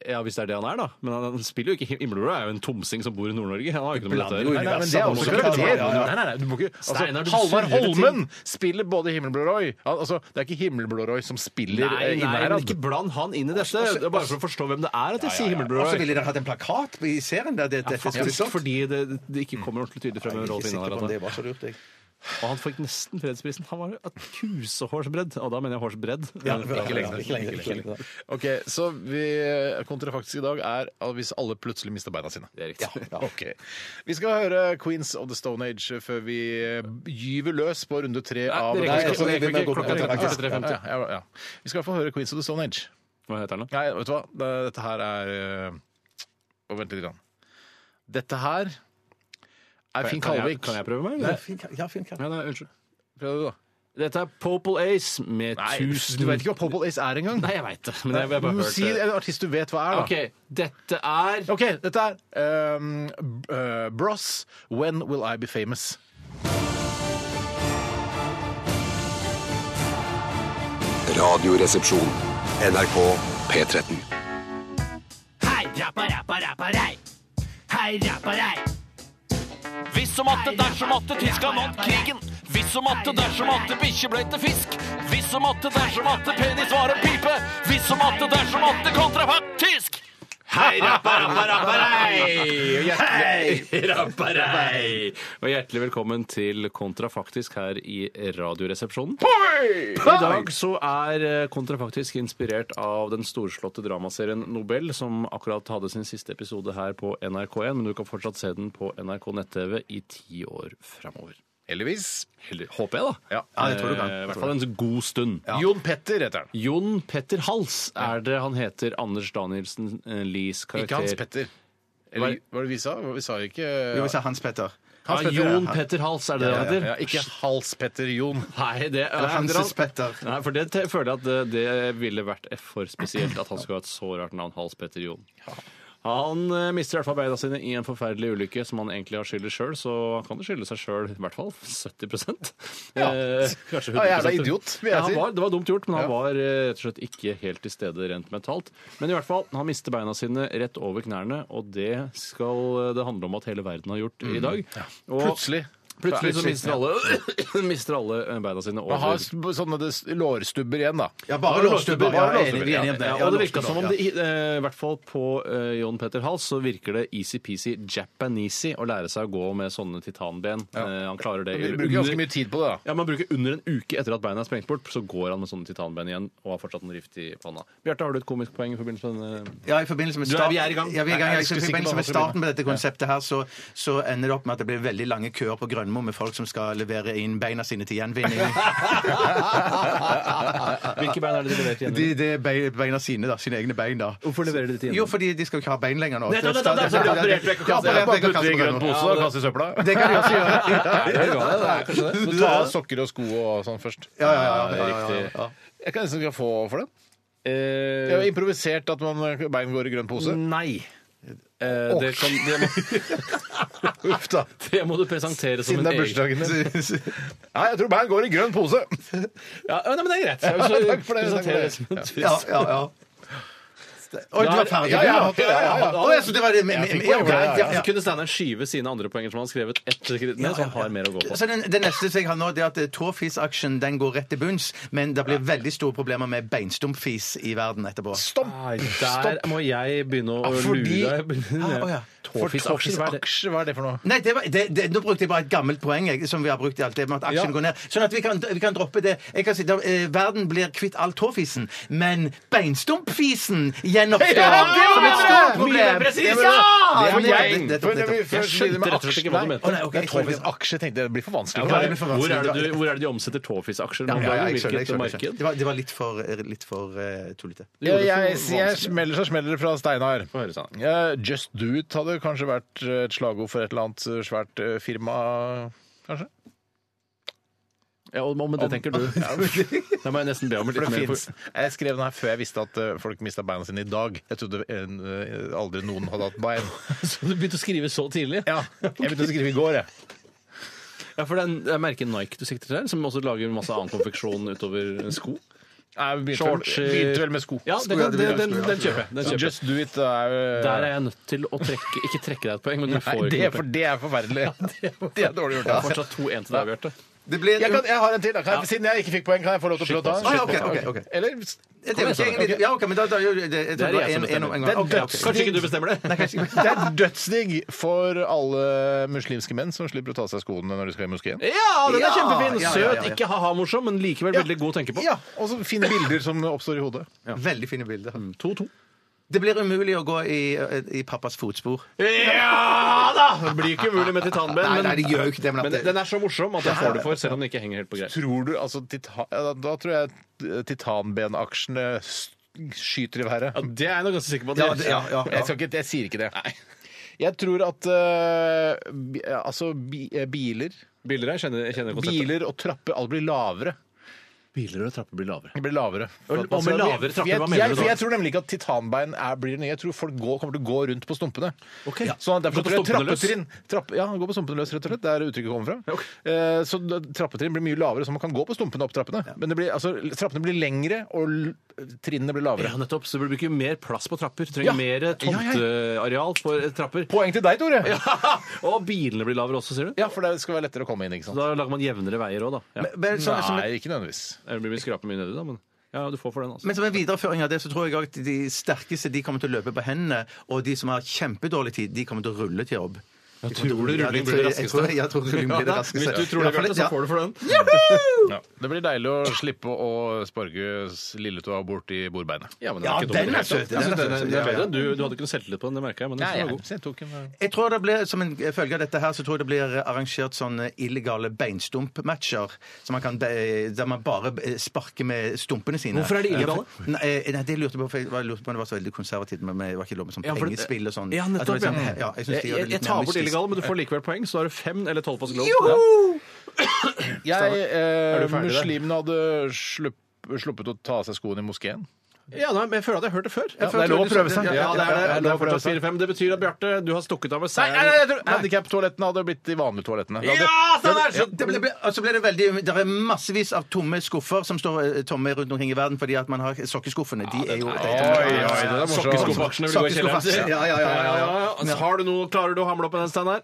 Ja, hvis det er det han er, da. Men han, han spiller jo ikke Himmelblå er jo en tomsing som bor i Nord-Norge. Han har jo ikke noe med dette å
Nei,
gjøre.
nei, men det er også
Samme
karakter.
som- Ja, ja, ja.
Nei, nei, nei, du må ikke
Steinar,
altså,
du
Halvard
surrer til
Holmen spiller både Himmelblå Roy Han- altså, Det er ikke Himmelblå Roy som spiller
Nei,
eh,
nei, men
Innherad.
ikke bland han inn i dette.
Altså,
Det er bare for å forstå hvem det er at jeg sier Himmelblå
Og så
Roy.
ville dere hatt en plakat i serien der det, dette skulle
Faktisk
stått.
fordi det, det ikke kommer ordentlig tydelig frem.
Jeg er
hvem
ikke
Rolf
sikker på
Innherad
om
er.
det var så lurt, jeg.
Og han fikk nesten fredsprisen. Han var et kusehårsbredd. Og da mener jeg hårsbredd.
Ikke lenger. Ikke lenger. Ikke lenger.
Ok, Så vi, kontrafaktisk i dag er at hvis alle plutselig mister beina sine.
Det er riktig.
Ok. Vi skal høre Queens of the Stone Age før vi gyver løs på runde tre av
det rekker
Nei,
ikke.
altså, det
sånn Vi må
rekker
gå
ikke.
på
Klokka er
kontrafaktisk.
43.50. Ja, ja, ja. Vi skal få høre Queens of the Stone Age.
Hva heter han da?
Nei, vet du hva? Det- Dette her er eh, Vent litt. Grann. Dette her er Finn
Kan jeg-
Kalvik.
Kan jeg prøve meg?
Ja,
eller?
fin kar- Ja, fin kar.
Ja, nei, unnskyld.
Prøv det, da.
Dette er Popal Ace med
Nei,
tusen
du vet ikke hva Popple Ace er engang?
Nei, jeg veit det. Men jeg, jeg bare
Du må
hørte
Si en artist du vet hva er, da.
OK, dette er
OK, dette er ehm, b- eh, Bros. When Will I Be Famous?
Radioresepsjon. NRK P13.
Hei, rappa, rappa, rappa, rei. Hei, rappa, rei.
Hvis som atte, dersom atte, Tyskland vant krigen. Hvis som atte, dersom atte, bikkje ble til fisk. Hvis som atte, dersom atte, penis var en pipe. Hvis som atte, dersom atte, kontrafaktisk.
Hei, rappa, rappa, rappa, rei! Hei, [laughs] rappa, rei! Og hjertelig velkommen til Kontrafaktisk her i Radioresepsjonen. I dag så er eh, Kontrafaktisk inspirert av den storslåtte dramaserien Nobel, som akkurat hadde sin siste episode her på NRK1, men du kan fortsatt se den på NRK nett-TV i ti år framover.
Heldigvis.
Heller- Håper jeg, da.
Ja.
det tror du kan. Eh, I hvert fall en god stund.
Jon Petter heter han.
Jon Petter Hals er det han heter. Anders Danielsen eh, Lies karakter.
Ikke Hans Petter. Eller hva var det vi sa? Vi sa ikke
Jo, jeg sa Hans Petter.
Hans Petter,
ja, Ah, Jon
ja.
Petter Hals, er det det han heter?
ja, Ikke Hals Petter Jon.
Nei, det er
Hanses Petter.
Nei, for det te- føler jeg at det, det ville vært F for spesielt at han skulle ha et så rart navn, Hals Petter Jon. Han eh, mister i hvert fall beina sine i en forferdelig ulykke som han egentlig har skyldet sjøl, så han kan jo skylde seg sjøl i hvert fall 70
Ja.
Eh, [laughs] Kanskje 100
Ja, jævla idiot, vil jeg
ja, han
si.
var, Det var dumt gjort, men han var eh, rett og slett ikke helt til stede rent mentalt. Men i hvert fall, han mister beina sine rett over knærne, og det skal eh, det handle om at hele verden har gjort i dag. Og-
Mm. Plutselig.
Plutselig så mister alle, [coughs] mister alle eh, beina sine over.
Han har sp- sånne des- lårstubber igjen, da.
Ja, bare lårstubber.
Bare
Ja, jeg er enig-
lårstubber,
vi er
ja.
enige om det.
Ja,
Ja,
og det virka
lårstubber,
som om
ja.
det, i eh, i hvert fall på eh, John Petter Hals, så virker det easy-peasy japanesey å lære seg å gå med sånne titanben. Eh, han klarer det
Vi
i-
bruker ganske
under-
mye tid på det, da.
ja, Man bruker under en uke etter at beina er sprengt bort, så går han med sånne titanben igjen og har fortsatt en rift i panna. Bjarte, har du et komisk poeng i forbindelse med denne?
Ja, i forbindelse med
Du er-
starten,
vi er i gang.
Ja, vi er i gang.
Nei, jeg
Jeg,
skulle
I
sikkert
forbindelse med
bare
starten på dette konseptet her, så, så ender det opp med at det blir veldig lange køer på Jernmo med folk som skal levere inn beina sine til gjenvinning.
Hvilke bein er det de leverer til gjenvinning?
De, det er bei- beina sine, da. Sine egne bein, da.
Hvorfor leverer de det til gjenvinning?
Jo, fordi de skal jo ikke ha bein lenger nå.
Nettopp, nettopp, nettopp, så blir det operert
vekk og
Ja,
kastet.
operert
Bare
vekk og
putte det i
kastet
grønn
på
pose
den.
og kaste i søpla.
Det kan de også gjøre.
Det er bra, det er kanskje det.
Du må ta av sokker og sko og sånn først.
Ja, ja, ja, ja, ja, ja,
Riktig.
ja.
Jeg kan nesten ikke få for den. Det er
Eh,
jo improvisert at man eh, bein går i grønn pose.
Mm.
Nei.
eh, det, kan, det, må,
[laughs] Uff da.
[laughs] det må du presentere som
Siden
en
det er
egen
bursdagen din. Nei, jeg tror bein går i grønn pose.
ja, ja, nei, men Det er greit. Jeg vil så
Takk for det, takk for
presentere det
det.
som en trist.
Ja, ja, ja. Oi, du var ferdig?
Ja, ja, ja, ja, ja, ja.
Å, jeg trodde det var det med- med-
Jeg fikk
ja,
poeng,
greit,
ja, ja,
ja,
ja.
ja.
Så kunne Steinar skyve sine andre poenger som han har skrevet, ett skritt ned, så han har mer å gå på.
Så den, det neste som jeg har nå, det er at tåfis-aksjen den går rett til bunns, men det blir veldig store problemer med beinstumpfis i verden etterpå.
Stopp!
Der må jeg begynne å
fordi-
lure deg.
Ah, å ja.
For
Tåfisaksjer, hva er det?
tåfisaksjer, hva er det for noe?
Nei, det var, det, det, nå brukte jeg bare et gammelt poeng jeg, som vi har brukt i alt det med at aksjen
Ja.
går ned. Sånn at vi kan, vi kan droppe det. Jeg kan si, da, eh, verden blir kvitt all tåfisen, men beinstumpfisen gjenoppstår
Ja, det var
som et
bedre! Mye
stort problem.
mer presis,
Det var-
ja!
Det var-
Det var poeng.
det- det- det- det- det-
Jeg skjønte
rett og slett ikke hva du mente.
Å, nei,
Det
ok,
er
jeg skjønner.
tåfisaksjer, tenkte jeg. Det blir for vanskelig.
Ja, det blir for
Hvor er det,
vanskelig.
du, hvor er det de omsetter tåfisaksjer?
Ja,
om
ja,
dagen?
jeg skjønner, jeg
Hvilket
skjønner, jeg skjønner.
marked?
Det var, det var litt for, litt for eh, tullete.
Ja, jeg, jeg smeller så smeller det fra Steinar.
Få høre, Steinar.
Ja, Just do it hadde kanskje vært eh, et slagord for et eller annet svært eh, firma, kanskje?
Ja, og med det
[laughs]
tenker du.
[laughs]
Da må jeg nesten be om litt
For det
mer.
finnes. Jeg skrev den her før jeg visste at eh, folk mista beina sine i dag. Jeg trodde eh, aldri noen hadde hatt bein.
[laughs] Så du begynte å skrive så tidlig?
[laughs] Ja, Jeg begynte å skrive i går, jeg.
Ja, for det er en- det er merket Nike du sikter til, her, som også lager masse annen konfeksjon utover sko.
Jeg begynte, vel-
Shorts, eh,
begynte vel med sko.
Ja, det kan,
det
det,
vil jeg
den,
tro, ja.
den kjøper jeg. Den
Så
kjøper. jeg.
Just do it er eh,
Der er jeg nødt til å trekke Ikke trekke deg et poeng, men du får
Nei,
ikke
det,
noe
er, for
poeng.
det er [laughs] forferdelig. Det er dårlig gjort.
Det er
altså.
fortsatt 2-1 til deg, Bjarte.
Det blir
Jeg, kan, jeg har en til. da. Kan jeg, siden jeg ikke fikk poeng, kan jeg få lov til å prøve å ta
Å, ja,
den? Ah,
ok, ok, ok.
altså. Eller
Det er jo ikke egentlig Ja, OK, men da, da gjør vi det. Jeg tror det
Det er sånn
var
jeg som
en- en om en
bestemmer.
gang. Ok, ok.
Kanskje ikke du bestemmer det?
Det er dødsdigg for alle muslimske menn som slipper å ta av seg skoene når de skal i moskeen.
[laughs] Ja, den er
Ja,
kjempefin!
ja, ja, ja,
Søt,
ja.
ikke ha-ha-morsom, men likevel veldig god å tenke på.
Ja, Og så fine bilder som oppstår i hodet.
Veldig fine bilder.
2-2.
Det blir umulig å gå i, eh, i pappas fotspor.
Ja da! Ah, Det blir ikke umulig med titanben.
Nei,
men-
nei, det gjør jo ikke det, men at
Men
det-
den er så morsom at den får du for, selv om den ikke henger helt på greip.
Tror du, altså, tita ja, Da tror jeg titanbenaksjene s- skyter i været.
Ja, det er jeg nok ganske sikker på. at
Ja,
det-
det- ja, ja, ja.
Jeg, skal ikke, jeg sier ikke det. Jeg tror at eh, bi, altså, bi, eh, biler,
Biler her, kjenner, kjenner konseptet.
biler og trapper alt blir lavere.
Biler og trapper blir lavere.
Det blir lavere.
Og- og med lavere trapper,
jeg,
hva mener
jeg,
du da?
for Jeg tror nemlig ikke at titanbein er, blir det nye. Jeg tror folk går, kommer til å gå rundt på stumpene.
Ok.
Ja. Sånn at derfor
Gå på
tror jeg
stumpene løs?
trappetrinn trapp, Ja, gå på stumpene løs, rett og slett. Det er uttrykket kommer fra.
Ja, ok.
Eh, så da- trappetrinn blir mye lavere, så man kan gå på stumpene opp trappene. Men det blir, altså, trappene blir lengre, og l- trinnene blir lavere.
Ja, nettopp. Så du bruker mer plass på trapper. Du
Ja.
trenger mer tomteareal for eh, trapper.
Poeng til deg, Tore! Ja.
og bilene blir lavere også, sier du?
for det skal være lettere å komme inn, ikke sant?
Da lager man jevnere veier òg, da. Ja.
Men, sånn, som,
Nei, ikke nødvendigvis.
Det blir mye skrape mye nedi, da, men ja, du får for den, altså.
men som en videreføring av det, så tror jeg også at de sterkeste de kommer til å løpe på hendene, og de som har kjempedårlig tid, de kommer til å rulle til jobb. Jeg
tror du rulling blir det raskeste?
Jeg tror, jeg tror rulling
[laughs]
blir det raskeste.
Hvis du tror det,
Ja, for
Bjarte, så
ja.
får du for den.
Ja. Det blir deilig å slippe å sparke s- lilletåa bort i bordbeinet.
Ja, men
Ja,
ikke dum.
den er søt.
Jeg
Den er
synes den er-
søt.
den er
Ja, ja.
bedre. Du, du hadde ikke noe selvtillit på den, det merker jeg, men den
Nei,
var
jeg,
god.
jeg tok en eh,
Jeg tror det blir, som en følge av dette her, så tror jeg det blir arrangert sånne illegale beinstumpmatcher, så man kan, be- der man bare eh, sparker med stumpene sine.
Hvorfor er de illegale?
Nei, eh, nei, det lurte jeg på, for jeg var- lurte på om det var så veldig konservativt, men det var ikke lov med sånn
Ja, for-
pengespill og sånn.
Ja,
At det
nettopp.
var
Ja.
sånn, ja, jeg, synes de gjør
jeg,
det
jeg,
litt
jeg
mer
tar bort
mystisk.
illegale, men du får likevel poeng, så da har du fem eller tolv fast lov. Ja.
Joho!
Jeg, eh,
du ferdig der?
muslimene hadde slupp, sluppet å ta av seg skoene i moskeen.
Ja, nei, men jeg føler at jeg har hørt det før. Jeg
det
føler
er lov å
du-
prøve seg.
Ja, det er det.
Ja,
det,
det er lov
er
å prøve
fortsatt
seg.
4-5. Det betyr at Bjarte, du har stukket av med seieren.
Handikaptoalettene hadde blitt de vanlige toalettene. Det hadde-
Ja, Steinar!
Så det ble, og så ble det veldig Det er massevis av tomme skuffer som står eh, tomme rundt omkring i verden fordi at man har sokkeskuffene. De er jo
Oi, oi, det er morsomt.
Sokkeskuffeaksjene vil gå i kjelleren.
Ja, ja, ja, ja, ja.
Altså, Har du noe, Klarer du å hamle opp med den, Steinar?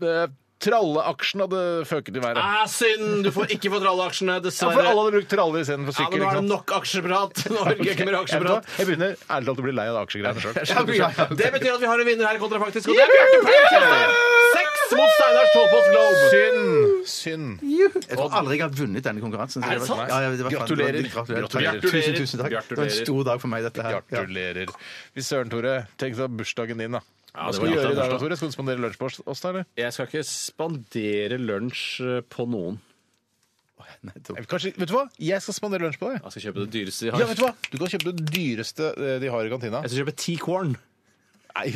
Eh, Tralleaksjen hadde føket i været.
Ah, synd! Du får ikke fått alle aksjene,
Ja, for
dessverre.
alle hadde brukt tralle istedenfor
Ja,
sykkel.
men nå
ikke
er det
sant?
nok aksjeprat. Nå orker jeg ikke mer
Jeg vet hva,
aksjeprat.
jeg begynner ærlig talt å bli lei av det aksjegreiene
[laughs]
sjøl.
Det betyr at vi har en vinner her i Kontrafaktisk, og det er Bjarte Flekkestad! Seks mot Steinars Tålpost Globe!
Synd! Synd.
Jeg tror aldri jeg har vunnet denne konkurransen. så
Er det
var-
sant?
Ja, ja, det var-
Gratulerer.
Gratulerer.
Gratulerer.
Tusen, tusen takk. Det
Gratulerer.
var en stor dag for meg, dette her. Ja.
Gratulerer. Fy søren, Tore. Tenk deg bursdagen din, da.
Hva skal vi gjøre i dag, da, Tore? Skal du spandere lunsj på oss, da? eller?
Jeg skal ikke spandere lunsj eh, på noen.
Kanskje, vet du hva? Jeg skal spandere lunsj på deg.
Jeg skal kjøpe det dyreste de har.
Ja, vet du hva? Du kan kjøpe det dyreste eh, de har i kantina.
Jeg skal kjøpe ti corn.
Nei,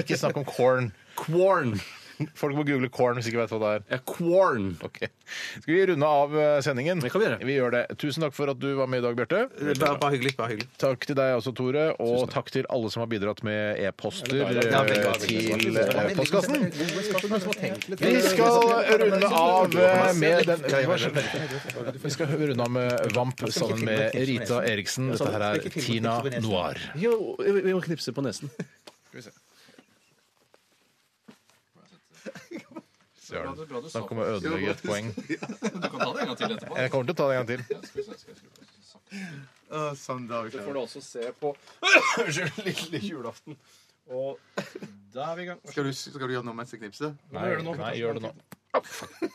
ikke snakk om corn.
Corn!
Folk må google corn hvis de ikke vet hva det er.
Ja, corn.
Ok. Skal vi runde av eh, sendingen?
Det kan vi gjøre.
gjør det. Tusen takk for at du var med i dag, Bjarte.
Bare, bare hyggelig. bare hyggelig.
Takk til deg også, Tore. Og takk til alle som har bidratt med e-poster eh, til eh, postkassen. Vi skal runde av eh, med den Vi skal runde av med Vamp sammen med Rita Eriksen. Dette her er Tina Noir.
Jo, vi må knipse på nesen.
Søren. Da kommer jeg å ødelegge et poeng. Jeg kommer til å ta det en gang til.
Så får du også se på
[laughs]
Unnskyld, lille julaften. Og da er vi i gang.
Skal, du, skal du gjøre noe mens jeg knipser?
Nei, nei, gjør det nå.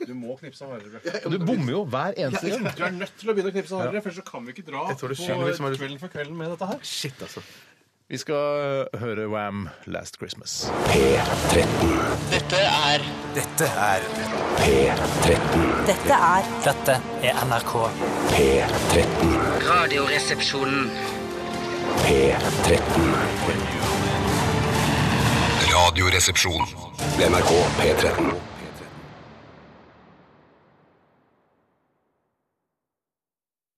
Du må knipse hardere.
Du bommer jo hver eneste gang.
Du er nødt til å begynne å knipse hardere, for så kan vi ikke dra på
tror det synger som er-
kvelden for kvelden med dette her.
Shit, altså.
Vi skal høre Wham! Last Christmas.
Dette er Dette er NRK. P13. Radioresepsjonen.
Radioresepsjon. NRK P13.